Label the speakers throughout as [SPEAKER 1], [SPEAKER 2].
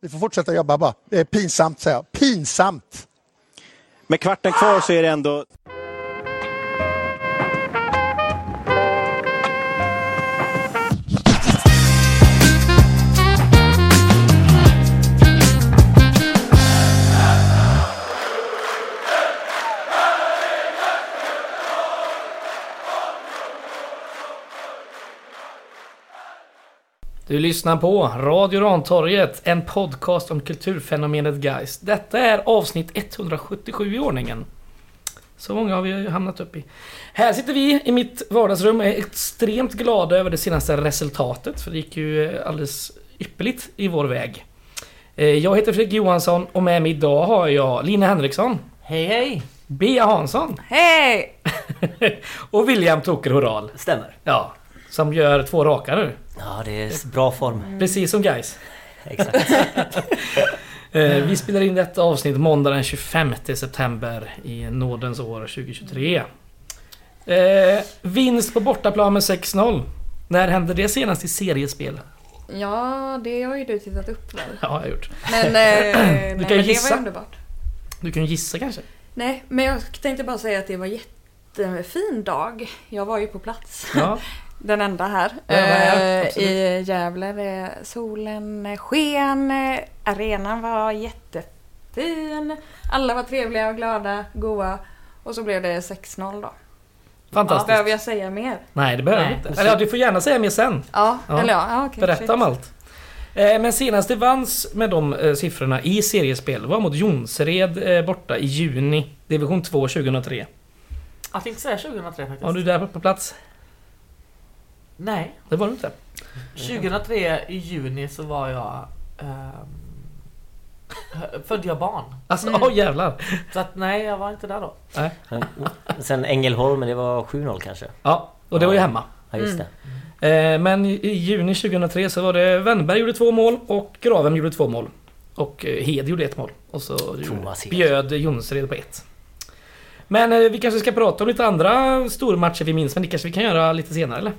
[SPEAKER 1] Vi får fortsätta jobba bara. Det är pinsamt, säger jag. Pinsamt!
[SPEAKER 2] Med kvarten kvar så är det ändå...
[SPEAKER 3] Du lyssnar på Radio Rantorget, en podcast om kulturfenomenet guys. Detta är avsnitt 177 i ordningen. Så många har vi ju hamnat upp i. Här sitter vi i mitt vardagsrum och är extremt glada över det senaste resultatet, för det gick ju alldeles ypperligt i vår väg. Eh, Jag heter Fredrik Johansson och med mig idag har jag Lina Henriksson,
[SPEAKER 4] Hej hej!
[SPEAKER 3] Bea Hansson
[SPEAKER 5] Hej!
[SPEAKER 3] och William Toker Horal.
[SPEAKER 4] Stämmer.
[SPEAKER 3] Ja, som gör två raka nu.
[SPEAKER 4] Ja, det är bra form.
[SPEAKER 3] Precis som guys.
[SPEAKER 4] Exakt.
[SPEAKER 3] Eh, Vi spelar in detta avsnitt måndag den 25 september i nådens år 2023. Eh, vinst på bortaplan med 6-0. När hände det senast i seriespel?
[SPEAKER 5] Ja, det har ju du tittat upp väl?
[SPEAKER 3] Ja, jag har gjort.
[SPEAKER 5] Men, eh, nej,
[SPEAKER 3] kan
[SPEAKER 5] men det var
[SPEAKER 3] gissa.
[SPEAKER 5] ju underbart.
[SPEAKER 3] Du kan gissa kanske?
[SPEAKER 5] Nej, men jag tänkte bara säga att det var en jättefin dag. Jag var ju på plats.
[SPEAKER 3] Ja.
[SPEAKER 5] Den enda här.
[SPEAKER 3] Ja, ja,
[SPEAKER 5] Eh,
[SPEAKER 3] absolut.
[SPEAKER 5] I Gävle. Det- Solen sken. eh, Arenan var jättefin. Alla var trevliga och glada, goa. Och så blev det 6-0 då.
[SPEAKER 3] Fantastiskt.
[SPEAKER 5] Behöver jag säga mer?
[SPEAKER 3] Nej, det behöver vi
[SPEAKER 4] Nej.
[SPEAKER 3] inte. Eller ja, du får gärna säga mer sen.
[SPEAKER 5] Ja,
[SPEAKER 3] Ja.
[SPEAKER 5] eller ja. ja okay,
[SPEAKER 3] Berätta om allt. Eh, Men senast det vanns med de eh, siffrorna i seriespel var mot Jonsered eh, borta i juni, division 2 2003.
[SPEAKER 4] Jag tänkte säga 2003 faktiskt.
[SPEAKER 3] Var du där på plats?
[SPEAKER 4] Nej,
[SPEAKER 3] Det var du inte.
[SPEAKER 4] 2003 i juni så var jag... ehm, hö- födde jag barn.
[SPEAKER 3] Alltså, åh jävlar!
[SPEAKER 4] Så att nej, jag var inte där då.
[SPEAKER 6] Sen Ängelholm, men det var 7-0 kanske?
[SPEAKER 3] Ja, och det var ju hemma.
[SPEAKER 6] Ja just det.
[SPEAKER 3] Eh, Men i juni 2003 så var det Wennberg gjorde två mål och Graven gjorde två mål. Och eh, Hed gjorde ett mål. Och så
[SPEAKER 6] Thomas Hed.
[SPEAKER 3] bjöd Jonsered på ett. Men eh, vi kanske ska prata om lite andra stormatcher vi minns, men det kanske vi kan göra lite senare eller?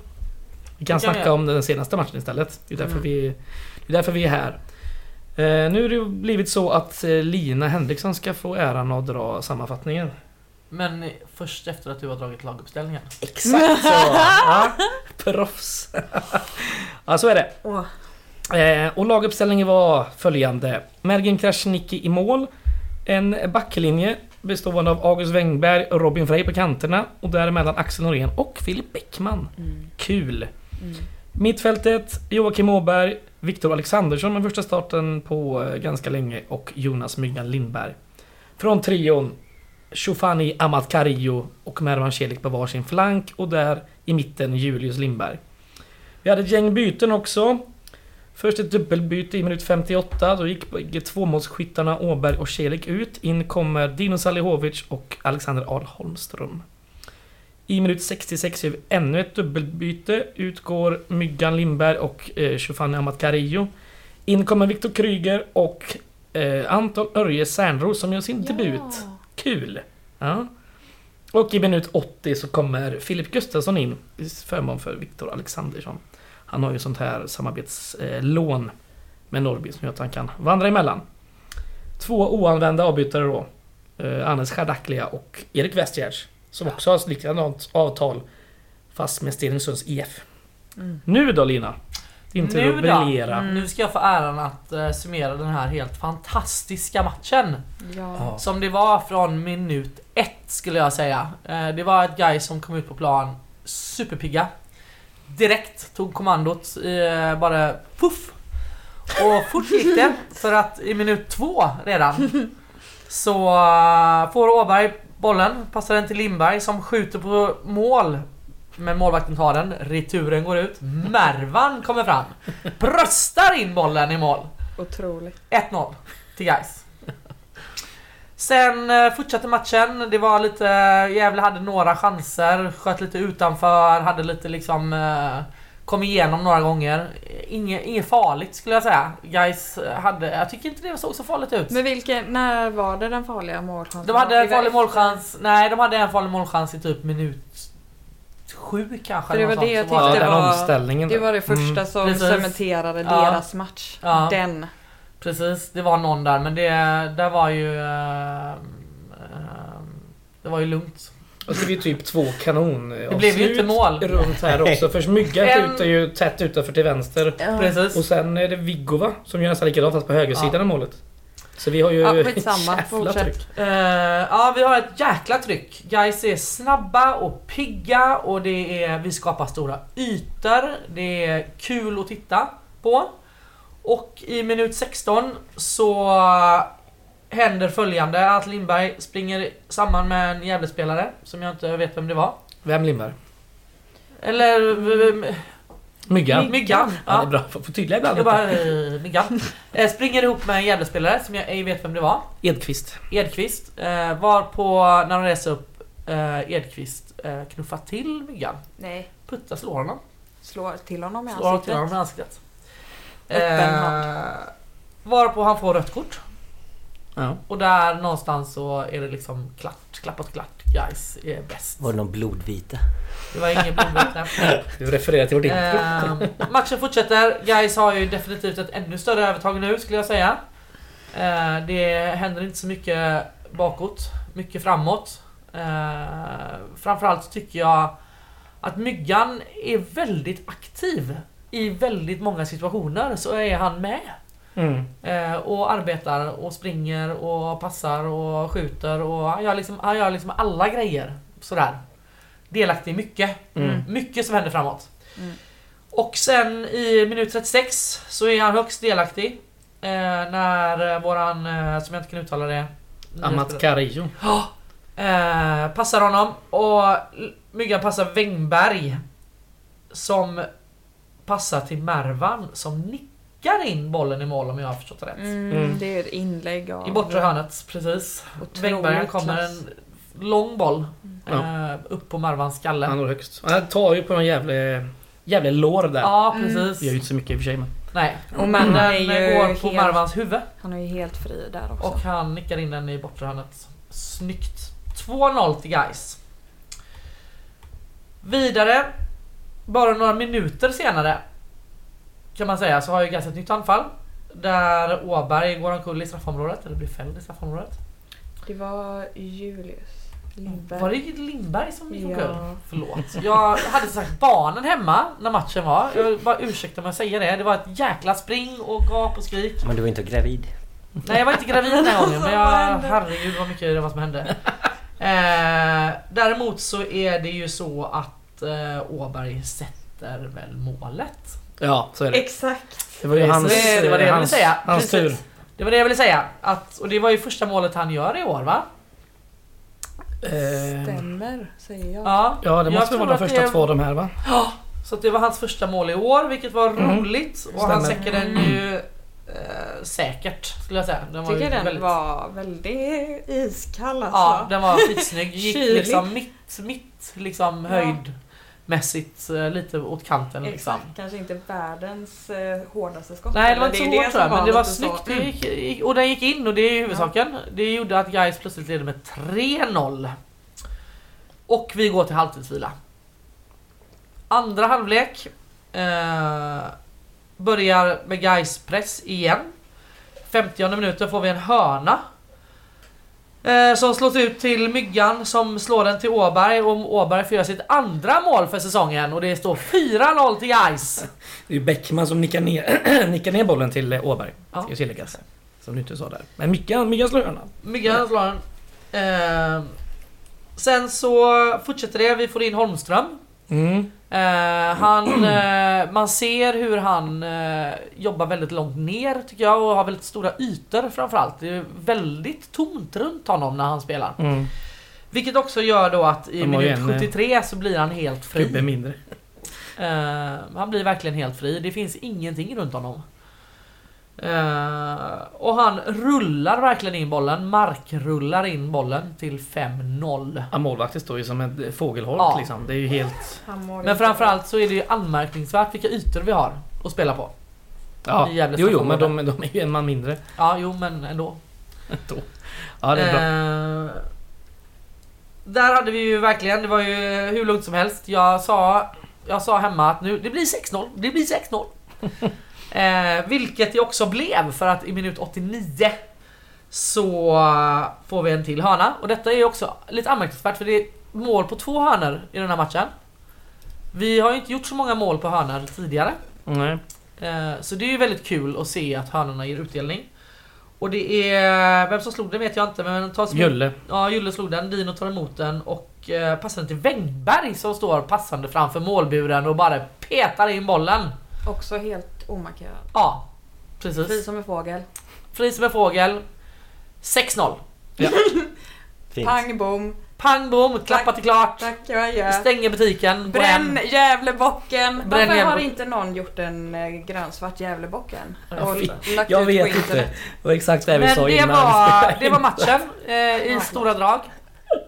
[SPEAKER 3] Vi kan
[SPEAKER 4] Det kan vi
[SPEAKER 3] snacka
[SPEAKER 4] göra. Mm.
[SPEAKER 3] om den senaste matchen istället. Det är därför, vi, det är, därför vi är här. Eh, Nu har det ju blivit så att eh, Lina Henriksson ska få äran att dra sammanfattningen.
[SPEAKER 4] Men först efter att du har dragit laguppställningen.
[SPEAKER 6] Exakt så!
[SPEAKER 3] Ja, proffs! ja, så är det.
[SPEAKER 5] Åh.
[SPEAKER 3] Eh, och laguppställningen var följande. Mergen Krasniqi i mål. En backlinje bestående av August Wengberg och Robin Frey på kanterna. Och däremellan Axel Norén och Filip Bäckman. Kul! Mittfältet Joakim Åberg, Viktor Alexandersson med första starten på eh, ganska länge och Jonas Myggan Lindberg. Från trion Shofani Amat Carillo och Mervan Celik på varsin flank och där i mitten Julius Lindberg. Vi hade ett gäng byten också. Först ett dubbelbyte i minut 58. Då gick tvåmålsskyttarna Åberg och Celik ut. In kommer Dino Salihovic och Alexander Ahl Holmström. I minut 66 gör vi ännu ett dubbelbyte. Utgår Myggan Lindberg och eh, Shofani Amat Carillo. In kommer Viktor Kryger och eh, Anton Örje Särnros som gör sin debut. Kul! Ja. Och i minut 80 så kommer Filip Gustafsson in i förmån för Viktor Alexandersson. Han har ju sånt här samarbetslån med Norrby som gör att han kan vandra emellan. Två oanvända avbytare då. Eh, Anders Chardaklia och Erik Westgärds. Som också har ett likadant avtal fast med Stenungsunds IF. Nu då Lina! Din tur att briljera.
[SPEAKER 4] Nu ska jag få äran att eh, summera den här helt fantastiska matchen.
[SPEAKER 5] Ja.
[SPEAKER 4] Som det var från minut ett skulle jag säga. Eh, Det var ett guy som kom ut på plan superpigga. Direkt tog kommandot, eh, bara puff! Och fort gick det, för att i minut två redan så eh, får Åberg bollen, passar den till Lindberg som skjuter på mål. Men målvakten tar den, returen går ut, Mervan kommer fram, bröstar in bollen i mål.
[SPEAKER 5] Otroligt.
[SPEAKER 4] 1-0 till Gais. Sen eh, fortsatte matchen, det var lite, Gävle hade några chanser, sköt lite utanför, hade lite liksom eh, Kom igenom några gånger. Inge- Inget farligt skulle jag säga. Guys eh, hade, jag tycker inte det såg så farligt ut.
[SPEAKER 5] Men vilken, när var det den farliga målchansen?
[SPEAKER 4] De hade en
[SPEAKER 5] Det var
[SPEAKER 4] farlig
[SPEAKER 5] efter-
[SPEAKER 4] målchans, nej de hade en farlig målchans i typ minut sju kanske.
[SPEAKER 5] För det
[SPEAKER 4] eller
[SPEAKER 5] var
[SPEAKER 4] något
[SPEAKER 5] det jag
[SPEAKER 4] sånt som var-
[SPEAKER 3] Ja,
[SPEAKER 5] tyckte
[SPEAKER 3] den
[SPEAKER 5] var-
[SPEAKER 3] omställningen
[SPEAKER 5] Det
[SPEAKER 3] där.
[SPEAKER 5] var det
[SPEAKER 3] Mm.
[SPEAKER 5] första som
[SPEAKER 4] Precis.
[SPEAKER 5] cementerade
[SPEAKER 4] Ja.
[SPEAKER 5] deras match.
[SPEAKER 4] Ja.
[SPEAKER 5] Den.
[SPEAKER 4] Precis, det var någon där men det där var ju... ehm, ehm, det var ju lugnt.
[SPEAKER 3] Och så är vi typ två kanon
[SPEAKER 4] Det blev ju inte mål.
[SPEAKER 3] runt här också. Först Myggan
[SPEAKER 4] En-
[SPEAKER 3] skjuter ju tätt utanför till vänster. Och
[SPEAKER 4] Precis.
[SPEAKER 3] sen är det Viggo va? Som gör nästan likadant fast på högersidan
[SPEAKER 4] Ja.
[SPEAKER 3] av målet. Så vi har ju
[SPEAKER 5] Ja,
[SPEAKER 3] ett
[SPEAKER 5] skitsamma.
[SPEAKER 3] jävla
[SPEAKER 5] Fortsätt.
[SPEAKER 3] tryck.
[SPEAKER 4] Eh, ja, vi har ett jäkla tryck. Guys är snabba och pigga och det är, vi skapar stora ytor. Det är kul att titta på. Och i minut 16 så händer följande att Lindberg springer samman med en Gävlespelare som jag inte vet vem det var.
[SPEAKER 3] Vem limmar?
[SPEAKER 4] Eller... v- v-
[SPEAKER 3] Myggan.
[SPEAKER 4] Myggan.
[SPEAKER 3] Ja,
[SPEAKER 4] Ja.
[SPEAKER 3] det är bra. Får får tydliga ibland.
[SPEAKER 4] Jag bara... eh, Myggan. Eh, Springer ihop med en Gävlespelare som jag ej vet vem det var.
[SPEAKER 3] Edqvist.
[SPEAKER 4] Edqvist eh, var på, när de reser upp, eh, Edqvist eh, knuffar till myggan.
[SPEAKER 5] Nej,
[SPEAKER 4] Puttar, slår honom.
[SPEAKER 5] slår till honom i
[SPEAKER 4] Slår honom till
[SPEAKER 5] ansiktet.
[SPEAKER 4] honom i ansiktet.
[SPEAKER 5] Öppen
[SPEAKER 4] Eh, varpå han får rött kort.
[SPEAKER 3] Ja.
[SPEAKER 4] Och där någonstans så är det liksom klart, klappat klart. Guys är bäst.
[SPEAKER 6] Var det någon blodvite?
[SPEAKER 4] Det var ingen blodvete.
[SPEAKER 3] Du refererar till vårt intro.
[SPEAKER 4] Eh, matchen fortsätter. Guys har ju definitivt ett ännu större övertag nu skulle jag säga. Eh, det händer inte så mycket bakåt, mycket framåt. Eh, framförallt så tycker jag att Myggan är väldigt aktiv. I väldigt många situationer så är han med.
[SPEAKER 3] Mm.
[SPEAKER 4] Eh, och arbetar och springer och passar och skjuter och han gör liksom, han gör liksom alla grejer. Sådär. Delaktig i mycket.
[SPEAKER 3] Mm.
[SPEAKER 4] Mycket som händer framåt.
[SPEAKER 5] Mm.
[SPEAKER 4] Och sen i minut 36 så är han högst delaktig. Eh, när eh, våran, eh, som jag inte kan uttala det.
[SPEAKER 3] Amat Carillo.
[SPEAKER 4] Eh, passar honom och l- myggan passar Wängberg. Som passar till Mervan som nickar in bollen i mål om jag har förstått det rätt.
[SPEAKER 5] Mm,
[SPEAKER 3] Mm.
[SPEAKER 5] Det är ett inlägg av...
[SPEAKER 4] I bortre hörnet, precis.
[SPEAKER 5] Otroligt
[SPEAKER 4] Wängberg kommer
[SPEAKER 5] klass.
[SPEAKER 4] en lång boll eh, upp på Marvans skalle.
[SPEAKER 3] Han når högst. Han tar ju på någon jävla, jävla lår där.
[SPEAKER 4] Ja,
[SPEAKER 5] Mm.
[SPEAKER 4] precis.
[SPEAKER 3] Det gör ju inte så mycket i och för sig men.
[SPEAKER 4] Nej.
[SPEAKER 5] Och man
[SPEAKER 4] Den
[SPEAKER 5] är ju
[SPEAKER 4] går på
[SPEAKER 5] helt-
[SPEAKER 4] Marvans huvud
[SPEAKER 5] Han är ju helt fri där också.
[SPEAKER 4] och han nickar in den i bortre hörnet. Snyggt. 2-0 till guys. Vidare, bara några minuter senare kan man säga, så har ju guys ett nytt anfall. Där Åberg går omkull i straffområdet, eller blir fälld i straffområdet.
[SPEAKER 5] Det var Julius Lindberg.
[SPEAKER 4] Var det Lindberg som gick omkull?
[SPEAKER 5] Ja.
[SPEAKER 4] Förlåt. Jag hade som sagt barnen hemma när matchen var. Jag vill bara ursäkta om jag säger det. Det var ett jäkla spring och gap och skrik.
[SPEAKER 6] Men du var inte gravid?
[SPEAKER 4] Nej jag var inte gravid den här gången men jag,
[SPEAKER 5] Vad hände?
[SPEAKER 4] herregud vad mycket det var som hände. Eh, däremot så är det ju så att eh, Åberg sätter väl målet.
[SPEAKER 3] Ja, så är det.
[SPEAKER 5] Exakt.
[SPEAKER 3] Det var ju hans,
[SPEAKER 4] Precis, det var det jag ville
[SPEAKER 3] hans,
[SPEAKER 4] säga.
[SPEAKER 3] hans tur.
[SPEAKER 4] Precis. Det var det jag ville säga. Att, och det var ju första målet han gör i år va?
[SPEAKER 3] Eh,
[SPEAKER 5] Stämmer, säger jag.
[SPEAKER 4] Ja,
[SPEAKER 3] ja, det måste
[SPEAKER 4] Jag
[SPEAKER 3] väl
[SPEAKER 4] tror
[SPEAKER 3] vara de
[SPEAKER 4] att
[SPEAKER 3] första
[SPEAKER 4] det-
[SPEAKER 3] två av de här va?
[SPEAKER 4] Så att det var hans första mål i år, vilket var roligt. Och han
[SPEAKER 3] Stämmer.
[SPEAKER 4] säcker den ju eh, säkert, skulle jag säga. Den
[SPEAKER 5] Jag
[SPEAKER 4] var ju
[SPEAKER 5] tycker den
[SPEAKER 4] väldigt...
[SPEAKER 5] var väldigt iskall alltså.
[SPEAKER 4] Ja, den var skitsnygg. Gick
[SPEAKER 5] Kylig.
[SPEAKER 4] liksom mitt, mitt liksom
[SPEAKER 5] Ja.
[SPEAKER 4] höjdmässigt eh, lite åt kanten liksom.
[SPEAKER 5] Exakt, kanske inte världens eh, hårdaste skott.
[SPEAKER 4] Nej det var
[SPEAKER 5] eller
[SPEAKER 4] inte så hårt tror jag, men det var
[SPEAKER 5] lite
[SPEAKER 4] snyggt.
[SPEAKER 5] så.
[SPEAKER 4] Det gick, gick, och den gick in och det är ju huvudsaken. Det gjorde att Gais plötsligt ledde med 3-0. Och vi går till halvtidsvila. Andra halvlek eh, börjar med Gais press igen. 50 minuten får vi en hörna. Eh, som slås ut till Myggan som slår den till Åberg och Åberg får göra sitt andra mål för säsongen och det står 4-0 till Gais.
[SPEAKER 3] Det är ju Bäckman som nickar ner, nickar ner bollen till eh, Åberg.
[SPEAKER 4] Ja.
[SPEAKER 3] Ska ju tilläggas. Som du inte sa där. Men Myggan, Myggan slår hörnan.
[SPEAKER 4] Myggan slår den. Ehm, sen så fortsätter det, vi får in Holmström.
[SPEAKER 3] Mm.
[SPEAKER 4] Eh, han, eh, man ser hur han eh, jobbar väldigt långt ner tycker jag och har väldigt stora ytor framförallt. Det är väldigt tomt runt honom när han spelar.
[SPEAKER 3] Mm.
[SPEAKER 4] Vilket också gör då att i
[SPEAKER 3] Han har ju
[SPEAKER 4] minut
[SPEAKER 3] en, eh,
[SPEAKER 4] 73 så blir han helt fri.
[SPEAKER 3] Klubben mindre.
[SPEAKER 4] Eh, han blir verkligen helt fri. Det finns ingenting runt honom. Eh, och han rullar verkligen in bollen. Markrullar in bollen till 5-0.
[SPEAKER 3] Ja, målvakten står ju som en fågelholk
[SPEAKER 4] Ja.
[SPEAKER 3] liksom. Det är ju helt...
[SPEAKER 5] Han mår
[SPEAKER 4] Men
[SPEAKER 5] inte bra.
[SPEAKER 4] framförallt så är det ju anmärkningsvärt vilka ytor vi har att spela på.
[SPEAKER 3] Ja.
[SPEAKER 4] Det är jävligt
[SPEAKER 3] Jo, jo, men
[SPEAKER 4] straffområde.
[SPEAKER 3] de, de är ju en man mindre.
[SPEAKER 4] Ja, jo men ändå.
[SPEAKER 3] Då. Ja, det är bra.
[SPEAKER 4] Eh, där hade vi ju verkligen, det var ju hur lugnt som helst. Jag sa, jag sa hemma att nu, det blir 6-0. Det blir 6-0. Eh, vilket det också blev för att i minut 89 så eh, får vi en till hörna. Och detta är ju också lite anmärkningsvärt för det är mål på två hörnor i den här matchen. Vi har ju inte gjort så många mål på hörnor tidigare.
[SPEAKER 3] Nej.
[SPEAKER 4] Eh, Så det är ju väldigt kul att se att hönorna ger utdelning. Och det är... Vem som slog den vet jag inte men... Tas
[SPEAKER 3] Julle.
[SPEAKER 4] Ja, Julle slog den. Dino tar emot den och eh, passar den till Wängberg som står passande framför målburen och bara petar in bollen.
[SPEAKER 5] Också helt omarkerad.
[SPEAKER 4] Ja,
[SPEAKER 5] Fri
[SPEAKER 4] precis.
[SPEAKER 5] som en fågel.
[SPEAKER 4] Fri som en fågel. 6-0.
[SPEAKER 6] Fint.
[SPEAKER 5] Pang bom.
[SPEAKER 4] Pang bom, klappat till klart.
[SPEAKER 5] Tack och adjö.
[SPEAKER 4] Stänger butiken. går hem.
[SPEAKER 5] Bränn Gävlebocken! Varför
[SPEAKER 4] Bränn
[SPEAKER 5] har
[SPEAKER 4] Gävle-
[SPEAKER 5] inte någon gjort en eh, grönsvart Gävlebocken?
[SPEAKER 4] Jag
[SPEAKER 5] Och
[SPEAKER 3] vet-
[SPEAKER 5] lagt
[SPEAKER 3] Jag
[SPEAKER 5] ut
[SPEAKER 3] vet
[SPEAKER 5] på internet?
[SPEAKER 3] inte. Det var exakt det vi
[SPEAKER 4] Men
[SPEAKER 3] sa
[SPEAKER 4] det
[SPEAKER 3] innan.
[SPEAKER 4] var, det var matchen eh, i stora drag.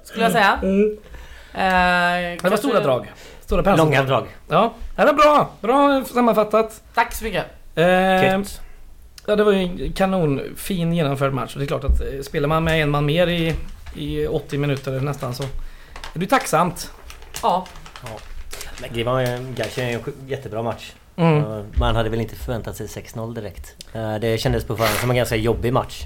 [SPEAKER 4] Skulle jag säga. Eh,
[SPEAKER 3] Mm. det var
[SPEAKER 4] kanske-
[SPEAKER 3] stora drag. Stora penslar.
[SPEAKER 6] Långa drag.
[SPEAKER 3] Ja, det var bra. Bra sammanfattat.
[SPEAKER 4] Tack så mycket.
[SPEAKER 3] Eh,
[SPEAKER 6] Gött.
[SPEAKER 3] ja, det var ju en kanonfin genomförd match. Och det är klart att eh, spelar man med en man mer i, i 80 minuter nästan så är det ju tacksamt.
[SPEAKER 4] Ja,
[SPEAKER 6] Men det var ju... Gais är ju en sj- jättebra match.
[SPEAKER 3] Mm.
[SPEAKER 6] Eh, Man hade väl inte förväntat sig 6-0 direkt. Eh, Det kändes på förhand som en ganska jobbig match.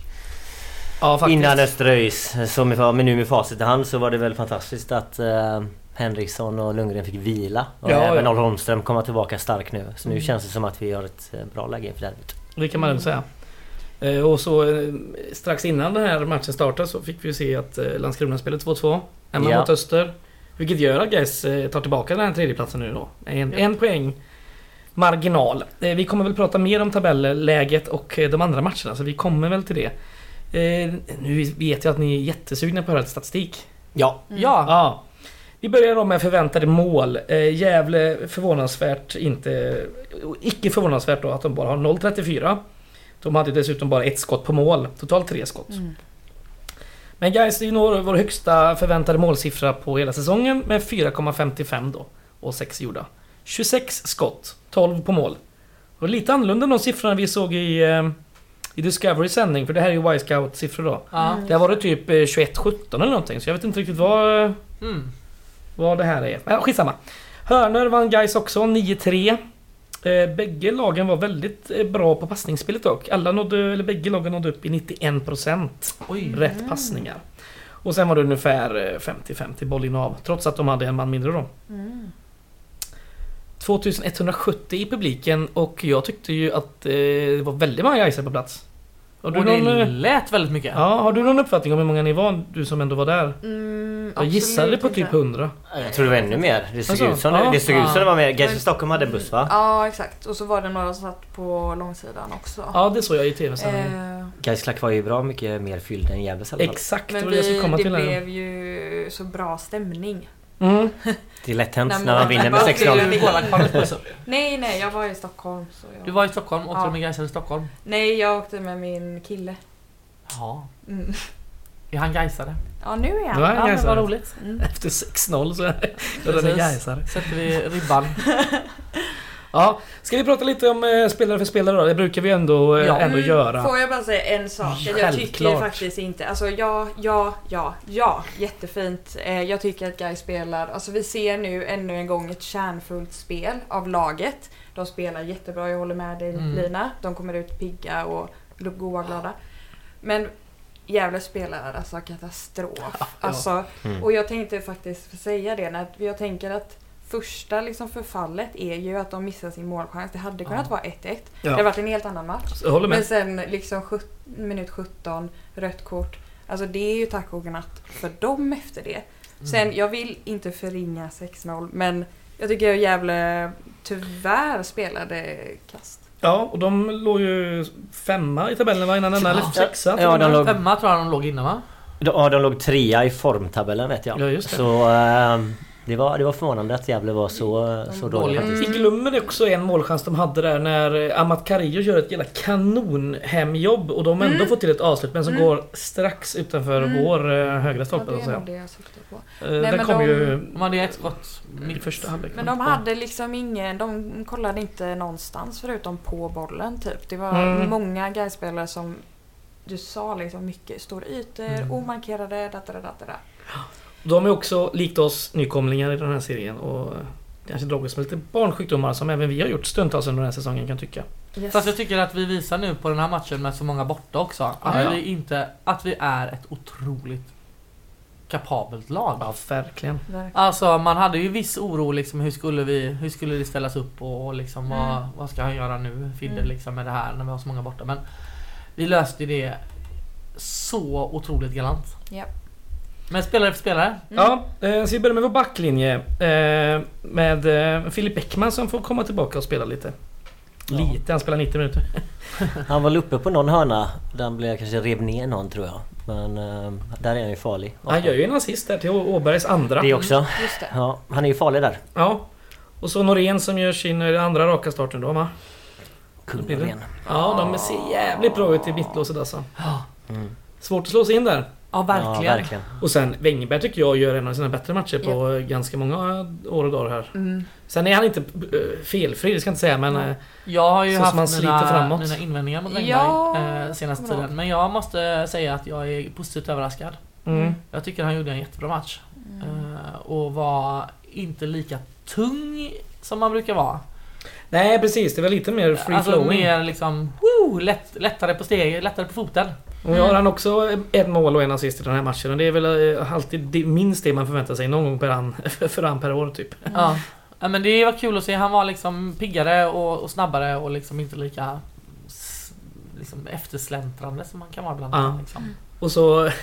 [SPEAKER 3] Ja, faktiskt.
[SPEAKER 6] Innan Östra ÖIS, som med, men nu med facit i hand så var det väl fantastiskt att eh, Henriksson och Lundgren fick vila. Och
[SPEAKER 3] Ja,
[SPEAKER 6] även
[SPEAKER 3] ja. Mm.
[SPEAKER 6] Olle Holmström komma tillbaka stark nu. Så nu känns det som att vi har ett eh, bra läge inför derbyt.
[SPEAKER 3] Det kan man väl säga. Eh, Och så eh, strax innan den här matchen startade så fick vi ju se att eh, Landskrona spelade 2-2. Hemma
[SPEAKER 6] Ja.
[SPEAKER 3] mot Öster. Vilket gör att Gais eh, tar tillbaka den här tredjeplatsen nu då. En, en poäng marginal. Eh, Vi kommer väl prata mer om tabelläget och eh, de andra matcherna så vi kommer väl till det. Eh, Nu vet jag att ni är jättesugna på att höra statistik.
[SPEAKER 6] Ja,
[SPEAKER 4] ja.
[SPEAKER 3] Ja. Vi börjar då med förväntade mål. Eh, Gävle förvånansvärt inte... Icke förvånansvärt då att de bara har 0,34. De hade dessutom bara ett skott på mål. Totalt tre skott. Men guys, det är ju nog vår högsta förväntade målsiffra på hela säsongen med 4,55 då. Och 6 gjorda. 26 skott, 12 på mål. Och lite annorlunda än de siffrorna vi såg i, eh, i Discovery sändning, för det här är ju Y-scout-siffror då.
[SPEAKER 4] ja.
[SPEAKER 5] Mm.
[SPEAKER 3] Där var det typ eh, 21-17 eller någonting, så jag vet inte riktigt vad...
[SPEAKER 4] Mm.
[SPEAKER 3] vad det här är. Men skitsamma. Hörner vann Gais också, 9-3. Eh, bägge lagen var väldigt eh, bra på passningsspelet dock. Alla nådde, eller bägge lagen nådde upp i 91%
[SPEAKER 4] Oj.
[SPEAKER 3] rätt passningar. Och sen var det ungefär eh, 50-50 bollinnehav, trots att de hade en man mindre då.
[SPEAKER 4] Mm.
[SPEAKER 3] 2170 i publiken och jag tyckte ju att eh, det var väldigt många Gaisare på plats. Har
[SPEAKER 4] Och
[SPEAKER 3] du,
[SPEAKER 4] det
[SPEAKER 3] någon, eh,
[SPEAKER 4] lät väldigt mycket.
[SPEAKER 3] ja, har du någon uppfattning om hur många ni var, du som ändå var där?
[SPEAKER 5] Mm,
[SPEAKER 3] Jag gissade
[SPEAKER 5] absolut
[SPEAKER 3] på typ
[SPEAKER 5] inte.
[SPEAKER 3] 100.
[SPEAKER 6] Jag tror det var ännu mer. Det såg
[SPEAKER 3] Alltså,
[SPEAKER 6] ut som,
[SPEAKER 3] ja,
[SPEAKER 6] det, såg ut
[SPEAKER 4] ja.
[SPEAKER 6] som det var mer. Gais i Stockholm hade en buss va?
[SPEAKER 5] Ja exakt, och så var det några som satt på långsidan också.
[SPEAKER 3] Ja, det såg jag i tv sen.
[SPEAKER 5] Eh,
[SPEAKER 6] Gais klack var ju bra mycket mer fylld än Gävles i alla fall.
[SPEAKER 3] Exakt, det
[SPEAKER 5] men
[SPEAKER 3] var det jag
[SPEAKER 5] vi,
[SPEAKER 3] skulle komma
[SPEAKER 5] det
[SPEAKER 3] till här.
[SPEAKER 5] blev ju så bra stämning.
[SPEAKER 3] Mm.
[SPEAKER 6] Det är lätt hänt
[SPEAKER 5] Nej,
[SPEAKER 6] när man
[SPEAKER 5] men-
[SPEAKER 6] vinner med
[SPEAKER 5] Vad skulle
[SPEAKER 6] 6-0.
[SPEAKER 5] vi-
[SPEAKER 4] Du
[SPEAKER 5] Nej nej, jag var i Stockholm. Så jag...
[SPEAKER 4] var i Stockholm, åkte
[SPEAKER 5] Ja.
[SPEAKER 4] du med Gaisare i Stockholm?
[SPEAKER 5] Nej, jag åkte med min kille.
[SPEAKER 4] Ja.
[SPEAKER 5] Mm.
[SPEAKER 4] Är han Gaisare?
[SPEAKER 5] Ja nu är
[SPEAKER 3] Nu är
[SPEAKER 5] han.
[SPEAKER 3] han
[SPEAKER 4] Ja, men vad
[SPEAKER 3] Gaisare.
[SPEAKER 4] roligt.
[SPEAKER 5] Mm.
[SPEAKER 3] Efter 6-0 så är den
[SPEAKER 4] Precis.
[SPEAKER 3] är Gaisare.
[SPEAKER 4] Sätter vi ribban.
[SPEAKER 3] Ja, ska vi prata lite om eh, spelare för spelare då? Det brukar vi ändå, eh,
[SPEAKER 4] Ja.
[SPEAKER 3] ändå
[SPEAKER 5] Mm,
[SPEAKER 3] göra.
[SPEAKER 5] Får jag bara säga en sak? Att Jag tycker
[SPEAKER 3] Självklart.
[SPEAKER 5] ju faktiskt inte... Alltså ja, ja, ja, ja. Jättefint. Eh, jag tycker att Guy spelar... Alltså vi ser nu ännu en gång ett kärnfullt spel av laget. De spelar jättebra, jag håller med dig
[SPEAKER 4] Mm.
[SPEAKER 5] Lina. De kommer ut pigga och goa och glada. Men Gävle spelar alltså katastrof. Alltså,
[SPEAKER 6] Mm.
[SPEAKER 5] och jag tänkte faktiskt säga det. När jag tänker att första liksom förfallet är ju att de missar sin målchans. Det hade kunnat vara 1-1. Det hade varit en helt annan match.
[SPEAKER 3] Jag håller
[SPEAKER 5] Men
[SPEAKER 3] med.
[SPEAKER 5] sen liksom sjut- minut 17, rött kort. Alltså det är ju tack och godnatt för dem efter det.
[SPEAKER 3] Mm.
[SPEAKER 5] Sen, jag vill inte förringa 6-0 men jag tycker Gävle tyvärr spelade kast.
[SPEAKER 3] Ja, och de låg ju femma i tabellen va, innan denna, eller sexa till
[SPEAKER 6] Ja,
[SPEAKER 3] och med.
[SPEAKER 6] de låg,
[SPEAKER 4] Femma tror jag de låg innan va?
[SPEAKER 6] ja, de låg trea i formtabellen vet jag.
[SPEAKER 3] Ja, just det.
[SPEAKER 6] Så ehm, det, var, det var förvånande att Gävle var så,
[SPEAKER 3] Mm.
[SPEAKER 6] så dålig
[SPEAKER 4] dåliga.
[SPEAKER 6] faktiskt.
[SPEAKER 3] Vi glömmer också en målchans de hade där när eh, Amat Carillo gör ett jävla kanonhemjobb och de
[SPEAKER 5] Mm.
[SPEAKER 3] ändå får till ett avslut men som går strax utanför vår eh, högra
[SPEAKER 5] Ja,
[SPEAKER 3] stolpe.
[SPEAKER 5] det
[SPEAKER 3] så att
[SPEAKER 5] är
[SPEAKER 3] säga.
[SPEAKER 5] nog det jag syftar på.
[SPEAKER 3] Eh,
[SPEAKER 5] Mm. Nej,
[SPEAKER 3] Den
[SPEAKER 5] men
[SPEAKER 3] kom
[SPEAKER 5] de-
[SPEAKER 3] ju
[SPEAKER 4] De hade ju ett skott
[SPEAKER 3] i
[SPEAKER 4] mitt
[SPEAKER 3] första halvlek.
[SPEAKER 5] Men de hade liksom ingen, de kollade inte någonstans förutom på bollen typ. Det var
[SPEAKER 3] Mm.
[SPEAKER 5] många guys-spelare som du sa liksom mycket stora ytor,
[SPEAKER 3] Mm.
[SPEAKER 5] omarkerade, datara datara.
[SPEAKER 3] De är också, likt oss, nykomlingar i den här serien och kanske dragits med lite barnsjukdomar som även vi har gjort stundtals under den här säsongen kan jag tycka.
[SPEAKER 5] Yes.
[SPEAKER 4] Fast jag tycker att vi visar nu på den här matchen med så många borta också att,
[SPEAKER 3] ja.
[SPEAKER 4] vi, inte, att vi är ett otroligt kapabelt lag.
[SPEAKER 3] Ja, verkligen.
[SPEAKER 5] Verkligen.
[SPEAKER 4] Alltså man hade ju viss oro liksom hur skulle vi, hur skulle det ställas upp och, och liksom vad, vad ska han göra nu Fidde
[SPEAKER 5] Mm.
[SPEAKER 4] liksom med det här när vi har så många borta men Vi löste det så otroligt galant.
[SPEAKER 5] Ja.
[SPEAKER 4] Men spelare efter spelare.
[SPEAKER 5] Mm.
[SPEAKER 3] Ja, eh, så vi börjar med vår backlinje. Eh, med eh, Filip Bäckman som får komma tillbaka och spela lite. Lite, han spelar 90 minuter.
[SPEAKER 6] Han var väl uppe på någon hörna. Där han blev kanske rev ner någon tror jag. Men eh, där är han ju farlig.
[SPEAKER 3] Han gör ju en assist där till Å- Åbergs andra.
[SPEAKER 6] Det också.
[SPEAKER 3] Mm.
[SPEAKER 5] Just det.
[SPEAKER 6] Ja, han är ju farlig där.
[SPEAKER 3] Ja. Och så Norén som gör sin eh, andra raka starten då va?
[SPEAKER 6] Kung
[SPEAKER 3] Blir det?
[SPEAKER 6] igen.
[SPEAKER 3] Ja, de ser jävligt bra ut i mittlåset alltså.
[SPEAKER 4] Ja,
[SPEAKER 3] Svårt att slå sig in där.
[SPEAKER 4] ja verkligen.
[SPEAKER 6] Ja, verkligen.
[SPEAKER 3] Och sen Wängberg tycker jag gör en av sina bättre matcher på eh, ganska många eh, år och dagar här.
[SPEAKER 5] Mm.
[SPEAKER 3] Sen är han inte eh, felfri, det ska jag inte säga men... eh,
[SPEAKER 4] Jag har ju
[SPEAKER 3] Så som man
[SPEAKER 4] haft
[SPEAKER 3] sliter
[SPEAKER 4] mina,
[SPEAKER 3] framåt.
[SPEAKER 4] mina invändningar mot Wängberg
[SPEAKER 5] Ja,
[SPEAKER 4] eh, senaste
[SPEAKER 5] kommer
[SPEAKER 4] tiden men jag måste säga att jag är positivt överraskad.
[SPEAKER 3] Mm.
[SPEAKER 4] Jag tycker han gjorde en jättebra match. Eh, och var inte lika tung som man brukar vara.
[SPEAKER 3] Nej precis, det var lite mer free
[SPEAKER 4] Alltså
[SPEAKER 3] flowing.
[SPEAKER 4] mer liksom, woo, lätt, lättare på steget, lättare på foten.
[SPEAKER 3] Och jag har han också ett mål och en assist i den här matchen och det är väl eh, alltid det, minst det man förväntar sig någon gång per an, för an per år typ.
[SPEAKER 4] Ja. ja. Men det var kul att se, han var liksom piggare och, och snabbare och liksom inte lika s- liksom eftersläntrande som man kan vara ibland.
[SPEAKER 3] Ja.
[SPEAKER 4] Liksom.
[SPEAKER 3] Och så...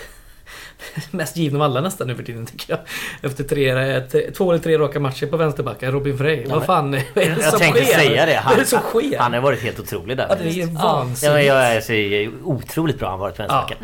[SPEAKER 3] Mest given av alla nästan nu för tiden tycker jag. Efter tre, eh, t- två eller tre raka matcher på vänsterbacken, Robin Frey.
[SPEAKER 6] men-
[SPEAKER 3] Vad fan är det
[SPEAKER 6] Jag
[SPEAKER 3] som
[SPEAKER 6] tänkte
[SPEAKER 3] sker?
[SPEAKER 6] säga det.
[SPEAKER 3] Vad är det som sker?
[SPEAKER 6] Han har varit helt otrolig
[SPEAKER 3] Ja,
[SPEAKER 6] där.
[SPEAKER 3] det är
[SPEAKER 6] Ja, men
[SPEAKER 3] vansinnigt.
[SPEAKER 6] jag är så otroligt bra han har varit på vänsterbacken.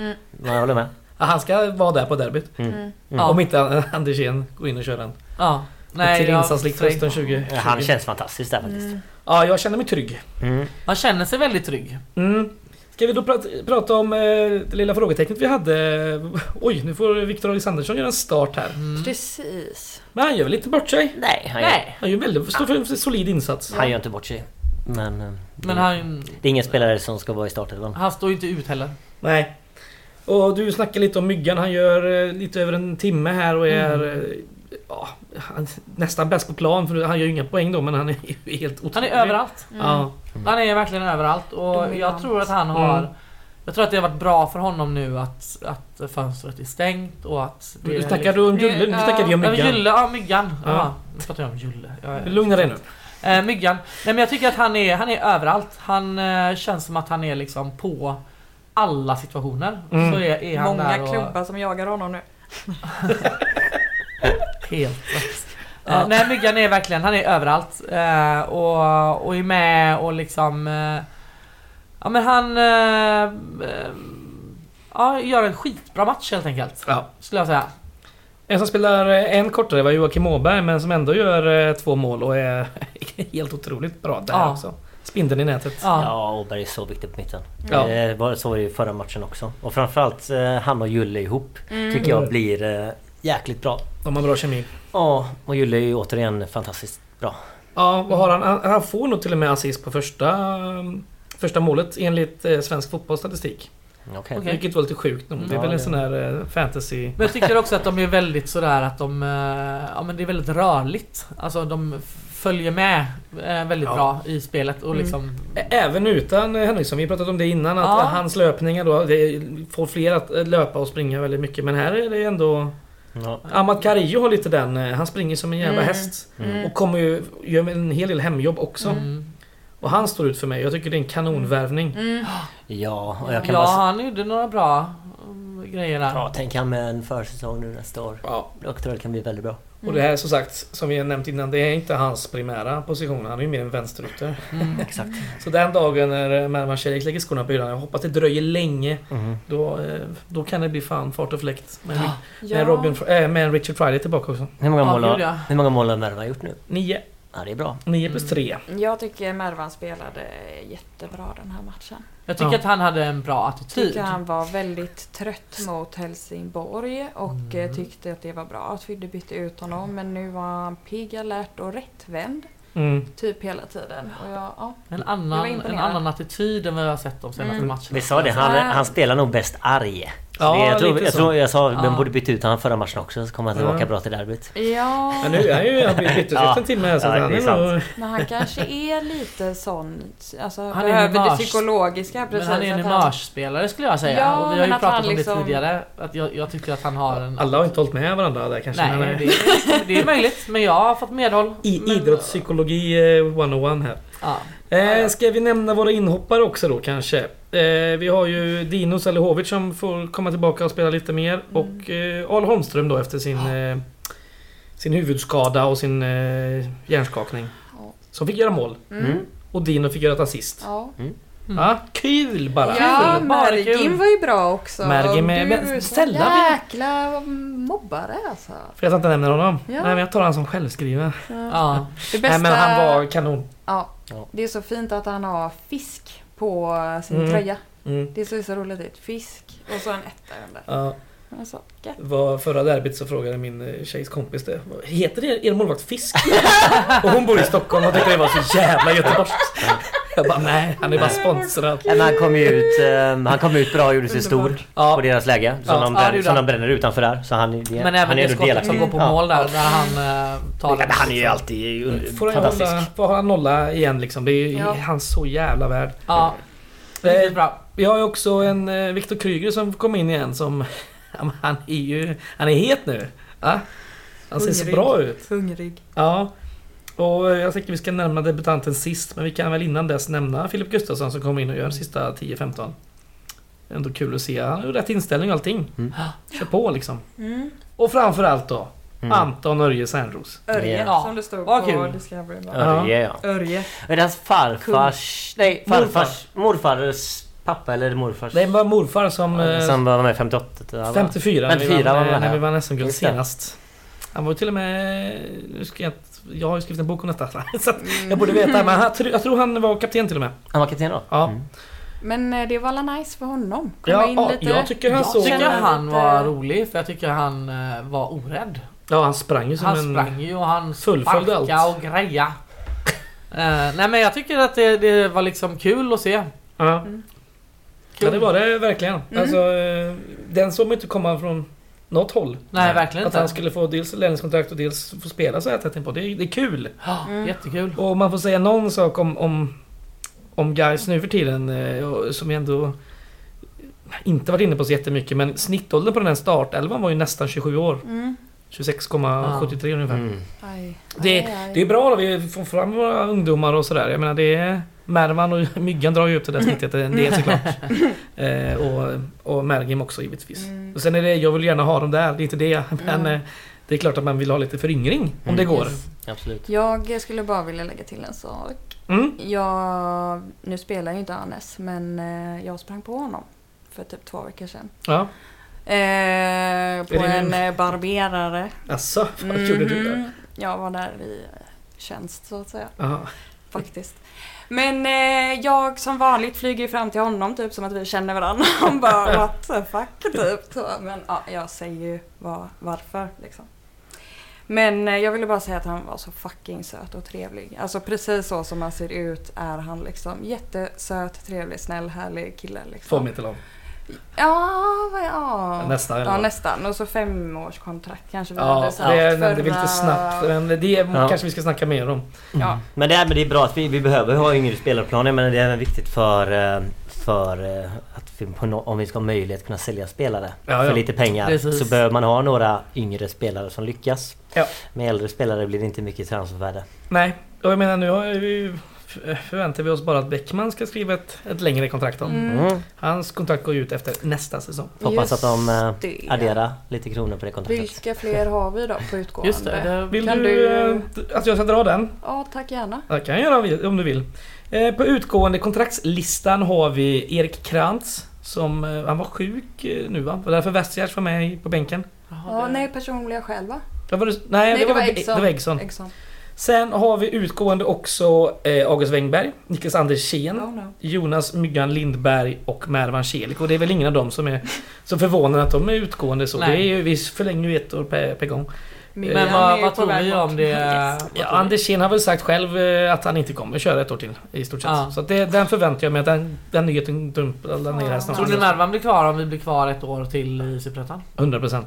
[SPEAKER 6] Ja, jag håller med.
[SPEAKER 3] Ja, han ska vara där på derbyt.
[SPEAKER 6] Mm,
[SPEAKER 4] Ja.
[SPEAKER 3] Om inte han- Andersén går in och kör den.
[SPEAKER 4] Ja.
[SPEAKER 3] till
[SPEAKER 4] jag-
[SPEAKER 3] insatslikt hösten 2020.
[SPEAKER 6] Han känns fantastisk där faktiskt.
[SPEAKER 3] Ja, jag känner mig trygg.
[SPEAKER 6] Mm.
[SPEAKER 4] Man känner sig väldigt trygg.
[SPEAKER 3] Mm. Ska vi då prata, prata om eh, det lilla frågetecknet vi hade? Oj, nu får Viktor Alexandersson göra en start här.
[SPEAKER 5] Mm. Precis.
[SPEAKER 3] Men han gör väl inte bort sig?
[SPEAKER 6] Nej, han gör,
[SPEAKER 4] Nej.
[SPEAKER 3] Han gör väldigt står för en solid insats.
[SPEAKER 6] han gör inte bort sig. Men, eh,
[SPEAKER 4] Men
[SPEAKER 6] det-
[SPEAKER 4] han,
[SPEAKER 6] det är ingen spelare som ska vara i startelvan.
[SPEAKER 4] han står ju inte ut heller.
[SPEAKER 3] Nej. Och du snackar lite om Myggan. Han gör eh, lite över en timme här och är...
[SPEAKER 4] Mm.
[SPEAKER 3] eh, Ja, han, är nästan bäst på plan för han gör ju inga poäng då men han är ju helt otrolig.
[SPEAKER 4] Han är överallt. Mm.
[SPEAKER 3] Ja.
[SPEAKER 4] Han är verkligen överallt och jag
[SPEAKER 5] Dominant.
[SPEAKER 4] tror att han har
[SPEAKER 3] Mm.
[SPEAKER 4] Jag tror att det har varit bra för honom nu att, att fönstret är stängt och att... det
[SPEAKER 3] Du
[SPEAKER 4] är liksom-
[SPEAKER 3] snackar du om Julle? Nu
[SPEAKER 5] Ja.
[SPEAKER 3] snackar vi om
[SPEAKER 4] Ja, men
[SPEAKER 3] Myggan.
[SPEAKER 4] Julle, ja myggan.
[SPEAKER 3] Ja.
[SPEAKER 4] Ja. nu pratar jag om Julle. Ja, ja.
[SPEAKER 3] Lugna dig nu.
[SPEAKER 4] Eh, myggan. Nej men jag tycker att han är, han är överallt. Han eh, känns som att han är liksom på alla situationer.
[SPEAKER 3] Mm.
[SPEAKER 4] Så är, är han
[SPEAKER 5] Många
[SPEAKER 4] där och...
[SPEAKER 5] klubbar som jagar honom nu.
[SPEAKER 4] Helt rätt. Eh, nej myggan är verkligen, han är överallt. Eh, och, och är med och liksom... Eh, ja men han... Eh, eh, ja, gör en skitbra match helt enkelt.
[SPEAKER 3] Ja.
[SPEAKER 4] Skulle jag säga.
[SPEAKER 3] En som spelar eh, en kortare var Joakim Åberg men som ändå gör eh, två mål och är helt otroligt bra där
[SPEAKER 4] Ja.
[SPEAKER 3] också. Spindeln i nätet.
[SPEAKER 4] Ja.
[SPEAKER 6] Ja, Åberg är så viktig på mitten.
[SPEAKER 3] Ja.
[SPEAKER 6] Det var, så var det ju förra matchen också. Och framförallt eh, han och Julle ihop tycker jag blir eh, jäkligt bra.
[SPEAKER 3] De har bra kemi.
[SPEAKER 6] Ja, och Julle är ju återigen fantastiskt bra.
[SPEAKER 3] Ja, vad har han? han? Han får nog till och med assist på första, mm, första målet enligt eh, svensk fotbollsstatistik.
[SPEAKER 6] Okej.
[SPEAKER 4] Okej.
[SPEAKER 3] Vilket var lite sjukt nog. Det är
[SPEAKER 6] Ja,
[SPEAKER 3] väl en
[SPEAKER 6] det-
[SPEAKER 3] sån här eh, fantasy...
[SPEAKER 4] Men jag tycker också att de är väldigt sådär att de... eh, Ja men det är väldigt rörligt. Alltså de f- följer med eh, väldigt
[SPEAKER 3] Ja.
[SPEAKER 4] bra i spelet
[SPEAKER 6] Mm.
[SPEAKER 4] och liksom...
[SPEAKER 3] Ä- Även utan eh, Henriksson, vi har pratat om det innan, att
[SPEAKER 4] Ja.
[SPEAKER 3] eh, hans löpningar då, det får fler att eh, löpa och springa väldigt mycket. Men här är det ändå...
[SPEAKER 6] Ja.
[SPEAKER 3] Amat Carillo har lite den, eh, han springer som en jävla
[SPEAKER 6] Mm.
[SPEAKER 3] häst. Och kommer ju, gör en hel del hemjobb också.
[SPEAKER 4] Mm.
[SPEAKER 3] Och han står ut för mig, jag tycker det är en kanonvärvning.
[SPEAKER 6] Mm. ja, och jag kan
[SPEAKER 4] Ja
[SPEAKER 6] bara...
[SPEAKER 4] han gjorde några bra mm, grejer där.
[SPEAKER 6] Ja, tänk han med en försäsong nu nästa år.
[SPEAKER 3] Ja.
[SPEAKER 6] Jag tror det kan bli väldigt bra.
[SPEAKER 3] Och det här som sagt, som vi har nämnt innan, det är inte hans primära position. Han är ju mer en vänsterytter.
[SPEAKER 6] Exakt.
[SPEAKER 3] Så den dagen när Mervan Celik lägger skorna på hyllan, jag hoppas det dröjer länge,
[SPEAKER 6] Mm.
[SPEAKER 3] då, eh, då kan det bli fan fart och fläkt. Men,
[SPEAKER 5] Ja.
[SPEAKER 3] men, Robin, eh, men Richard Friday är tillbaka också.
[SPEAKER 6] Hur många,
[SPEAKER 4] Ja,
[SPEAKER 6] mål,
[SPEAKER 4] Julia.
[SPEAKER 6] har, hur många mål har Merva gjort nu?
[SPEAKER 3] 9.
[SPEAKER 6] Ja, det är bra.
[SPEAKER 3] 9 plus 3.
[SPEAKER 5] Jag tycker Mervan spelade jättebra den här matchen.
[SPEAKER 4] Jag tycker
[SPEAKER 3] Ja.
[SPEAKER 4] att han hade en bra attityd.
[SPEAKER 5] Tycker han var väldigt trött mot Helsingborg
[SPEAKER 4] Mm.
[SPEAKER 5] och eh, tyckte att det var bra att Fidde bytte ut honom. Men nu var han pigg, alert och rättvänd.
[SPEAKER 3] Mm.
[SPEAKER 5] Typ hela tiden. Och jag, ja,
[SPEAKER 4] En
[SPEAKER 5] Jag var Mm.
[SPEAKER 4] annan, en
[SPEAKER 5] imponerad.
[SPEAKER 4] annan attityd än vad jag har sett de senaste matcherna.
[SPEAKER 6] Vi sa det, han,
[SPEAKER 5] Ja.
[SPEAKER 6] han spelar nog bäst arg. Så det- jag, tror,
[SPEAKER 3] lite
[SPEAKER 6] jag,
[SPEAKER 3] så.
[SPEAKER 6] tror, jag sa
[SPEAKER 4] Ja. Mm.
[SPEAKER 6] de borde bytt ut han förra matchen också så kommer han tillbaka
[SPEAKER 3] Ja.
[SPEAKER 6] bra till derbyt.
[SPEAKER 5] Ja,
[SPEAKER 3] Men nu är han ju han blir bytt ut
[SPEAKER 6] Ja.
[SPEAKER 3] efter en timme här så
[SPEAKER 6] Ja, det
[SPEAKER 3] han
[SPEAKER 6] är
[SPEAKER 3] är
[SPEAKER 6] sant.
[SPEAKER 3] nog...
[SPEAKER 5] men han kanske är lite sån. Alltså,
[SPEAKER 4] Han är
[SPEAKER 5] behöver det
[SPEAKER 4] mars.
[SPEAKER 5] psykologiska precis.
[SPEAKER 4] Men han är en
[SPEAKER 5] att han-
[SPEAKER 4] humörspelare skulle jag säga.
[SPEAKER 5] Ja,
[SPEAKER 4] och vi har
[SPEAKER 5] men
[SPEAKER 4] ju
[SPEAKER 5] att han
[SPEAKER 4] pratat om
[SPEAKER 5] liksom-
[SPEAKER 4] det tidigare. Att jag, jag tycker att han har en...
[SPEAKER 3] Alla har inte hållit med varandra där kanske.
[SPEAKER 4] Nej,
[SPEAKER 3] men, eh,
[SPEAKER 4] det, är, det är möjligt. Men jag har fått medhåll.
[SPEAKER 3] I
[SPEAKER 4] men,
[SPEAKER 3] idrottspsykologi eh, 101 här.
[SPEAKER 4] Ja.
[SPEAKER 3] Eh, ska vi nämna våra inhoppare också då kanske? Eh, vi har ju Dinos eller Hovic som får komma tillbaka och spela lite mer.
[SPEAKER 5] Mm.
[SPEAKER 3] Och eh, Arl Holmström då efter sin, eh, sin huvudskada och sin eh, hjärnskakning.
[SPEAKER 5] Ja.
[SPEAKER 3] Som fick göra mål.
[SPEAKER 6] Mm.
[SPEAKER 3] Och Dino fick göra ett assist. Ja.
[SPEAKER 5] Ja,
[SPEAKER 3] kul bara!
[SPEAKER 5] Mm. ja
[SPEAKER 4] Kul, bara
[SPEAKER 5] Mergin
[SPEAKER 4] kul.
[SPEAKER 5] var ju bra också.
[SPEAKER 3] Mergin med-
[SPEAKER 5] Du
[SPEAKER 3] men
[SPEAKER 5] är så
[SPEAKER 3] sällan vi-
[SPEAKER 5] jäkla mobbare alltså.
[SPEAKER 3] För att jag inte nämner honom.
[SPEAKER 5] Ja.
[SPEAKER 3] Nej men jag tar han som självskriven.
[SPEAKER 4] Ja.
[SPEAKER 5] Det bästa...
[SPEAKER 3] Nej men han var kanon.
[SPEAKER 5] Ja,
[SPEAKER 6] Ja.
[SPEAKER 5] det är så fint att han har fisk på sin
[SPEAKER 3] Mm.
[SPEAKER 5] tröja.
[SPEAKER 3] Mm.
[SPEAKER 5] Det ser så roligt ut. Fisk och så en etta under.
[SPEAKER 3] Ja,
[SPEAKER 5] Alltså, gött.
[SPEAKER 3] var förra derbyt så frågade min eh, tjejs kompis det. Vad Heter er, er målvakt Fisk? och hon bor i Stockholm och tyckte det var så jävla göteborgskt. Jag bara nej, han är bara sponsrad.
[SPEAKER 6] Men han kom ju ut, eh, han kom ut bra och gjorde sig
[SPEAKER 5] Underbart.
[SPEAKER 6] stor
[SPEAKER 3] Ja.
[SPEAKER 6] på deras läge. Som,
[SPEAKER 3] Ja.
[SPEAKER 6] de,
[SPEAKER 4] Ja, det
[SPEAKER 6] bränner,
[SPEAKER 4] gjorde
[SPEAKER 6] som de
[SPEAKER 4] han.
[SPEAKER 6] bränner utanför där. Så han, är-
[SPEAKER 4] men
[SPEAKER 6] han
[SPEAKER 4] även
[SPEAKER 6] är
[SPEAKER 4] det
[SPEAKER 6] ändå
[SPEAKER 4] skottet
[SPEAKER 6] delaktig. Mm.
[SPEAKER 4] som går på
[SPEAKER 6] Ja.
[SPEAKER 4] mål där, när han eh,
[SPEAKER 6] Ja,
[SPEAKER 4] tar
[SPEAKER 6] men
[SPEAKER 4] den.
[SPEAKER 6] han är ju alltid un-
[SPEAKER 3] Får han
[SPEAKER 6] fantastisk.
[SPEAKER 3] hålla, får han nolla igen liksom. Det är ju
[SPEAKER 5] Ja.
[SPEAKER 3] han så jävla värd.
[SPEAKER 4] Ja,
[SPEAKER 3] Eh,
[SPEAKER 4] riktigt bra.
[SPEAKER 3] vi har ju också en eh, Viktor Kryger som kom in igen som... Han är ju... Han är het nu. Ja. Han ser så
[SPEAKER 5] Hungrig.
[SPEAKER 3] bra ut.
[SPEAKER 5] Hungrig.
[SPEAKER 3] Ja. Och jag tycker vi ska nämna debutanten sist, men vi kan väl innan dess nämna Filip Gustafsson som kom in
[SPEAKER 6] Mm.
[SPEAKER 3] och gör de sista 10-15. Ändå kul att se. Han har ju rätt inställning och allting.
[SPEAKER 6] Mm.
[SPEAKER 3] Kör på liksom.
[SPEAKER 5] Mm.
[SPEAKER 3] Och framförallt då,
[SPEAKER 6] Mm.
[SPEAKER 3] Anton Örje Särnros.
[SPEAKER 5] Örje
[SPEAKER 4] Ja.
[SPEAKER 5] som det stod
[SPEAKER 4] Vad
[SPEAKER 5] på
[SPEAKER 4] kul.
[SPEAKER 5] Discovery. va?
[SPEAKER 6] Örje ja.
[SPEAKER 5] Örje.
[SPEAKER 6] Men hans farfars... Nej, farfars... Morfars pappa eller morfars...
[SPEAKER 3] Det var morfar som... eh,
[SPEAKER 6] Som var med 58. det typ. var-
[SPEAKER 3] 54, när vi
[SPEAKER 6] 54
[SPEAKER 3] vann,
[SPEAKER 6] var
[SPEAKER 3] eh,
[SPEAKER 6] han
[SPEAKER 3] när
[SPEAKER 6] här.
[SPEAKER 3] vi vann SM-guld
[SPEAKER 6] Just det.
[SPEAKER 3] senast. Han var ju till och med... Nu ska jag, inte- jag har ju skrivit en bok om detta, så att
[SPEAKER 5] Mm.
[SPEAKER 3] jag borde veta. Men han, jag tror han var kapten till och med.
[SPEAKER 6] Han var kapten då?
[SPEAKER 3] Ja.
[SPEAKER 6] Mm.
[SPEAKER 5] Men eh, det var alla nice för honom. Komma
[SPEAKER 3] Ja,
[SPEAKER 5] in
[SPEAKER 3] ja,
[SPEAKER 5] lite.
[SPEAKER 3] jag tycker han
[SPEAKER 4] Jag
[SPEAKER 3] såg...
[SPEAKER 4] tycker
[SPEAKER 5] Känner
[SPEAKER 4] han
[SPEAKER 5] lite-
[SPEAKER 4] var rolig, för jag tycker han eh, var orädd.
[SPEAKER 3] Ja, han sprang ju som
[SPEAKER 4] Han
[SPEAKER 3] en...
[SPEAKER 4] sprang ju och han
[SPEAKER 3] fullföljde
[SPEAKER 4] sparkade
[SPEAKER 3] allt.
[SPEAKER 4] och greja. Eh, nej men jag tycker att det, det var liksom kul att se.
[SPEAKER 3] Ja.
[SPEAKER 4] Kul.
[SPEAKER 3] Ja det var det verkligen.
[SPEAKER 5] Mm.
[SPEAKER 3] Alltså, eh, den såg man inte komma från något håll.
[SPEAKER 4] Nej,
[SPEAKER 6] Nej.
[SPEAKER 4] verkligen
[SPEAKER 3] Att
[SPEAKER 4] inte.
[SPEAKER 3] han skulle få dels lärlingskontrakt och dels få spela så här tätt på. Det, är- det är kul.
[SPEAKER 4] Ja,
[SPEAKER 5] Mm.
[SPEAKER 4] Ah, Jättekul.
[SPEAKER 3] Och om man får säga någon sak om, om, om guys nu för tiden eh, och- som jag ändå inte varit inne på så jättemycket men snittåldern på den här startelvan var ju nästan 27 år.
[SPEAKER 5] Mm.
[SPEAKER 3] 26,73 ungefär.
[SPEAKER 6] Mm.
[SPEAKER 5] Aj.
[SPEAKER 3] Det,
[SPEAKER 5] Aj, aj.
[SPEAKER 3] det är bra då, vi får fram våra ungdomar och sådär. Jag menar det är... Mervan och Myggan drar ju upp det där snittet en del såklart. eh, och, och Mergim också givetvis.
[SPEAKER 5] Mm.
[SPEAKER 3] Och sen är det, jag vill gärna ha dem där, det är inte det. Men
[SPEAKER 5] Mm.
[SPEAKER 3] eh, det är klart att man vill ha lite föryngring om
[SPEAKER 6] Mm.
[SPEAKER 3] det går.
[SPEAKER 5] Yes.
[SPEAKER 6] Absolut.
[SPEAKER 5] Jag skulle bara vilja lägga till en sak.
[SPEAKER 3] Mm.
[SPEAKER 5] Jag, nu spelar ju inte Anes, men eh, jag sprang på honom för typ två veckor sedan.
[SPEAKER 3] Ja,
[SPEAKER 5] Eh, på
[SPEAKER 3] det
[SPEAKER 5] en
[SPEAKER 3] nu?
[SPEAKER 5] eh, barberare.
[SPEAKER 3] alltså vad gjorde du där?
[SPEAKER 5] Mhm. Jag var där i eh, tjänst så att säga.
[SPEAKER 3] Jaha.
[SPEAKER 5] Faktiskt. Men eh, jag som vanligt flyger ju fram till honom typ som att vi känner varandra. Han bara what the fuck typ. Så, men ja, jag säger ju vad- varför liksom. Men eh, jag ville bara säga att han var så fucking söt och trevlig. Alltså precis så som han ser ut är han liksom. Jättesöt, trevlig, snäll, härlig kille
[SPEAKER 3] Två
[SPEAKER 5] liksom.
[SPEAKER 3] meter lång.
[SPEAKER 5] Ja, vad ja.
[SPEAKER 3] Nästan eller
[SPEAKER 5] Ja
[SPEAKER 3] vad?
[SPEAKER 5] nästan. Och så femårskontrakt kanske vi
[SPEAKER 3] Ja,
[SPEAKER 5] hade sagt
[SPEAKER 3] det nämnde vi lite
[SPEAKER 5] förra-
[SPEAKER 3] snabbt. Men det
[SPEAKER 6] Ja.
[SPEAKER 3] kanske vi ska snacka mer om.
[SPEAKER 5] Ja.
[SPEAKER 6] Men det, är, men det är bra att vi, vi behöver ha yngre spelarplaner men det är även viktigt för, eh, för eh, att vi på nå- om vi ska ha möjlighet att kunna sälja spelare
[SPEAKER 3] Ja, ja.
[SPEAKER 6] för lite pengar
[SPEAKER 4] Precis.
[SPEAKER 6] så behöver man ha några yngre spelare som lyckas.
[SPEAKER 3] Ja.
[SPEAKER 6] Med äldre spelare blir det inte mycket transfervärde.
[SPEAKER 3] Nej, och jag menar nu har vi, förväntar vi oss bara att Bäckman ska skriva ett, ett längre kontrakt om.
[SPEAKER 5] Mm.
[SPEAKER 6] Mm.
[SPEAKER 3] Hans kontrakt går ju ut efter nästa säsong.
[SPEAKER 6] Hoppas att de eh,
[SPEAKER 5] Just det.
[SPEAKER 6] adderar lite kronor på det kontraktet.
[SPEAKER 5] Vilka fler har vi då på utgående?
[SPEAKER 4] Just det, det
[SPEAKER 3] Vill
[SPEAKER 5] Kan
[SPEAKER 3] du,
[SPEAKER 5] du-
[SPEAKER 3] eh, att jag ska dra den?
[SPEAKER 5] Ja, tack gärna.
[SPEAKER 3] Ja, Det kan jag göra om vi- om du vill. Eh, På utgående kontraktslistan har vi Erik Krantz. Som, eh, han var sjuk eh, nu va? Var det därför Vestgärds var med i- på bänken?
[SPEAKER 5] Ja,
[SPEAKER 4] Jaha, det-
[SPEAKER 5] nej, personliga själva.
[SPEAKER 3] Ja, var det, nej, det, var, väl-
[SPEAKER 5] Eggson.
[SPEAKER 3] det var Eggson.
[SPEAKER 5] Eggson.
[SPEAKER 3] Sen har vi utgående också eh, August Wengberg, Niklas
[SPEAKER 4] Mm.
[SPEAKER 3] Andersén,
[SPEAKER 5] Oh, no.
[SPEAKER 3] Jonas Myggan Lindberg och Mervan Celik. Och det är väl ingen av dem som är så förvånande att de är utgående så.
[SPEAKER 4] Nej.
[SPEAKER 3] Det är ju, vi förlänger ju ett år per, per gång.
[SPEAKER 5] Myggan
[SPEAKER 4] Men
[SPEAKER 5] är
[SPEAKER 4] vad,
[SPEAKER 5] ju
[SPEAKER 4] vad
[SPEAKER 5] på
[SPEAKER 4] tror
[SPEAKER 5] väg
[SPEAKER 4] vi
[SPEAKER 5] bort.
[SPEAKER 4] om det?
[SPEAKER 5] Yes.
[SPEAKER 4] vad
[SPEAKER 3] Ja,
[SPEAKER 4] tror vi?
[SPEAKER 3] Anders Kinn har väl sagt själv eh, att han inte kommer köra ett år till i stort sett.
[SPEAKER 4] Ja.
[SPEAKER 3] Så att det, den förväntar jag mig att den, den nyheten dumpar ner här
[SPEAKER 5] Ja.
[SPEAKER 4] Tror ni
[SPEAKER 3] snart.
[SPEAKER 4] Mervan blir kvar om vi blir kvar ett år till i Superettan?
[SPEAKER 3] 100%.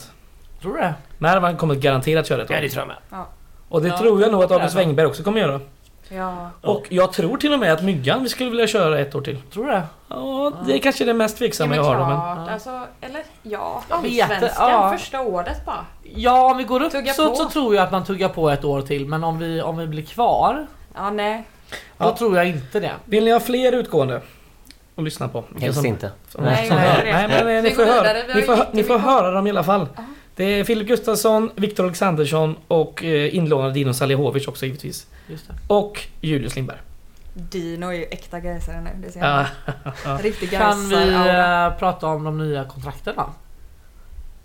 [SPEAKER 4] Tror du det?
[SPEAKER 3] Mervan kommer garanterat köra ett år.
[SPEAKER 6] tror jag med.
[SPEAKER 3] Och det
[SPEAKER 4] Ja.
[SPEAKER 3] tror jag nog att August
[SPEAKER 4] Ja.
[SPEAKER 3] Wängberg också kommer göra.
[SPEAKER 5] Ja.
[SPEAKER 6] Ja.
[SPEAKER 3] Och jag tror till och med att Myggan vi skulle vilja köra ett år till.
[SPEAKER 4] Tror du det?
[SPEAKER 3] Ja, det är kanske det mest
[SPEAKER 5] Ja,
[SPEAKER 3] tveksamma
[SPEAKER 5] men
[SPEAKER 3] jag har då, men...
[SPEAKER 5] klart. Alltså, eller ja.
[SPEAKER 4] Jag
[SPEAKER 5] vi
[SPEAKER 4] vet det,
[SPEAKER 5] svenskar
[SPEAKER 4] ja.
[SPEAKER 5] första året bara.
[SPEAKER 4] Ja, om vi går upp
[SPEAKER 5] Tugga
[SPEAKER 4] så,
[SPEAKER 5] på.
[SPEAKER 4] så tror jag att man tuggar på ett år till. Men om vi, om vi blir kvar,
[SPEAKER 5] Ja, nej.
[SPEAKER 3] Ja.
[SPEAKER 4] då tror jag inte det.
[SPEAKER 3] Vill ni ha fler utgående? Och lyssna på? Vilka
[SPEAKER 6] Helst
[SPEAKER 3] som-
[SPEAKER 6] inte.
[SPEAKER 3] som-
[SPEAKER 5] Nej,
[SPEAKER 3] som-
[SPEAKER 5] nej,
[SPEAKER 3] nej,
[SPEAKER 5] nej.
[SPEAKER 3] men eh,
[SPEAKER 5] Vi
[SPEAKER 3] ni får,
[SPEAKER 5] går
[SPEAKER 3] höra,
[SPEAKER 5] vidare, vi har
[SPEAKER 3] ni, får, hö-
[SPEAKER 5] jättemycket
[SPEAKER 3] ni får
[SPEAKER 5] kvar.
[SPEAKER 3] höra dem i alla fall. Det är Filip Gustafsson, Viktor Alexandersson och eh, inlånade Dino Salihovic också givetvis.
[SPEAKER 4] Just det.
[SPEAKER 3] Och Julius Lindberg.
[SPEAKER 5] Dino är ju äkta gaisare nu. Det ser
[SPEAKER 3] Ja.
[SPEAKER 5] man. Riktig
[SPEAKER 4] Kan vi
[SPEAKER 5] gaisar
[SPEAKER 4] eh, prata om de nya kontrakten då?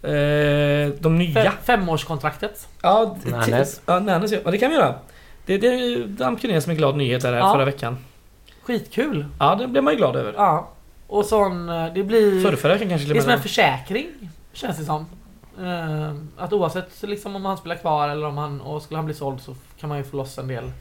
[SPEAKER 3] Eh, de
[SPEAKER 4] Fem,
[SPEAKER 3] nya.
[SPEAKER 4] Femårskontraktet.
[SPEAKER 3] Ja, t-
[SPEAKER 6] Nannes.
[SPEAKER 3] Ja, Nannes ja. ja, det kan vi göra. Det, det damp ju ner som en glad nyhet där
[SPEAKER 4] Ja.
[SPEAKER 3] förra veckan.
[SPEAKER 4] Skitkul!
[SPEAKER 3] Ja, det blev man ju glad över.
[SPEAKER 4] Ja. Och sån, eh, det blir...
[SPEAKER 3] Förrförra veckan kanske
[SPEAKER 4] Det är
[SPEAKER 3] till
[SPEAKER 4] som en
[SPEAKER 3] och
[SPEAKER 4] försäkring, känns det som. Eh, Att oavsett liksom, om han spelar kvar eller om han, och skulle han bli såld så kan man ju få loss en del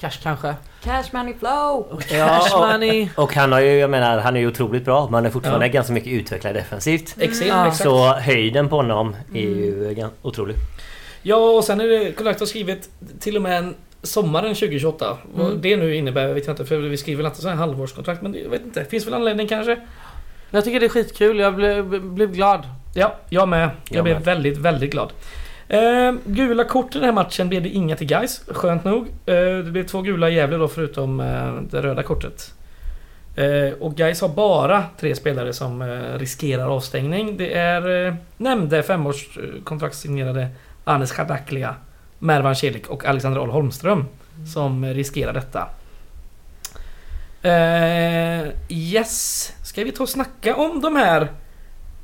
[SPEAKER 4] cash kanske.
[SPEAKER 5] Cash money flow!
[SPEAKER 4] Cash money.
[SPEAKER 6] Och han har ju, jag menar, han är ju otroligt bra. Men han är fortfarande
[SPEAKER 3] Ja.
[SPEAKER 6] ganska mycket utvecklad defensivt.
[SPEAKER 3] med. Exakt,
[SPEAKER 4] Ja.
[SPEAKER 3] exakt. Mm.
[SPEAKER 6] Så höjden på honom är ju gan- otrolig.
[SPEAKER 3] Ja, och sen är det Collect har skrivit till och med en sommaren 2028. Vad det nu innebär vet jag inte, för vi skriver väl alltid så här halvårskontrakt. Men jag vet inte, finns väl anledning kanske?
[SPEAKER 4] Jag tycker det är skitkul, jag blev, blev glad.
[SPEAKER 3] Ja, jag med. Jag,
[SPEAKER 6] Jag
[SPEAKER 3] blev
[SPEAKER 6] med.
[SPEAKER 3] väldigt, väldigt glad. Eh, gula kort i den här matchen blev det inga till guys skönt nog. Eh, det blev två gula i Gävle då förutom eh, det röda kortet. Eh, och guys har bara tre spelare som eh, riskerar avstängning. Det är eh, nämnde femårskontraktssignerade Anes Chadaklia, Mervan Celik och Alexander Ahl Holmström som eh, riskerar detta. Eh, yes, ska vi ta och snacka om de här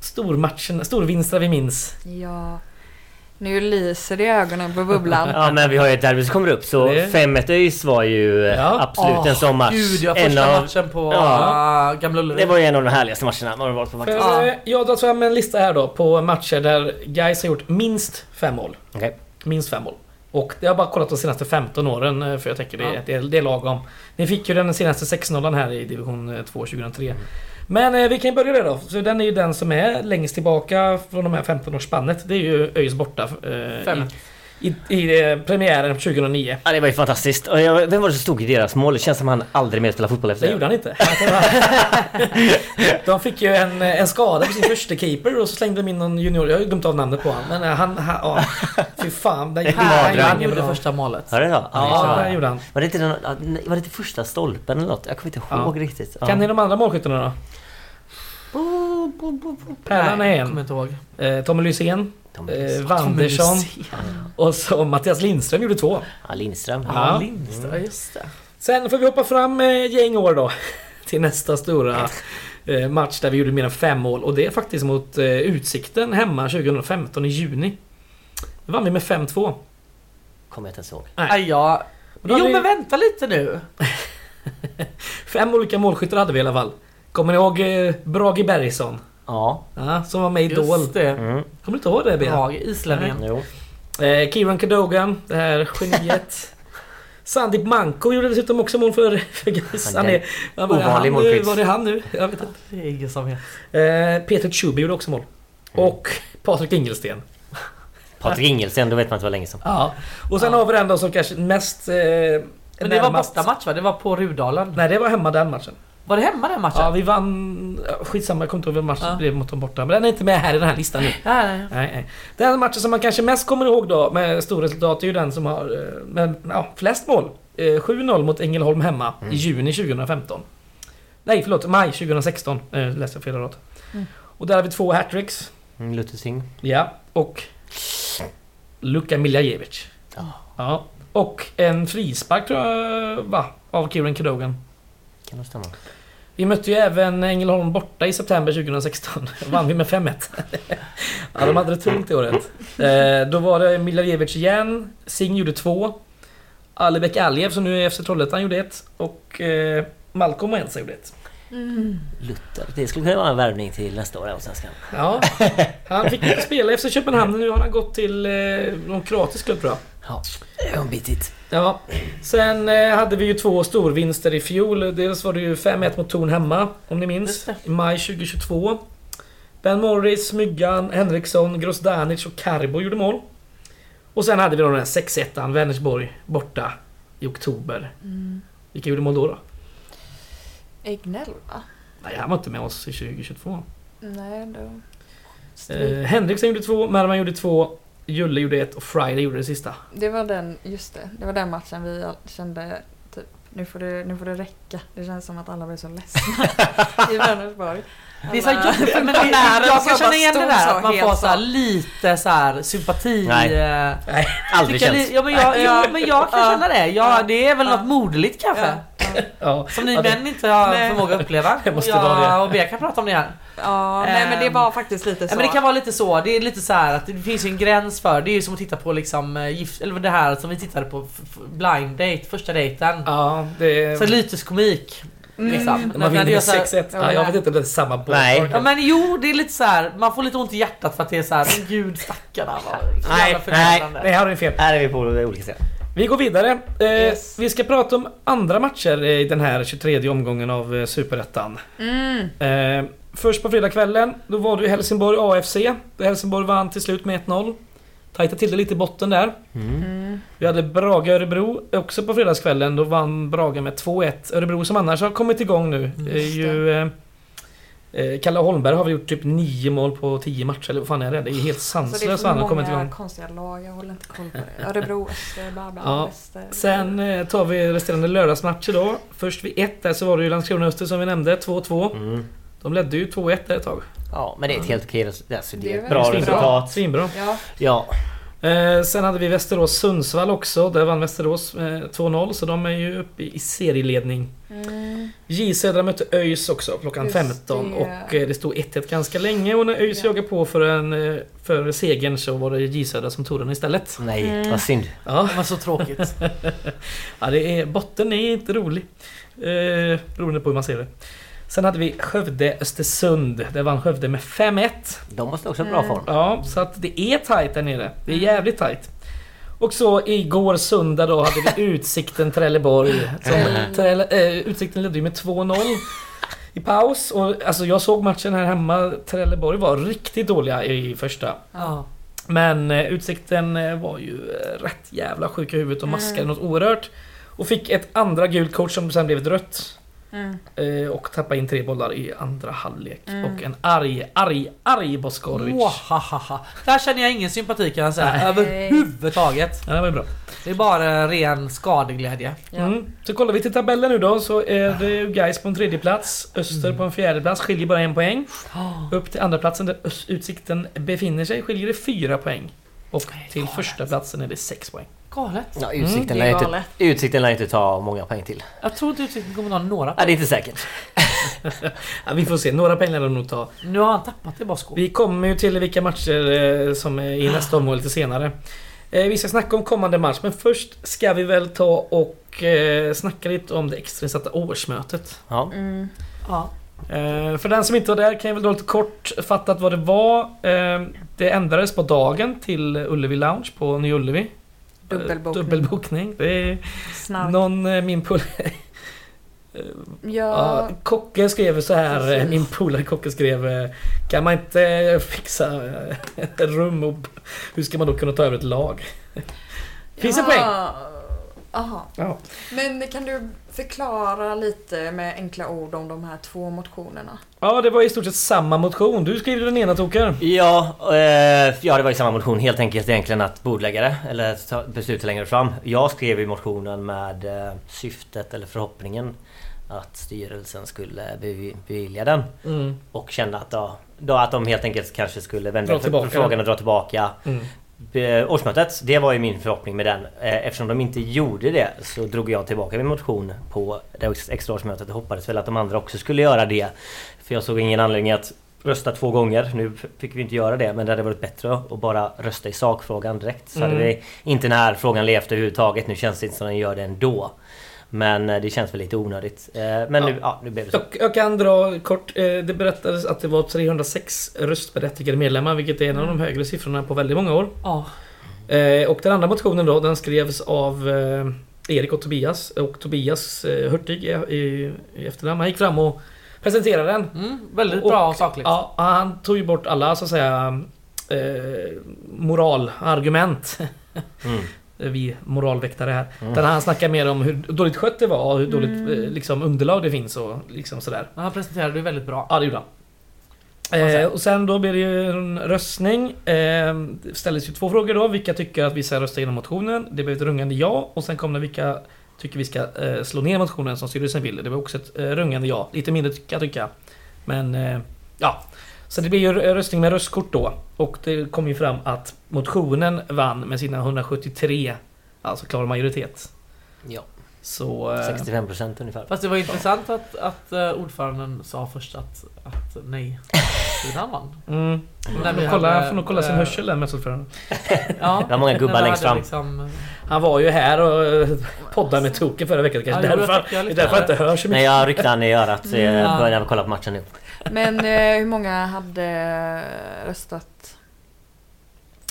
[SPEAKER 3] stormatcherna, storvinsterna vi minns?
[SPEAKER 5] Ja. Nu lyser det i ögonen på bubblan.
[SPEAKER 6] Ja men vi har ju ett derby som kommer upp så
[SPEAKER 3] Det-
[SPEAKER 6] 5-1 ÖIS var ju eh,
[SPEAKER 3] Ja.
[SPEAKER 6] absolut en sån match.
[SPEAKER 4] Gud, jag
[SPEAKER 6] en
[SPEAKER 4] första
[SPEAKER 6] av,
[SPEAKER 4] matchen på
[SPEAKER 6] Ja.
[SPEAKER 4] äh, Gamla Ullevi.
[SPEAKER 6] det var ju en av de härligaste matcherna man har varit på
[SPEAKER 3] För,
[SPEAKER 6] faktiskt.
[SPEAKER 4] Ja.
[SPEAKER 3] eh, Jag har tagit fram en lista här då på matcher där guys har gjort minst fem mål.
[SPEAKER 6] Okej.
[SPEAKER 3] Minst fem mål. Och det har jag bara kollat de senaste 15 åren eh, för jag tänker det,
[SPEAKER 4] Ja.
[SPEAKER 3] det, är- det är lagom. Ni fick ju den senaste 6-0 här i division eh, 2 2003.
[SPEAKER 4] Mm.
[SPEAKER 3] Men eh, vi kan ju börja där då. Så den är ju den som är längst tillbaka från de här 15 årsspannet. Det är ju ÖIS borta. eh,
[SPEAKER 4] Fem.
[SPEAKER 3] I, i, i eh, premiären 2009.
[SPEAKER 6] Ja det var ju fantastiskt. Och jag, vem var det som stod i deras mål? Det känns som han aldrig mer spelar fotboll efter
[SPEAKER 3] Det gjorde han inte. De fick ju en, en skada på sin första keeper och så slängde de in någon junior. Jag har ju glömt av namnet på honom. Men eh, han... han ja, fy fan. Den,
[SPEAKER 6] Vilken mardröm.
[SPEAKER 4] Här, han
[SPEAKER 6] Adrian
[SPEAKER 4] gjorde
[SPEAKER 3] bra.
[SPEAKER 4] första målet.
[SPEAKER 6] Hörde du det?
[SPEAKER 3] Ja, det gjorde han.
[SPEAKER 6] Var det, inte den, ja, nej, var det inte första stolpen eller något? Jag kommer inte ihåg
[SPEAKER 3] Ja.
[SPEAKER 6] riktigt. Ja.
[SPEAKER 3] Kan ni de andra målskyttarna då? Pärlan är
[SPEAKER 4] Nej, kommer
[SPEAKER 3] en.
[SPEAKER 4] inte ihåg.
[SPEAKER 3] Eh, Tommy Lysén.
[SPEAKER 6] Tom-
[SPEAKER 3] Eh, Wandersson. Och så Mattias Lindström gjorde två.
[SPEAKER 6] Ja, Lindström.
[SPEAKER 3] Ja.
[SPEAKER 4] Ja, Lindström. Ja, just det.
[SPEAKER 3] Sen får vi hoppa fram eh, gäng år då. Till nästa stora eh, match där vi gjorde mer än fem mål. Och det är faktiskt mot eh, Utsikten hemma 2015 i juni. Då vann vi med 5-2.
[SPEAKER 6] Kommer jag inte ens ihåg.
[SPEAKER 3] Nej.
[SPEAKER 4] Aj, ja.
[SPEAKER 3] Men då
[SPEAKER 4] Jo
[SPEAKER 3] hade
[SPEAKER 4] men
[SPEAKER 3] vi-
[SPEAKER 4] vänta lite nu.
[SPEAKER 3] Fem olika målskyttar hade vi i alla fall. Kommer ni ihåg eh, Brage Bergsson?
[SPEAKER 6] Ja.
[SPEAKER 3] Ja, som var med i Idol.
[SPEAKER 4] Just det.
[SPEAKER 6] Mm.
[SPEAKER 3] Kommer du inte ihåg det Bea?
[SPEAKER 4] Prag, islänningen.
[SPEAKER 6] Jo.
[SPEAKER 3] Eh, Kieran Cadogan, det här geniet. Sandip Manko gjorde dessutom också mål för, för Gais. Han är... Han var,
[SPEAKER 6] Ovanlig
[SPEAKER 3] han, nu,
[SPEAKER 6] målskytt.
[SPEAKER 3] var det han nu? Jag vet inte.
[SPEAKER 4] Det är ingen som vet.
[SPEAKER 3] Eh, Peter Tjuby gjorde också mål.
[SPEAKER 4] Mm.
[SPEAKER 3] Och Patrik Ingelsten.
[SPEAKER 6] Patrik Ingelsen, då vet man inte vad länge som.
[SPEAKER 3] Ja. Och sen har vi den då som kanske mest... Eh,
[SPEAKER 4] Men det var
[SPEAKER 3] närmast-
[SPEAKER 4] bortamatch va? Det var på Rudalen.
[SPEAKER 3] Nej, det var hemma den matchen.
[SPEAKER 4] Var det hemma den matchen?
[SPEAKER 3] Ja, vi vann... ja, Skitsamma, jag kommer inte ihåg vem matchen
[SPEAKER 4] Ja.
[SPEAKER 3] blev mot dem borta. Men den är inte med här i den här listan nu.
[SPEAKER 4] Ja, nej, nej.
[SPEAKER 3] Nej, nej. Den matchen som man kanske mest kommer ihåg då med stora resultat är ju den som har eh, med, ja, flest mål. Eh, 7-0 mot Ängelholm hemma i juni 2015. Nej förlåt, maj 2016 eh, läste jag fel rad. Och där har vi två hattricks.
[SPEAKER 6] Mm, Luther Singh.
[SPEAKER 3] Ja, och Luka Miljajevic.
[SPEAKER 6] Ja.
[SPEAKER 3] Ja. Och en frispark tror jag, va? Av Kieran Cadogan.
[SPEAKER 6] Kan nog stämma.
[SPEAKER 3] Vi mötte ju även Ängelholm borta i september 2016. Vann vi med 5-1. ja, de hade det tungt i året. Eh, då var det Miljajevic igen. Singh gjorde två. Alibek Aliev som nu är i FC Trollhättan gjorde ett. Och eh, Malcolm Ensa gjorde ett.
[SPEAKER 6] Luther. Det skulle kunna vara en värvning till nästa år i Allsvenskan.
[SPEAKER 3] Ja. Han fick inte spela efter Köpenhamn, nu har han gått till eh, någon kroatisk klubb tror jag.
[SPEAKER 6] Ja, bitit.
[SPEAKER 3] Ja. Sen eh, hade vi ju två storvinster i fjol. Dels var det ju 5-1 mot Torn hemma, om ni
[SPEAKER 4] Just
[SPEAKER 3] minns.
[SPEAKER 4] det.
[SPEAKER 3] I maj 2022. Ben Morris, Myggan, Henriksson, Grosdanic och Carbo gjorde mål. Och sen hade vi då den här 6-1an, Vänersborg, borta i oktober.
[SPEAKER 4] Mm.
[SPEAKER 3] Vilka gjorde mål då? då?
[SPEAKER 5] Egnell va?
[SPEAKER 3] Nej, han var inte med oss i 2022.
[SPEAKER 5] Nej, då...
[SPEAKER 3] Eh, Henriksen gjorde två, Mervan gjorde två, Julle gjorde ett och Friday gjorde det sista.
[SPEAKER 5] Det var den, just det. Det var den matchen vi all- kände typ, nu får det, nu får det räcka. Det känns som att alla blir så ledsna i Vänersborg.
[SPEAKER 4] Det är så
[SPEAKER 5] Alla-
[SPEAKER 4] jobbigt för
[SPEAKER 5] Pensionärer
[SPEAKER 4] pensionärer Jag
[SPEAKER 5] som
[SPEAKER 4] kan känna igen det
[SPEAKER 5] jobbar
[SPEAKER 4] där
[SPEAKER 5] stor
[SPEAKER 4] att man
[SPEAKER 5] så,
[SPEAKER 4] får
[SPEAKER 5] helt
[SPEAKER 4] så här,
[SPEAKER 5] så.
[SPEAKER 4] lite så här sympati
[SPEAKER 6] Nej.
[SPEAKER 4] eh,
[SPEAKER 6] Aldrig
[SPEAKER 4] tycker
[SPEAKER 6] känns.
[SPEAKER 4] ni, ja, men jag, ja, men jag kan
[SPEAKER 5] Ja.
[SPEAKER 4] känna det, ja,
[SPEAKER 5] Ja.
[SPEAKER 4] det är väl
[SPEAKER 5] Ja.
[SPEAKER 4] något moderligt kanske
[SPEAKER 5] Ja, ja.
[SPEAKER 3] Ja,
[SPEAKER 4] Som ni
[SPEAKER 3] ja, det-
[SPEAKER 4] män inte har
[SPEAKER 5] Nej.
[SPEAKER 4] förmåga att uppleva
[SPEAKER 3] Det måste
[SPEAKER 4] ja,
[SPEAKER 3] vara det.
[SPEAKER 4] och Bea kan prata om det här
[SPEAKER 5] ja, nej men det
[SPEAKER 4] Ehm,
[SPEAKER 5] var faktiskt lite så.
[SPEAKER 4] Ja, men det kan vara lite så, det är lite så här att det finns ju en gräns för Det är ju som att titta på liksom eh, gift, eller det här som vi tittade på f- f- blind date, första dejten
[SPEAKER 3] Ja, det...
[SPEAKER 4] Så lytisk komik liksom.
[SPEAKER 3] När man
[SPEAKER 4] När- när det
[SPEAKER 3] vinner
[SPEAKER 4] är
[SPEAKER 3] med
[SPEAKER 4] så här-
[SPEAKER 3] 6-1. Ja, jag vet inte om det är samma boll.
[SPEAKER 6] Nej.
[SPEAKER 4] Ja men jo, det är lite så här. man får lite ont i hjärtat för att det är så här. men gud stackarna. vad jävla
[SPEAKER 6] Nej, nej,
[SPEAKER 4] förnedrande."
[SPEAKER 3] Nej, här har ni fel.
[SPEAKER 6] Här är vi på olika sätt.
[SPEAKER 3] Vi går vidare. Eh,
[SPEAKER 5] Yes.
[SPEAKER 3] Vi ska prata om andra matcher i den här 23 omgången av eh, Superettan.
[SPEAKER 5] Mm.
[SPEAKER 3] Eh, först på fredagskvällen, då var det ju Helsingborg AFC. Där Helsingborg vann till slut med 1-0. Tajta till det lite i botten där.
[SPEAKER 5] Mm.
[SPEAKER 3] Vi hade Braga Örebro också på fredagskvällen. Då vann Braga med 2-1. Örebro som annars har kommit igång nu. Är ju, eh, eh, Kalle Holmberg har väl gjort typ 9 mål på 10 matcher eller vad fan är det? Det är ju helt
[SPEAKER 5] Så det är
[SPEAKER 3] sanslöst vad han har
[SPEAKER 5] för
[SPEAKER 3] kommit
[SPEAKER 5] många
[SPEAKER 3] igång.
[SPEAKER 5] konstiga lag, jag håller inte koll på det. Örebro, Öster, bla bla,
[SPEAKER 3] Ja.
[SPEAKER 5] Väster.
[SPEAKER 3] Sen eh, tar vi resterande lördagsmatcher då. Först vid 1 där så var det ju Landskrona Öster som vi nämnde, 2-2.
[SPEAKER 6] Mm.
[SPEAKER 3] De ledde ju 2-1 där ett tag.
[SPEAKER 6] Ja, men det är ett helt okej resultat. Alltså, det
[SPEAKER 5] Det är
[SPEAKER 6] är ett
[SPEAKER 5] väl
[SPEAKER 6] bra
[SPEAKER 5] svinbra.
[SPEAKER 6] resultat.
[SPEAKER 3] Svinbra.
[SPEAKER 5] Ja,
[SPEAKER 6] Ja.
[SPEAKER 3] Eh, sen hade vi Västerås-Sundsvall också. Där vann Västerås med 2-0, så de är ju uppe i serieledning.
[SPEAKER 5] Mm,
[SPEAKER 3] J Södra mötte ÖIS också klockan
[SPEAKER 5] Just
[SPEAKER 3] 15
[SPEAKER 5] det.
[SPEAKER 3] och eh, det stod 1-1 ganska länge och när ÖIS
[SPEAKER 5] Ja.
[SPEAKER 3] jagade på för, en, eh, för segern så var det J Södra som tog den istället.
[SPEAKER 6] Nej, vad synd.
[SPEAKER 3] Ja,
[SPEAKER 4] Det var så tråkigt.
[SPEAKER 3] ja det är, botten är inte rolig. Eh, beroende på hur man ser det. Sen hade vi Skövde-Östersund. Där vann Skövde med 5-1.
[SPEAKER 6] De måste också ha bra form.
[SPEAKER 3] Ja, så att det är tajt där nere. Det är jävligt tajt. Och så igår söndag då hade vi Utsikten Trelleborg. Som Trelle, eh, utsikten ledde ju med 2-0 i paus. Och alltså jag såg matchen här hemma. Trelleborg var riktigt dåliga i första.
[SPEAKER 4] Ja.
[SPEAKER 3] Men eh, Utsikten eh, var ju eh, rätt jävla sjuk i huvudet och maskade något oerhört. Och fick ett andra gult kort som sen blev ett rött.
[SPEAKER 5] Mm.
[SPEAKER 3] Eh, Och tappade in tre bollar i andra halvlek. Och en arg, arg, arg Boskorovic.
[SPEAKER 4] Ohahaha. Där känner jag ingen sympati kan jag
[SPEAKER 3] Nej.
[SPEAKER 4] säga. Överhuvudtaget.
[SPEAKER 3] Ja, det var ju bra.
[SPEAKER 4] Det är bara ren skadeglädje.
[SPEAKER 5] Ja.
[SPEAKER 3] Mm. Så kollar vi till tabellen nu då så är det ju Gais på en tredje plats, Öster på en fjärde plats, skiljer bara en poäng. Upp till andra platsen där Ös- Utsikten befinner sig skiljer det fyra poäng. Och till första platsen är det sex poäng.
[SPEAKER 4] Galet.
[SPEAKER 6] Ja, utsikten,
[SPEAKER 5] det är
[SPEAKER 6] lär ju inte,
[SPEAKER 5] galet.
[SPEAKER 6] utsikten lär ju inte ta många poäng till.
[SPEAKER 4] Jag tror inte Utsikten kommer att ha några.
[SPEAKER 6] Ja, det är inte säkert.
[SPEAKER 3] Ja, vi får se, några poäng lär de nog ta.
[SPEAKER 4] Nu har han tappat det bara skor.
[SPEAKER 3] Vi kommer ju till vilka matcher eh, som är i nästa omgång lite senare. Eh, Vi ska snacka om kommande match, men först ska vi väl ta och eh, snacka lite om det extrainsatta årsmötet.
[SPEAKER 6] Ja.
[SPEAKER 5] mm.
[SPEAKER 4] Ja.
[SPEAKER 3] Eh, för den som inte var där kan jag väl dra lite kortfattat vad det var. Eh, det ändrades på dagen till Ullevi Lounge på Nya Ullevi. Eh,
[SPEAKER 5] Dubbelbokning.
[SPEAKER 3] Dubbelbokning. Det är
[SPEAKER 5] Snark.
[SPEAKER 3] någon, eh, min polare...
[SPEAKER 5] Ja,
[SPEAKER 3] Ja, Kocke skrev så här, eh, min polare Kocke skrev eh, Kan man inte eh, fixa eh, ett rum och hur ska man då kunna ta över ett lag? Finns det poäng?
[SPEAKER 5] Aha.
[SPEAKER 3] Ja.
[SPEAKER 5] Men kan du förklara lite med enkla ord om de här två motionerna?
[SPEAKER 3] Ja, det var i stort sett samma motion. Du skrev den ena Toker.
[SPEAKER 6] Ja, eh, ja, det var ju samma motion helt enkelt egentligen att bordläggare eller ta besluta längre fram. Jag skrev ju motionen med eh, syftet eller förhoppningen att styrelsen skulle bevi- bevilja den.
[SPEAKER 3] Mm.
[SPEAKER 6] Och kände att, ja, då att de helt enkelt kanske skulle
[SPEAKER 3] Dra
[SPEAKER 6] vända på
[SPEAKER 3] tillbaka
[SPEAKER 6] frågan
[SPEAKER 3] den.
[SPEAKER 6] och dra tillbaka
[SPEAKER 3] Mm.
[SPEAKER 6] Be- Årsmötet, det var ju min förhoppning med den. Eh, Eftersom de inte gjorde det så drog jag tillbaka min motion på det extra årsmötet och hoppades väl att de andra också skulle göra det. För jag såg ingen anledning att rösta två gånger. Nu f- fick vi inte göra det men det hade varit bättre att bara rösta i sakfrågan direkt. Så hade
[SPEAKER 3] Mm.
[SPEAKER 6] vi inte den här frågan levt överhuvudtaget. Nu känns det inte som den gör det ändå. Men eh, det känns väl lite onödigt. Eh, Men
[SPEAKER 3] Ja.
[SPEAKER 6] nu, ja, nu blev det så.
[SPEAKER 3] Jag, jag kan dra kort. eh, Det berättades att det var 306 röstberättigade medlemmar, vilket är en av de högre siffrorna på väldigt många år.
[SPEAKER 4] Ja.
[SPEAKER 3] Eh, Och den andra motionen då, den skrevs av eh, Erik och Tobias. Och Tobias eh, Hurtig i, i, i efternamn. Han gick fram och presenterade den.
[SPEAKER 4] Mm, väldigt
[SPEAKER 3] Och-
[SPEAKER 4] bra och sakligt.
[SPEAKER 3] Ja, han tog ju bort alla så att säga eh, moralargument.
[SPEAKER 6] Mm.
[SPEAKER 3] Vi moralväktare här. Där han snackar mer om hur dåligt skött det var och hur dåligt eh, liksom, underlag det finns och liksom sådär.
[SPEAKER 4] Men han presenterade det väldigt bra.
[SPEAKER 3] Ja, det gjorde han. Eh, och sen då blir det ju en röstning. Eh, det ställdes ju två frågor då. Vilka tycker att vi ska rösta igenom motionen? Det blev ett rungande ja. Och sen kom det vilka tycker vi ska eh, slå ner motionen som styrelsen ville. Det var också ett eh, rungande ja. Lite mindre tycka tycka. Men eh, ja. Så det blir ju r- röstning med röstkort då. Och det kom ju fram att motionen vann med sina 173. Alltså klar majoritet.
[SPEAKER 6] Ja,
[SPEAKER 3] Så... Eh,
[SPEAKER 6] 65% ungefär.
[SPEAKER 4] Fast det var intressant att, att eh, ordföranden sa först att, att nej. Sidan vann.
[SPEAKER 3] mm.
[SPEAKER 4] När vi
[SPEAKER 3] Får kolla,
[SPEAKER 4] hade,
[SPEAKER 3] får nog kolla sin
[SPEAKER 4] eh,
[SPEAKER 3] hörsel där med så för
[SPEAKER 4] Ja,
[SPEAKER 6] Det var många gubbar
[SPEAKER 4] när vi
[SPEAKER 6] längst
[SPEAKER 4] hade
[SPEAKER 6] fram.
[SPEAKER 4] Liksom,
[SPEAKER 3] Han var ju här och eh, poddade med Toke förra veckan kanske.
[SPEAKER 4] Ja, jo,
[SPEAKER 3] därför,
[SPEAKER 4] jag tycker jag
[SPEAKER 3] det är
[SPEAKER 4] lite
[SPEAKER 3] därför jag
[SPEAKER 4] där.
[SPEAKER 3] inte hör så
[SPEAKER 6] Nej
[SPEAKER 3] mycket.
[SPEAKER 6] jag ryckte han i örat eh,
[SPEAKER 3] Mm.
[SPEAKER 4] Ja.
[SPEAKER 6] började när vi kollade på matchen nu.
[SPEAKER 5] Men eh, hur många hade röstat?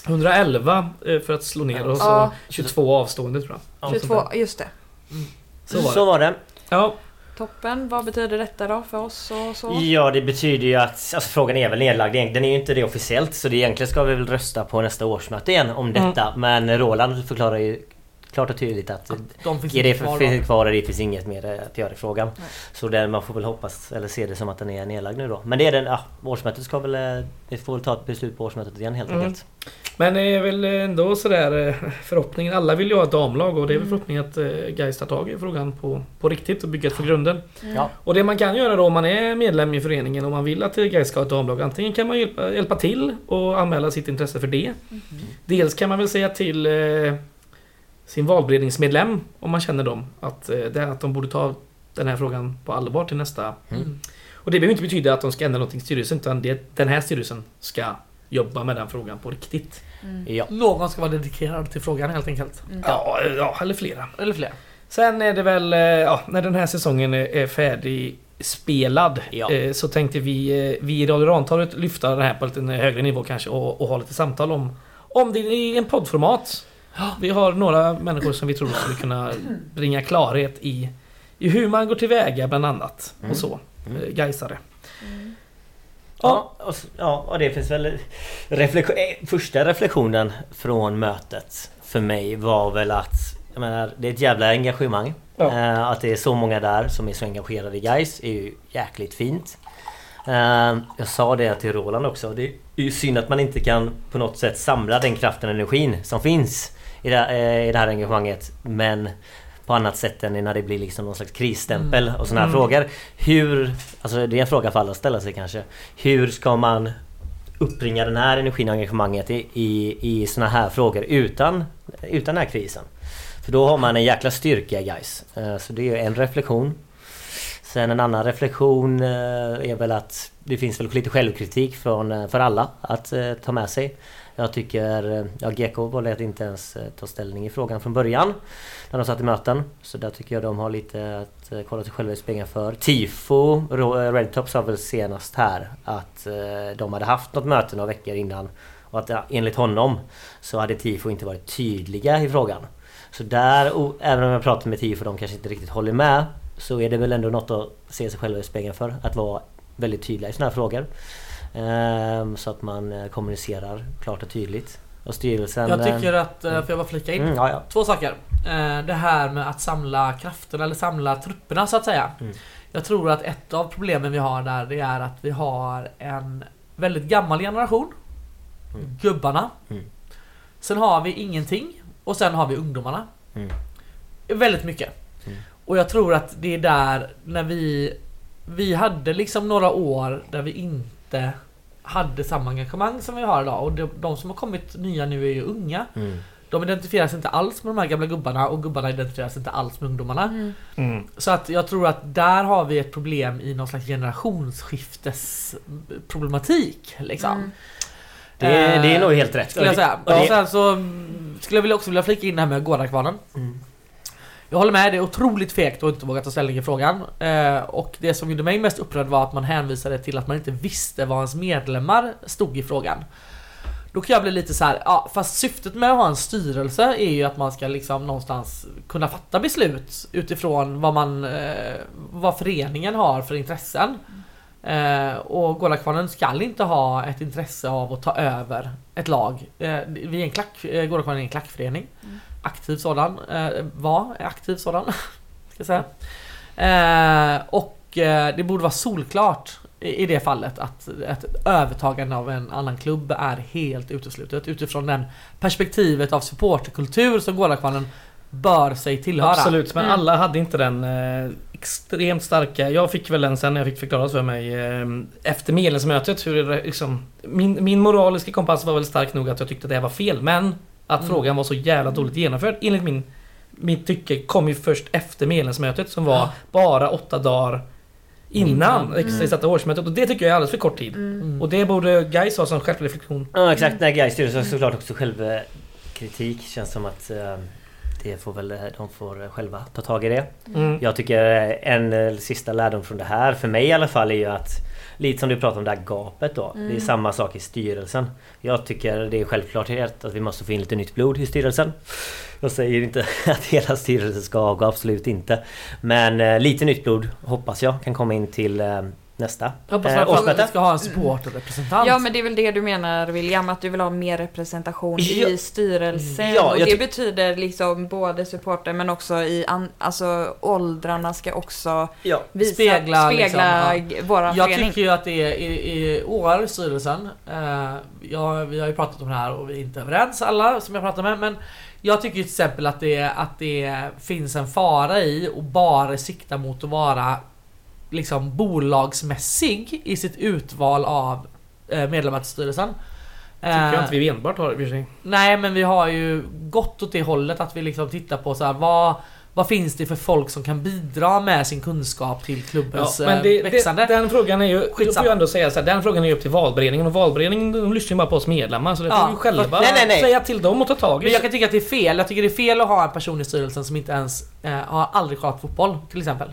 [SPEAKER 3] 111 eh, för att slå ner och så
[SPEAKER 5] Ja.
[SPEAKER 3] 22 avstående tror jag.
[SPEAKER 5] 22, just det.
[SPEAKER 3] Så var
[SPEAKER 6] Så
[SPEAKER 3] det.
[SPEAKER 6] var det.
[SPEAKER 3] Ja,
[SPEAKER 5] Toppen, vad betyder detta då för oss och så?
[SPEAKER 6] Ja det betyder ju att alltså, frågan är väl nedlagd. egent- Den är ju inte det officiellt så det egentligen ska vi väl rösta på nästa årsmöte igen om detta. Men Roland förklarar ju klart och tydligt att
[SPEAKER 4] de finns
[SPEAKER 6] är det
[SPEAKER 4] inte
[SPEAKER 6] för,
[SPEAKER 4] kvar
[SPEAKER 6] finns
[SPEAKER 4] då.
[SPEAKER 6] det kvar och det finns inget mer eh, att göra i frågan.
[SPEAKER 5] Nej.
[SPEAKER 6] Så den, man får väl hoppas eller se det som att den är nedlagd nu då. Men det är den, ja, årsmötet ska väl... eh, Vi får väl ta ett beslut på årsmötet igen helt
[SPEAKER 3] Mm.
[SPEAKER 6] enkelt.
[SPEAKER 3] men det är väl eh, ändå sådär eh, förhoppningen. Alla vill ju ha ett damlag och det är väl förhoppningen att eh, Gais tar tag i frågan på, på riktigt och bygger det från grunden.
[SPEAKER 6] Ja.
[SPEAKER 3] Och det man kan göra då om man är medlem i föreningen och man vill att Gais ska ha ett damlag. Antingen kan man hjälpa, hjälpa till och anmäla sitt intresse för det. Dels kan man väl säga till eh, sin valberedningsmedlem, om man känner dem, att, eh, det, att de borde ta den här frågan på allvar till nästa.
[SPEAKER 4] Mm.
[SPEAKER 3] Och det behöver inte betyda att de ska ändra någonting i styrelsen, utan det, den här styrelsen ska jobba med den frågan på riktigt.
[SPEAKER 6] Ja.
[SPEAKER 4] Någon ska vara dedikerad till frågan helt enkelt.
[SPEAKER 3] Ja, eh, ja eller flera.
[SPEAKER 4] Eller fler.
[SPEAKER 3] Sen är det väl, eh, ja, när den här säsongen är- är färdig spelad
[SPEAKER 6] Ja.
[SPEAKER 3] eh, så tänkte vi, eh, vi i Radio Rantorget lyfta den här på en lite högre nivå kanske och, och ha lite samtal om, om det i en poddformat. Vi har några människor som vi tror skulle kunna bringa klarhet i, i hur man går tillväga bland annat och så.
[SPEAKER 6] Mm.
[SPEAKER 3] Mm. Gaisare.
[SPEAKER 6] Ja, och, s- ja, och det finns väl... Reflektion, eh, första reflektionen från mötet för mig var väl att... Jag menar, det är ett jävla engagemang.
[SPEAKER 3] Ja.
[SPEAKER 6] Eh, att det är så många där som är så engagerade i guys är ju jäkligt fint. Eh, jag sa det till Roland också. Det är ju synd att man inte kan på något sätt samla den kraften och energin som finns i det, här- eh, i det här engagemanget. Men på annat sätt än när det blir liksom någon slags krisstämpel och sådana här
[SPEAKER 3] Mm.
[SPEAKER 6] frågor. Hur, alltså det är en fråga för alla att ställa sig kanske. Hur ska man uppbringa den här energin och engagemanget i, i, i såna här frågor utan, utan den här krisen? För då har man en jäkla styrka guys. Eh, Så det är ju en reflektion. Sen en annan reflektion eh, är väl att det finns väl lite självkritik från, eh, för alla att eh, ta med sig. Jag tycker, eh, ja GK valde att inte ens eh, ta ställning i frågan från början när de satt i möten. Så där tycker jag de har lite att eh, kolla sig själva i spegeln för. Tifo, Ro- eh, Redtop sa väl senast här att eh, de hade haft något möte några veckor innan och att eh, enligt honom så hade Tifo inte varit tydliga i frågan. Så där, o- även om jag pratar med Tifo och de kanske inte riktigt håller med så är det väl ändå något att se sig själva i spegeln för. Att vara väldigt tydliga i sådana här frågor. Ehm, Så att man eh, kommunicerar klart och tydligt. Och styrelsen...
[SPEAKER 4] Jag
[SPEAKER 6] eh,
[SPEAKER 4] tycker att, eh, får jag bara flika in?
[SPEAKER 6] Mm, ja, ja.
[SPEAKER 4] Två saker. Eh, Det här med att samla krafterna eller samla trupperna så att säga.
[SPEAKER 6] Mm.
[SPEAKER 4] Jag tror att ett av problemen vi har där det är att vi har en väldigt gammal generation.
[SPEAKER 6] Mm.
[SPEAKER 4] Gubbarna.
[SPEAKER 6] Mm.
[SPEAKER 4] Sen har vi ingenting och sen har vi ungdomarna.
[SPEAKER 6] Mm.
[SPEAKER 4] Väldigt mycket.
[SPEAKER 6] Mm.
[SPEAKER 4] Och jag tror att det är där när vi Vi hade liksom några år där vi inte hade samma engagemang som vi har idag och de, de som har kommit nya nu är ju unga.
[SPEAKER 6] Mm.
[SPEAKER 4] De identifierar sig inte alls med de här gamla gubbarna och gubbarna identifierar sig inte alls med ungdomarna.
[SPEAKER 5] Mm.
[SPEAKER 6] Mm.
[SPEAKER 4] Så att jag tror att där har vi ett problem i någon slags generationsskiftesproblematik. Liksom.
[SPEAKER 5] Mm.
[SPEAKER 6] Det, är- det är
[SPEAKER 4] Eh,
[SPEAKER 6] nog helt rätt.
[SPEAKER 4] Skulle jag säga.
[SPEAKER 6] Och
[SPEAKER 4] Och
[SPEAKER 6] det,
[SPEAKER 4] sen så mm, skulle jag vilja också vilja flika in det här med Gårdakvarnen.
[SPEAKER 6] Mm.
[SPEAKER 4] Jag håller med, det är otroligt fegt att inte våga ta ställning i frågan. Eh, och det som gjorde mig mest upprörd var att man hänvisade till att man inte visste vad ens medlemmar stod i frågan. Då kan jag bli lite så här, ja fast syftet med att ha en styrelse är ju att man ska liksom någonstans kunna fatta beslut utifrån vad man, eh, vad föreningen har för intressen. Eh, och Gårdakvarnen ska inte ha ett intresse av att ta över ett lag. Eh, vi är en klack, eh, Gårdakvarnen är en klackförening.
[SPEAKER 5] Mm.
[SPEAKER 4] Aktiv sådan. Eh, var en aktiv sådan. ska jag säga. Eh, och eh, det borde vara solklart i, i det fallet att ett övertagande av en annan klubb är helt uteslutet utifrån den perspektivet av supporterkultur som Gårdakvarnen bör sig tillhöra.
[SPEAKER 3] Absolut, men
[SPEAKER 5] Mm.
[SPEAKER 3] alla hade inte den eh, extremt starka... Jag fick väl den sen när jag fick förklaras för mig eh, efter medlemsmötet. Hur det, liksom, min, min moraliska kompass var väl stark nog att jag tyckte att det här var fel, men att
[SPEAKER 4] Mm.
[SPEAKER 3] frågan var så jävla dåligt genomförd enligt min, mitt tycke kom ju först efter medlemsmötet som var
[SPEAKER 4] Ja.
[SPEAKER 3] bara åtta dagar innan
[SPEAKER 4] Innan.
[SPEAKER 3] det exakt årsmötet och det tycker jag är alldeles för kort tid.
[SPEAKER 4] Mm.
[SPEAKER 3] Och det borde Gais ha som självreflektion.
[SPEAKER 6] Ja exakt, när Gais styrelse har såklart också självkritik. Känns som att eh, det får väl, eh, de får eh, själva ta tag i det.
[SPEAKER 3] Mm.
[SPEAKER 6] Jag tycker eh, en eh, sista lärdom från det här, för mig i alla fall, är ju att Lite som du pratade om det här gapet då. Det är samma sak i styrelsen. Jag tycker det är självklarhet att vi måste få in lite nytt blod i styrelsen. Jag säger inte att hela styrelsen ska avgå, absolut inte. Men eh, lite nytt blod hoppas jag kan komma in till eh, nästa
[SPEAKER 4] Jag hoppas
[SPEAKER 6] eh,
[SPEAKER 4] att
[SPEAKER 6] årsmöte.
[SPEAKER 4] vi ska ha en supporterrepresentant.
[SPEAKER 5] Ja men det är väl det du menar William, att du vill ha mer representation
[SPEAKER 6] Ja.
[SPEAKER 5] i styrelsen.
[SPEAKER 6] Ja,
[SPEAKER 5] och
[SPEAKER 6] jag
[SPEAKER 5] det
[SPEAKER 6] ty-
[SPEAKER 5] betyder liksom både supporter men också i an- alltså åldrarna ska också
[SPEAKER 6] Ja.
[SPEAKER 5] visa,
[SPEAKER 4] Spegla,
[SPEAKER 5] spegla,
[SPEAKER 4] liksom,
[SPEAKER 5] g- våran
[SPEAKER 4] Jag
[SPEAKER 5] förening.
[SPEAKER 4] tycker ju att det är i, i år i styrelsen, eh, jag, vi har ju pratat om det här och vi är inte överens alla som jag pratar med men jag tycker ju till exempel att det, att det finns en fara i att bara sikta mot att vara liksom bolagsmässig i sitt utval av eh, medlemmar till styrelsen.
[SPEAKER 3] Tycker jag
[SPEAKER 4] Eh,
[SPEAKER 3] inte vi enbart har i och för sig.
[SPEAKER 4] Nej men vi har ju gått åt det hållet att vi liksom tittar på så här, vad, vad finns det för folk som kan bidra med sin kunskap till
[SPEAKER 3] Ja,
[SPEAKER 4] klubbens
[SPEAKER 3] men
[SPEAKER 4] eh,
[SPEAKER 3] det,
[SPEAKER 4] växande?
[SPEAKER 3] det, den frågan är ju, då får
[SPEAKER 4] Skitsamma.
[SPEAKER 3] jag ändå säga så här, den frågan är ju upp till valberedningen och valberedningen de lyssnar ju bara på oss medlemmar så det
[SPEAKER 4] Ja,
[SPEAKER 3] får vi själva
[SPEAKER 6] nej, nej, nej.
[SPEAKER 3] säga till dem och ta tag
[SPEAKER 4] Men
[SPEAKER 3] i.
[SPEAKER 4] jag kan tycka att det är fel. Jag tycker det är fel att ha en person i styrelsen som inte ens eh, har aldrig kollat fotboll till exempel.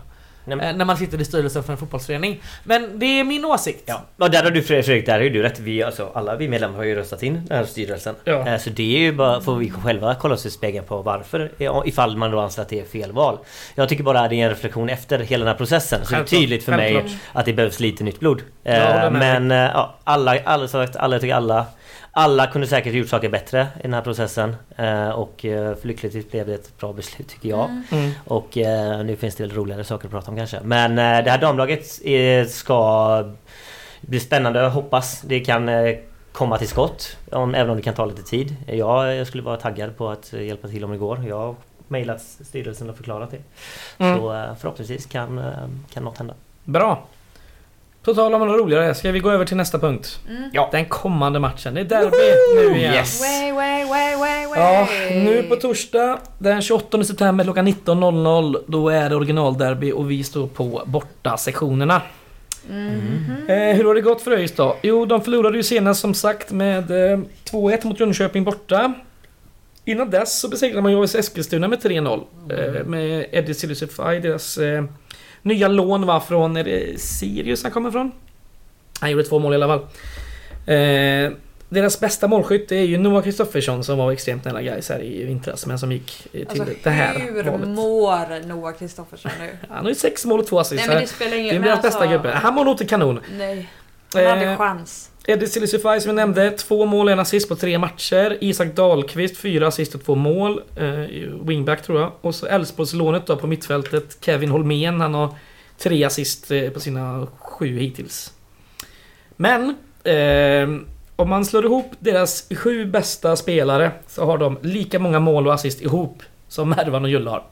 [SPEAKER 6] Nej, men-
[SPEAKER 4] Eh, när man sitter i styrelsen för en fotbollsförening. Men det är min åsikt.
[SPEAKER 6] Ja, och där har du Fredrik, där har ju du rätt. Vi, alltså, alla vi medlemmar har ju röstat in den här styrelsen.
[SPEAKER 3] Ja.
[SPEAKER 6] Eh, Så det är ju bara, får vi själva kolla oss i spegeln på varför, eh, ifall man då anser att det är fel val. Jag tycker bara det är en reflektion efter hela den här processen. Så det är
[SPEAKER 3] Självklart,
[SPEAKER 6] tydligt för mig
[SPEAKER 3] självklart.
[SPEAKER 6] att det behövs lite nytt blod. Eh,
[SPEAKER 3] Jag håller med dig.
[SPEAKER 6] Men eh, ja, alla, alla, som sagt, alla, jag tycker alla, alla kunde säkert gjort saker bättre i den här processen. Eh, Och eh, för lyckligtvis blev det ett bra beslut tycker jag.
[SPEAKER 3] Mm.
[SPEAKER 6] Och eh, nu finns det väl roligare saker att prata om kanske. Men eh, det här damlaget eh, ska bli spännande, jag hoppas det kan eh, komma till skott. Om, även om det kan ta lite tid. Jag, jag skulle vara taggad på att eh, hjälpa till om det går. Jag har mejlat styrelsen och förklarat det.
[SPEAKER 3] Mm.
[SPEAKER 6] Så eh, förhoppningsvis kan, eh, kan något hända.
[SPEAKER 3] Bra. På tal om något roligare, ska vi gå över till nästa punkt?
[SPEAKER 5] Mm.
[SPEAKER 6] Ja. Oh,
[SPEAKER 3] Den kommande matchen, det är derby nu igen.
[SPEAKER 6] Yes.
[SPEAKER 5] Way, way, way, way, way.
[SPEAKER 3] Ja, nu på torsdag den 28 september klockan 19.00 då är det originalderby och vi står på borta sektionerna. Eh, hur har det gått för ÖIS då? Jo, de förlorade ju senast som sagt med eh, 2-1 mot Jönköping borta. Innan dess så besegrade man ju AIS Eskilstuna med 3-0. Eh, med Eddie Silusifaj, deras eh, nya lån var från, är det Sirius han kommer ifrån? Han gjorde två mål i alla fall. Eh, deras bästa målskytt är ju Noah Kristoffersson som var extremt nära Gais här i vintras men som gick eh, till
[SPEAKER 5] Alltså,
[SPEAKER 3] det här
[SPEAKER 5] hur
[SPEAKER 3] valet.
[SPEAKER 5] mår Noah Kristoffersson nu?
[SPEAKER 3] Han har ju sex mål och två assist.
[SPEAKER 5] Nej
[SPEAKER 3] så
[SPEAKER 5] men
[SPEAKER 3] här-
[SPEAKER 5] det spelar
[SPEAKER 3] det
[SPEAKER 5] ingen
[SPEAKER 3] är deras
[SPEAKER 5] alltså,
[SPEAKER 3] bästa gubbe. Han mår nog inte kanon.
[SPEAKER 5] Nej, han hade
[SPEAKER 3] Eh,
[SPEAKER 5] chans.
[SPEAKER 3] Eddie Silisufaj som vi nämnde, två mål, en assist på tre matcher. Isak Dahlqvist, fyra assist och två mål. Eh, wingback tror jag. Och så Elfsborgslånet då på mittfältet, Kevin Holmén. Han har tre assist eh, på sina sju hittills. Men, eh, om man slår ihop deras sju bästa spelare så har de lika många mål och assist ihop som Mervan och Julle har.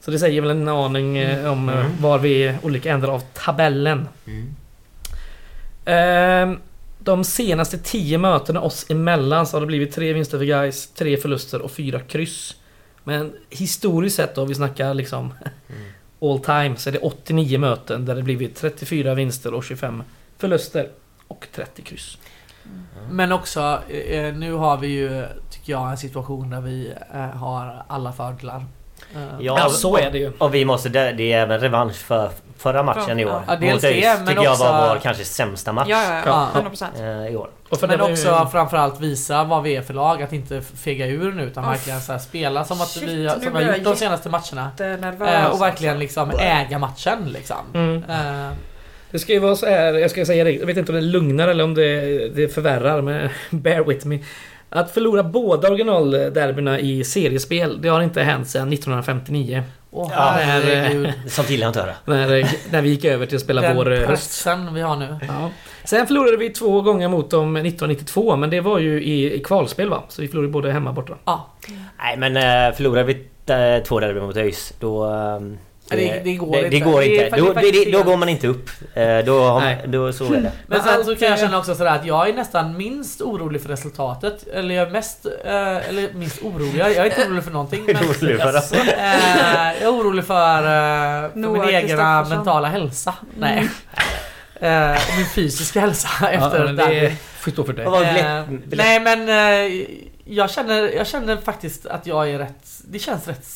[SPEAKER 3] Så det säger väl en aning eh, om eh, var vi är olika ändar av tabellen. Ehm, de senaste 10 mötena oss emellan så har det blivit tre vinster för guys, tre förluster och fyra kryss. Men historiskt sett då, vi snackar liksom
[SPEAKER 4] Mm.
[SPEAKER 3] all time, så är det 89 möten där det blivit 34 vinster och 25 förluster. Och 30 kryss.
[SPEAKER 4] Men också, eh, eh, nu har vi ju, tycker jag, en situation där vi eh, har alla fördelar Eh,
[SPEAKER 6] Ja,
[SPEAKER 3] Ja, så är det ju.
[SPEAKER 6] Och vi måste, det det är även revansch för förra matchen i år.
[SPEAKER 4] Ja, dels
[SPEAKER 6] Mot
[SPEAKER 4] det,
[SPEAKER 6] ÖIS
[SPEAKER 4] men
[SPEAKER 6] tycker jag
[SPEAKER 4] också-
[SPEAKER 6] var vår kanske sämsta match
[SPEAKER 5] Ja, ja,
[SPEAKER 4] Ja.
[SPEAKER 5] ja. 100 procent.
[SPEAKER 6] eh, i år.
[SPEAKER 3] Och för det
[SPEAKER 4] Men
[SPEAKER 3] var ju-
[SPEAKER 4] också framförallt visa vad vi är för lag, att inte fega ur nu utan
[SPEAKER 5] Uff.
[SPEAKER 4] verkligen så här spela som att
[SPEAKER 5] Shit,
[SPEAKER 4] vi har-
[SPEAKER 5] nu
[SPEAKER 4] som vi
[SPEAKER 5] blir
[SPEAKER 4] har
[SPEAKER 5] jag
[SPEAKER 4] gjort de senaste matcherna.
[SPEAKER 5] Jättenervös.
[SPEAKER 4] Eh, och verkligen liksom äga matchen liksom.
[SPEAKER 3] Mm.
[SPEAKER 4] Eh,
[SPEAKER 3] Det ska ju vara så här, jag ska säga det, jag vet inte om det lugnar eller om det, det förvärrar, men bear with me. Att förlora båda originalderbyna i seriespel, det har inte hänt sedan 1959.
[SPEAKER 4] åh,
[SPEAKER 6] Ja.
[SPEAKER 4] herregud.
[SPEAKER 6] Sånt gillar jag inte att höra.
[SPEAKER 3] När, när vi gick över till att spela
[SPEAKER 4] Den
[SPEAKER 3] vår eh, höst.
[SPEAKER 4] pressen vi har nu.
[SPEAKER 3] Ja. Sen förlorade vi två gånger mot dem 1992, men det var ju i, i kvalspel va? Så vi förlorade både hemma och borta.
[SPEAKER 4] Ja,
[SPEAKER 6] Nej men eh, förlorar vi eh, två derbyn mot ÖIS då... eh,
[SPEAKER 4] Det- det går
[SPEAKER 6] det, det
[SPEAKER 4] inte.
[SPEAKER 6] går
[SPEAKER 4] Det är
[SPEAKER 6] inte. Då, det,
[SPEAKER 4] faktiskt
[SPEAKER 6] det, då
[SPEAKER 4] helt-
[SPEAKER 6] går man inte upp. Eh, Då, har,
[SPEAKER 3] Nej.
[SPEAKER 6] då så är det.
[SPEAKER 4] Men
[SPEAKER 3] Men
[SPEAKER 4] sen
[SPEAKER 3] allt
[SPEAKER 4] så kan jag känna också sådär att jag är nästan minst orolig för resultatet. Eller jag är mest... Eh, eller minst orolig. Jag är inte orolig för någonting. Men,
[SPEAKER 6] Orolig för det.
[SPEAKER 4] eh, jag är orolig för, eh, för min
[SPEAKER 5] Noah
[SPEAKER 4] egna
[SPEAKER 5] Kristoffersson.
[SPEAKER 4] mentala hälsa. Nej. Eh, och min fysiska hälsa efter
[SPEAKER 3] men
[SPEAKER 4] det där.
[SPEAKER 3] det får stå för dig.
[SPEAKER 6] Vad var
[SPEAKER 4] Eh,
[SPEAKER 6] lätt- lätt-
[SPEAKER 4] Nej men eh, jag, känner, jag känner faktiskt att jag är rätt... Det känns rätt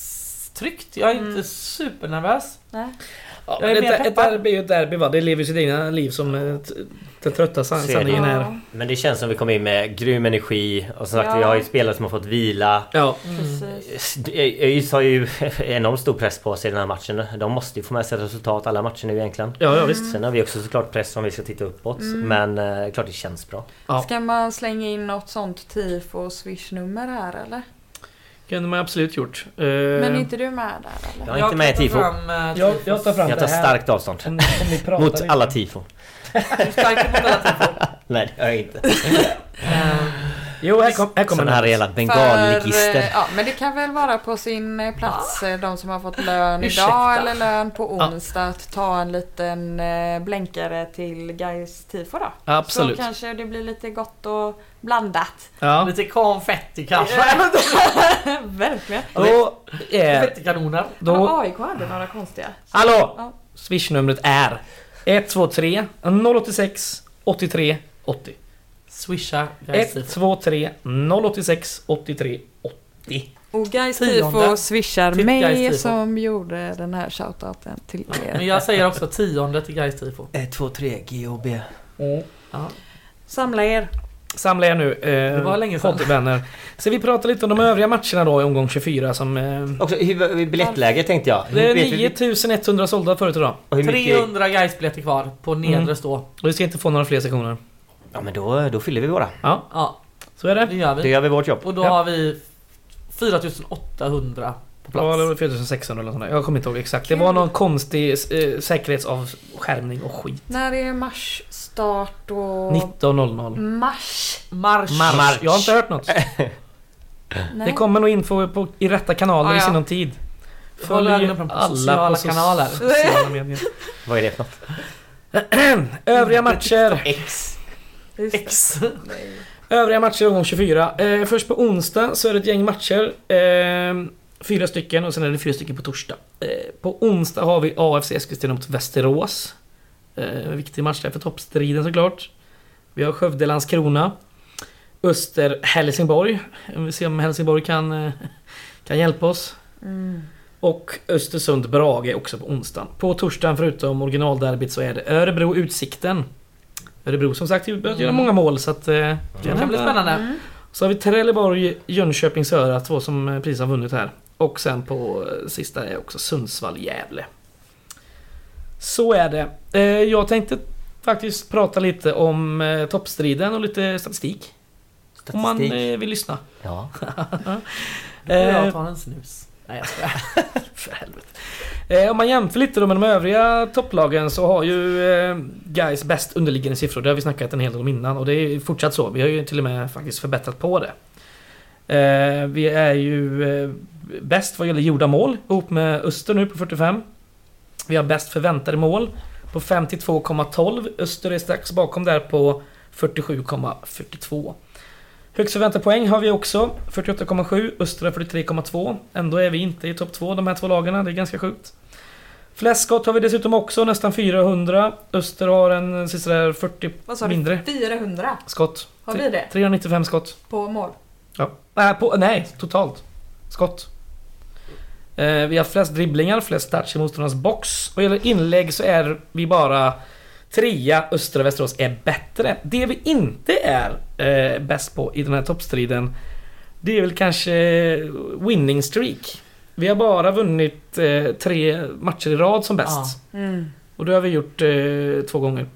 [SPEAKER 4] tryggt. Jag är inte supernervös.
[SPEAKER 5] Nej.
[SPEAKER 3] Ja,
[SPEAKER 4] Jag
[SPEAKER 3] men
[SPEAKER 4] är mer
[SPEAKER 3] ett, ett
[SPEAKER 4] peppad.
[SPEAKER 3] derby är ju ett derby va? Det lever sitt egna liv som eh, t- den trötta san-
[SPEAKER 6] Så är det.
[SPEAKER 3] sanningen är.
[SPEAKER 5] Ja,
[SPEAKER 6] Men det känns som vi kom in med grym energi och som sagt
[SPEAKER 5] Ja.
[SPEAKER 6] vi har ju spelare som har fått vila.
[SPEAKER 3] Ja.
[SPEAKER 5] precis.
[SPEAKER 6] ÖIS har ju enormt stor press på sig i den här matchen. De måste ju få med sig resultat alla matcher nu egentligen.
[SPEAKER 3] Ja, ja visst.
[SPEAKER 6] Sen har vi också såklart press om vi ska titta uppåt.
[SPEAKER 5] Mm.
[SPEAKER 6] Men eh, klart det känns bra.
[SPEAKER 3] Ja.
[SPEAKER 5] Ska man slänga in något sånt tifo och swish-nummer här eller?
[SPEAKER 3] kunde man absolut gjort. Eh,
[SPEAKER 5] Men är inte du med där eller?
[SPEAKER 6] Jag är inte med i
[SPEAKER 4] kan ta
[SPEAKER 6] tifo.
[SPEAKER 4] fram, eh,
[SPEAKER 3] jag, jag tar fram
[SPEAKER 6] Jag tar
[SPEAKER 3] det här.
[SPEAKER 6] starkt avstånd.
[SPEAKER 3] Om ni, om ni pratar
[SPEAKER 6] Mot
[SPEAKER 3] lite.
[SPEAKER 6] alla tifon.
[SPEAKER 4] Du stärker mot alla tifon.
[SPEAKER 6] Nej det gör jag inte.
[SPEAKER 4] Eh,
[SPEAKER 3] Jo, här, kom, här kommer
[SPEAKER 6] Sådana här
[SPEAKER 3] den.
[SPEAKER 6] jävla
[SPEAKER 5] För,
[SPEAKER 6] bengalligister.
[SPEAKER 5] eh, ja, men det kan väl vara på sin eh, plats, eh, de som har fått lön
[SPEAKER 3] Ursäkta.
[SPEAKER 5] idag eller lön på onsdag, att ta en liten eh, blänkare till Gais tifo då.
[SPEAKER 3] Absolut.
[SPEAKER 5] Så kanske det blir lite gott och blandat.
[SPEAKER 3] Ja.
[SPEAKER 4] Lite konfetti kanske?
[SPEAKER 5] Verkligen.
[SPEAKER 3] Då är...
[SPEAKER 4] Konfettikanoner?
[SPEAKER 3] Då,
[SPEAKER 5] AIK hade några konstiga.
[SPEAKER 3] hallå!
[SPEAKER 5] Ja.
[SPEAKER 3] Swishnumret är 123 086 83 80.
[SPEAKER 4] Swisha guys.
[SPEAKER 3] 123 086 83 80.
[SPEAKER 5] Och Gais
[SPEAKER 4] Tionde.
[SPEAKER 5] tifo swishar
[SPEAKER 4] Till Gais tifo. Mm.
[SPEAKER 5] mig som gjorde den här shoutouten till
[SPEAKER 4] Men
[SPEAKER 5] er.
[SPEAKER 4] jag säger också tionde till guys tifo.
[SPEAKER 3] Eh,
[SPEAKER 6] 1, 2, 3, GHB.
[SPEAKER 3] Mm.
[SPEAKER 5] Samla er.
[SPEAKER 3] Samla er nu, eh,
[SPEAKER 4] Det var länge sedan.
[SPEAKER 3] poddvänner. Så vi pratar lite om de övriga matcherna då i omgång 24 som... Eh,
[SPEAKER 6] Också hur, biljettläge tänkte jag. Hur
[SPEAKER 3] det är
[SPEAKER 6] vet vi-
[SPEAKER 3] 9100 sålda förut idag.
[SPEAKER 6] och hur mycket-
[SPEAKER 4] 300 guys biljetter kvar på nedre
[SPEAKER 3] Mm.
[SPEAKER 4] stå.
[SPEAKER 3] Och vi ska inte få några fler sektioner.
[SPEAKER 6] Ja men då, då fyller vi våra.
[SPEAKER 3] Ja,
[SPEAKER 4] Ja,
[SPEAKER 3] så är
[SPEAKER 4] det
[SPEAKER 3] det.
[SPEAKER 4] gör
[SPEAKER 6] Då
[SPEAKER 4] vi.
[SPEAKER 6] gör vi vårt jobb.
[SPEAKER 4] Och då
[SPEAKER 3] Ja.
[SPEAKER 4] har vi 4800 på
[SPEAKER 3] Ja, det
[SPEAKER 4] plats.
[SPEAKER 3] var 4600 eller nåt sånt där. Jag kommer inte ihåg exakt. Det var någon konstig eh, säkerhetsavskärmning och skit.
[SPEAKER 5] När är marsstart och...
[SPEAKER 3] 19.00.
[SPEAKER 5] Mars?
[SPEAKER 4] Marsch!
[SPEAKER 3] Mars. Jag har inte hört något.
[SPEAKER 5] Nej.
[SPEAKER 3] Det kommer nog info på, i rätta kanaler
[SPEAKER 4] Ah,
[SPEAKER 5] Ja,
[SPEAKER 3] i
[SPEAKER 5] ja.
[SPEAKER 3] sinom tid.
[SPEAKER 4] Håll ögonen på de sociala
[SPEAKER 3] so-
[SPEAKER 4] kanaler.
[SPEAKER 3] sociala medier.
[SPEAKER 6] Vad är det för något?
[SPEAKER 3] Övriga matcher.
[SPEAKER 6] X.
[SPEAKER 5] Just det.
[SPEAKER 4] X.
[SPEAKER 3] Övriga matcher i omgång 24. Eh, först på onsdag så är det ett gäng matcher. Eh, fyra stycken och sen är det fyra stycken på torsdag. Eh, på onsdag har vi AFC Eskilstuna mot Västerås. Eh, en viktig match där för toppstriden såklart. Vi har Skövde Landskrona. Öster Helsingborg. Vi får se om Helsingborg kan, eh, kan hjälpa oss.
[SPEAKER 5] Mm.
[SPEAKER 3] Och Östersund Brage också på onsdagen. På torsdagen förutom originalderbyt så är det Örebro Utsikten. Örebro som sagt börjat göra
[SPEAKER 4] Mm.
[SPEAKER 3] många mål så att... eh,
[SPEAKER 4] Det kan bli spännande.
[SPEAKER 3] Så har vi Trelleborg, Jönköping, Södra, två som eh, precis har vunnit här. Och sen på eh, sista är också Sundsvall, Gävle. Så är det. Eh, Jag tänkte faktiskt prata lite om eh, toppstriden och lite statistik. Om man
[SPEAKER 6] Statistik.
[SPEAKER 3] eh, vill lyssna.
[SPEAKER 6] Ja.
[SPEAKER 4] Då får
[SPEAKER 3] Eh.
[SPEAKER 4] jag tar en snus. Nej jag skojar.
[SPEAKER 3] För helvete. Eh, om man jämför lite då med de övriga topplagen så har ju eh, guys bäst underliggande siffror. Det har vi snackat en hel del om innan och det är ju fortsatt så. Vi har ju till och med faktiskt förbättrat på det. Eh, vi är ju eh, bäst vad gäller gjorda mål ihop med Öster nu på 45. Vi har bäst förväntade mål på 52,12. Öster är strax bakom där på 47,42. Högst förväntade poäng har vi också. 48,7. Östra 43,2. Ändå är vi inte i topp 2 de här två lagarna. Det är ganska sjukt. Flest skott har vi dessutom också, nästan 400. Öster har en sista där 40
[SPEAKER 5] Vad sa du?
[SPEAKER 3] mindre
[SPEAKER 5] 400?
[SPEAKER 3] skott.
[SPEAKER 5] Har vi det?
[SPEAKER 3] 395 skott.
[SPEAKER 5] På mål?
[SPEAKER 3] Äh, Ja. Nej, på, nej, totalt. Skott. Eh, Vi har flest dribblingar, flest touch i motståndarnas box. Vad gäller inlägg så är vi bara trea, Östra Västerås är bättre. Det vi inte är eh, bäst på i den här toppstriden, det är väl kanske winning streak. Vi har bara vunnit eh, tre matcher i rad som bäst.
[SPEAKER 4] Ja.
[SPEAKER 5] Mm.
[SPEAKER 3] Och det har vi gjort eh, två gånger.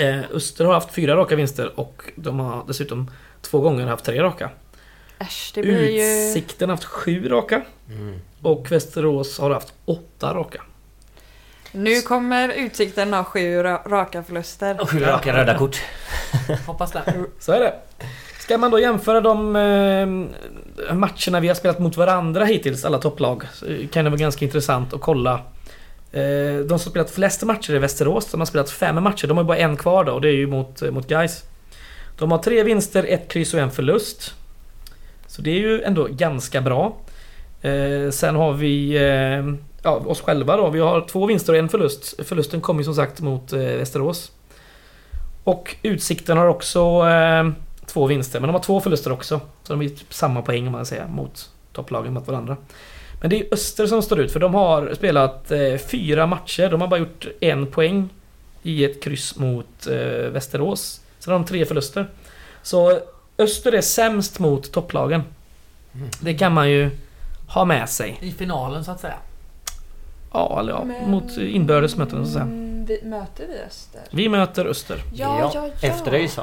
[SPEAKER 3] Eh, Öster har haft fyra raka vinster och de har dessutom två gånger haft tre raka.
[SPEAKER 5] Äsch, det blir ju...
[SPEAKER 3] Utsikten har haft sju raka
[SPEAKER 6] Mm.
[SPEAKER 3] och Västerås har haft åtta raka.
[SPEAKER 5] Nu kommer Utsikten ha sju ra- raka förluster.
[SPEAKER 6] Och sju raka röda kort.
[SPEAKER 4] Hoppas det.
[SPEAKER 3] Så är det. Ska man då jämföra de eh, matcherna vi har spelat mot varandra hittills, alla topplag, så kan det vara ganska intressant att kolla. Eh, de som spelat flest matcher är Västerås, de har spelat fem matcher. De har ju bara en kvar då och det är ju mot, eh, mot Gais. De har tre vinster, ett kryss och en förlust. Så det är ju ändå ganska bra. Eh, sen har vi eh, ja, oss själva då. Vi har två vinster och en förlust. Förlusten kom ju som sagt mot eh, Västerås. Och Utsikten har också eh, två vinster, men de har två förluster också. Så de är ju typ samma poäng om man säger mot topplagen mot varandra. Men det är ju Öster som står ut för de har spelat eh, fyra matcher. De har bara gjort en poäng i ett kryss mot eh, Västerås. Sen har de tre förluster. Så Öster är sämst mot topplagen. Det kan man ju ha med sig.
[SPEAKER 4] I finalen så att säga.
[SPEAKER 3] Ja, eller ja,
[SPEAKER 5] Men-
[SPEAKER 3] mot inbördes möten så att säga.
[SPEAKER 5] Mm, vi, möter vi Öster?
[SPEAKER 3] Vi möter Öster.
[SPEAKER 5] Ja, ja, ja.
[SPEAKER 6] Efter dig så.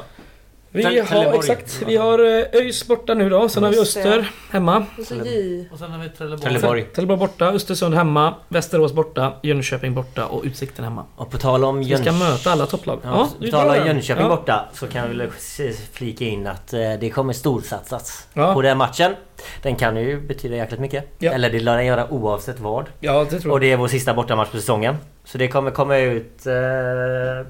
[SPEAKER 3] Vi
[SPEAKER 6] Tele-
[SPEAKER 3] har,
[SPEAKER 6] Trelleborg.
[SPEAKER 3] exakt, vi har eh, ÖIS borta nu då, sen har vi
[SPEAKER 5] Just det.
[SPEAKER 3] Öster hemma.
[SPEAKER 5] Och så J.
[SPEAKER 4] Och sen har vi Trelleborg.
[SPEAKER 6] Trelleborg.
[SPEAKER 3] Trelleborg borta, Östersund hemma, Västerås borta, Jönköping borta och Utsikten hemma.
[SPEAKER 6] Och på tal om
[SPEAKER 3] Vi ska
[SPEAKER 6] Jönköping.
[SPEAKER 3] möta alla topplag.
[SPEAKER 6] Ja,
[SPEAKER 3] det
[SPEAKER 6] på
[SPEAKER 3] är
[SPEAKER 6] tal
[SPEAKER 3] bra.
[SPEAKER 6] om Jönköping
[SPEAKER 3] ja.
[SPEAKER 6] borta så kan vi väl s- flika in att eh, det kommer storsatsas
[SPEAKER 3] Ja.
[SPEAKER 6] på den matchen. Den kan ju betyda jäkligt mycket.
[SPEAKER 3] Ja.
[SPEAKER 6] Eller det lär den göra oavsett vad.
[SPEAKER 3] Ja, det tror
[SPEAKER 6] Och
[SPEAKER 3] jag.
[SPEAKER 6] det är vår sista bortamatch på säsongen. Så det kommer komma ut eh,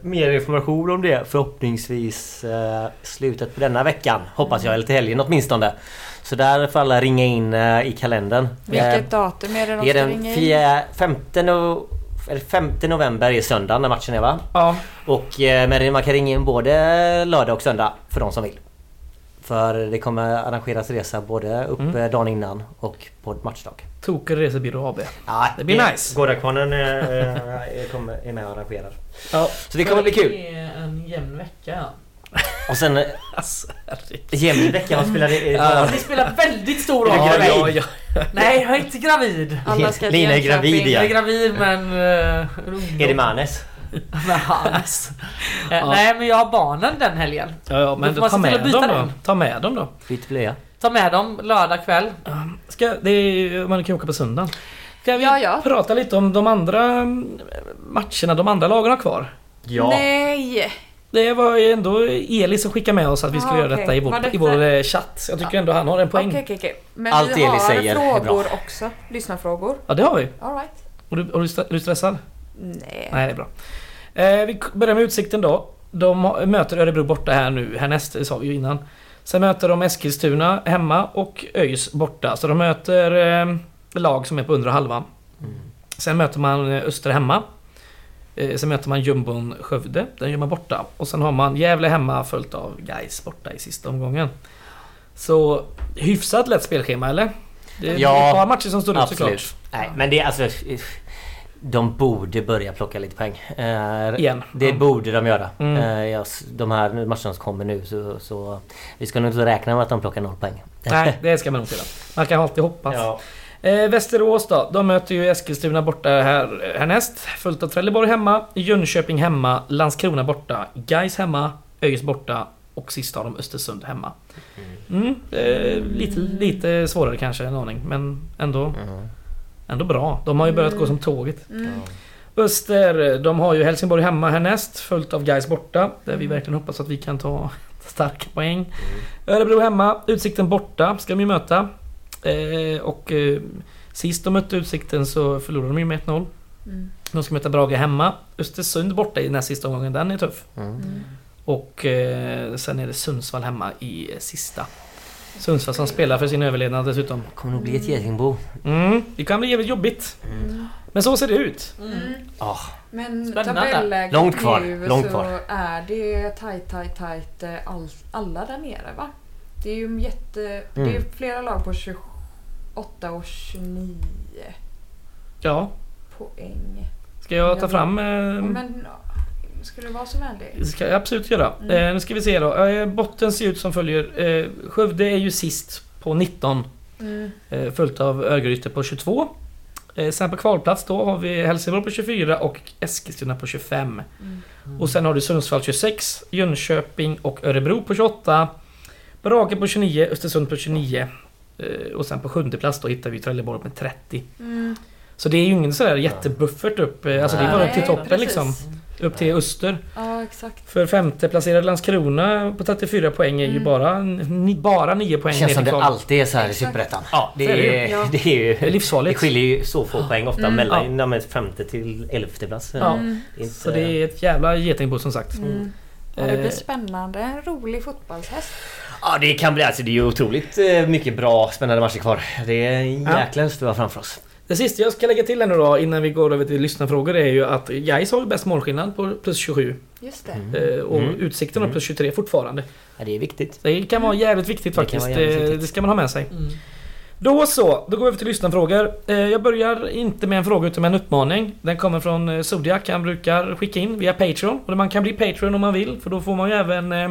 [SPEAKER 6] mer information om det förhoppningsvis eh, slutet på denna veckan. Hoppas jag, eller till helgen åtminstone. Så där får alla ringa in eh, i kalendern. Eh,
[SPEAKER 5] Vilket datum är det de
[SPEAKER 6] det är
[SPEAKER 5] ska
[SPEAKER 6] den
[SPEAKER 5] ringa in?
[SPEAKER 6] fjär, femte, no, eller femte november är söndagen när matchen är va?
[SPEAKER 3] Ja,
[SPEAKER 6] Och eh, men man kan ringa in både lördag och söndag för de som vill. För det kommer arrangeras resa både upp
[SPEAKER 3] Mm.
[SPEAKER 6] eh, dagen innan och på matchdag.
[SPEAKER 3] Tokig Resebyrå AB.
[SPEAKER 6] Ja,
[SPEAKER 3] Det blir nice.
[SPEAKER 6] Gårdakvarnen eh, eh, kommer- är med och arrangerar.
[SPEAKER 3] Ja.
[SPEAKER 6] Så det kommer bli kul.
[SPEAKER 4] Det är en jämn vecka ja.
[SPEAKER 6] Och sen eh,
[SPEAKER 3] Alltså, herregud.
[SPEAKER 6] jämn vecka, vad spelar det?
[SPEAKER 3] Ja.
[SPEAKER 4] Det spelar väldigt stor roll.
[SPEAKER 6] Är du gravid?
[SPEAKER 3] Ja, ja,
[SPEAKER 4] Nej, jag är inte gravid.
[SPEAKER 5] Alla ska till
[SPEAKER 6] Lina är gravid
[SPEAKER 5] Jönköping.
[SPEAKER 6] igen.
[SPEAKER 4] Jag är gravid men... Uh,
[SPEAKER 6] Är det Manes?
[SPEAKER 4] Med hans. Eh,
[SPEAKER 3] Ja.
[SPEAKER 4] Nej men jag har barnen den helgen.
[SPEAKER 3] ja, ja, men
[SPEAKER 4] Då får man
[SPEAKER 3] ta
[SPEAKER 4] se till att
[SPEAKER 3] med
[SPEAKER 4] byta
[SPEAKER 3] dem då.
[SPEAKER 4] den.
[SPEAKER 3] Ta med dem då.
[SPEAKER 6] Byt blöja.
[SPEAKER 4] Ta med dem lördag kväll.
[SPEAKER 3] Ska, det är, ju- man kan åka på söndagen. Ska vi
[SPEAKER 5] Ja, ja.
[SPEAKER 3] prata lite om de andra mm, matcherna de andra lagen har kvar?
[SPEAKER 5] Nej!
[SPEAKER 3] Det var ju ändå Eli som skickade med oss att vi skulle
[SPEAKER 5] Ah,
[SPEAKER 3] göra
[SPEAKER 5] okej.
[SPEAKER 3] detta i
[SPEAKER 5] Var
[SPEAKER 3] vår,
[SPEAKER 5] det
[SPEAKER 3] i vår
[SPEAKER 5] för-
[SPEAKER 3] eh, chatt. Jag tycker ändå han har en poäng.
[SPEAKER 5] Okej, okej, okej. Men
[SPEAKER 6] Allt
[SPEAKER 5] vi
[SPEAKER 6] Eli
[SPEAKER 5] har
[SPEAKER 6] säger är bra.
[SPEAKER 5] frågor också. Lyssnarfrågor.
[SPEAKER 3] Ja, det har vi.
[SPEAKER 5] All right.
[SPEAKER 3] Och du, och du, stre- är du stressad?
[SPEAKER 5] Nej.
[SPEAKER 3] Nej, det är bra. Eh, vi k- börjar med Utsikten då. De har- möter Örebro borta här nu härnäst, det sa vi ju innan. Sen möter de Eskilstuna hemma och ÖIS borta. Så de möter eh, lag som är på undre halvan. Sen möter man eh, Öster hemma. Eh, sen möter man jumbon Skövde, den gör man borta. Och sen har man Gävle hemma följt av Gais borta i sista omgången. Så hyfsat lätt spelschema eller? Det är
[SPEAKER 6] Ja,
[SPEAKER 3] ett par matcher som står ut
[SPEAKER 6] Absolut.
[SPEAKER 3] såklart.
[SPEAKER 6] Nej, men det är alltså... De borde börja plocka lite poäng. Eh,
[SPEAKER 3] Igen.
[SPEAKER 6] Det
[SPEAKER 3] Ja.
[SPEAKER 6] borde de göra.
[SPEAKER 3] Mm.
[SPEAKER 6] Eh, ja, s- De här matcherna som kommer nu så, så... Vi ska nog inte räkna med att de plockar noll poäng.
[SPEAKER 3] Nej, det ska man nog göra. Man kan alltid hoppas.
[SPEAKER 6] Ja.
[SPEAKER 3] Eh, Västerås då, de möter ju Eskilstuna borta här, härnäst. Följt av Trelleborg hemma, Jönköping hemma, Landskrona borta, Gais hemma, ÖIS borta och sist av dem Östersund hemma. Mm, eh, lite, lite svårare kanske en aning, men ändå,
[SPEAKER 6] Mm.
[SPEAKER 3] ändå bra. De har ju börjat gå som tåget. Öster, de har ju Helsingborg hemma härnäst, följt av Gais borta. Där vi verkligen hoppas att vi kan ta starka poäng. Örebro hemma, Utsikten borta ska de ju möta. Eh, och eh, sist de mötte Utsikten så förlorade de ju med 1-0.
[SPEAKER 5] Mm.
[SPEAKER 3] De ska möta Brage hemma. Östersund borta i näst sista omgången, den är tuff.
[SPEAKER 6] Mm.
[SPEAKER 3] Och eh, sen är det Sundsvall hemma i eh, sista. Sundsvall som spelar för sin överlevnad dessutom.
[SPEAKER 6] Det kommer nog bli ett getingbo.
[SPEAKER 3] Mm, det kan bli jävligt jobbigt. Men så ser det ut.
[SPEAKER 5] Mm.
[SPEAKER 6] Ah.
[SPEAKER 5] Men
[SPEAKER 4] Spännande.
[SPEAKER 5] tabelläget
[SPEAKER 6] Långt kvar,
[SPEAKER 5] nu
[SPEAKER 6] långt
[SPEAKER 5] så
[SPEAKER 6] kvar.
[SPEAKER 5] är det tight, tight, tight
[SPEAKER 6] Mm.
[SPEAKER 5] eh, all, alla där nere va? Det är ju en jätte... Det är ju flera lag på 27 8 och 29
[SPEAKER 3] Ja.
[SPEAKER 5] poäng.
[SPEAKER 3] Ska jag ta fram... eh,
[SPEAKER 6] Mm.
[SPEAKER 5] Men skulle du vara så vänlig?
[SPEAKER 3] Det ska jag absolut göra.
[SPEAKER 5] Mm.
[SPEAKER 3] Eh, nu ska vi se då. Eh, botten ser ut som följer. Eh, Skövde är ju sist på 19.
[SPEAKER 5] Mm.
[SPEAKER 3] Eh, följt av Örgryte på 22. Eh, sen på kvalplats då har vi Helsingborg på 24 och Eskilstuna på 25.
[SPEAKER 5] Mm.
[SPEAKER 3] Och sen har du Sundsvall 26, Jönköping och Örebro på 28. Brage på 29, Östersund på 29. Eh, och sen på sjunde plats då hittar vi Trelleborg med 30.
[SPEAKER 5] Mm.
[SPEAKER 3] Så det är ju ingen sådär jättebuffert upp. eh, Alltså det är bara upp till
[SPEAKER 5] Nej,
[SPEAKER 3] toppen
[SPEAKER 5] precis.
[SPEAKER 3] liksom. Upp till öster.
[SPEAKER 5] Ja, exakt.
[SPEAKER 3] För femte placerade Landskrona på 34 poäng är ju
[SPEAKER 5] Mm.
[SPEAKER 3] bara, ni, bara 9 poäng ner
[SPEAKER 6] Känns
[SPEAKER 3] till
[SPEAKER 6] som det
[SPEAKER 3] kval.
[SPEAKER 6] alltid är så här i
[SPEAKER 5] Exakt.
[SPEAKER 6] Superettan. Ja, det
[SPEAKER 3] så är det ju.
[SPEAKER 6] är,
[SPEAKER 5] Ja.
[SPEAKER 6] det är
[SPEAKER 3] Det är
[SPEAKER 6] ju... Det
[SPEAKER 3] livsfarligt.
[SPEAKER 6] skiljer ju så få poäng ofta
[SPEAKER 3] Mm.
[SPEAKER 6] mellan ja. men femte till elfte plats.
[SPEAKER 3] Ja.
[SPEAKER 5] Mm.
[SPEAKER 6] Det är Inte,
[SPEAKER 3] Så det är ett jävla getingbo som sagt.
[SPEAKER 5] Mm. Ja, det blir
[SPEAKER 3] Eh,
[SPEAKER 5] spännande. En rolig fotbollshäst.
[SPEAKER 6] Ja det kan bli... Alltså det är ju otroligt eh, mycket bra spännande matcher kvar. Det är en
[SPEAKER 3] Ja.
[SPEAKER 6] jäkla höst vi har framför oss.
[SPEAKER 3] Det sista jag ska lägga till här nu då innan vi går över till lyssnarfrågor är ju att Gais har ju bäst målskillnad på plus 27
[SPEAKER 5] Just det.
[SPEAKER 3] eh, och
[SPEAKER 6] Mm.
[SPEAKER 3] Utsikten har plus 23 fortfarande.
[SPEAKER 6] Ja, det är viktigt.
[SPEAKER 3] Så det kan vara jävligt viktigt
[SPEAKER 6] Det kan
[SPEAKER 3] faktiskt.
[SPEAKER 6] vara jävligt
[SPEAKER 3] Eh,
[SPEAKER 6] viktigt.
[SPEAKER 3] Det ska man ha med sig.
[SPEAKER 4] Mm.
[SPEAKER 3] Då så, då går vi över till lyssnarfrågor. Eh, Jag börjar inte med en fråga utan med en uppmaning. Den kommer från eh, Zodiac, han brukar skicka in via Patreon. Och man kan bli Patreon om man vill, för då får man ju även eh,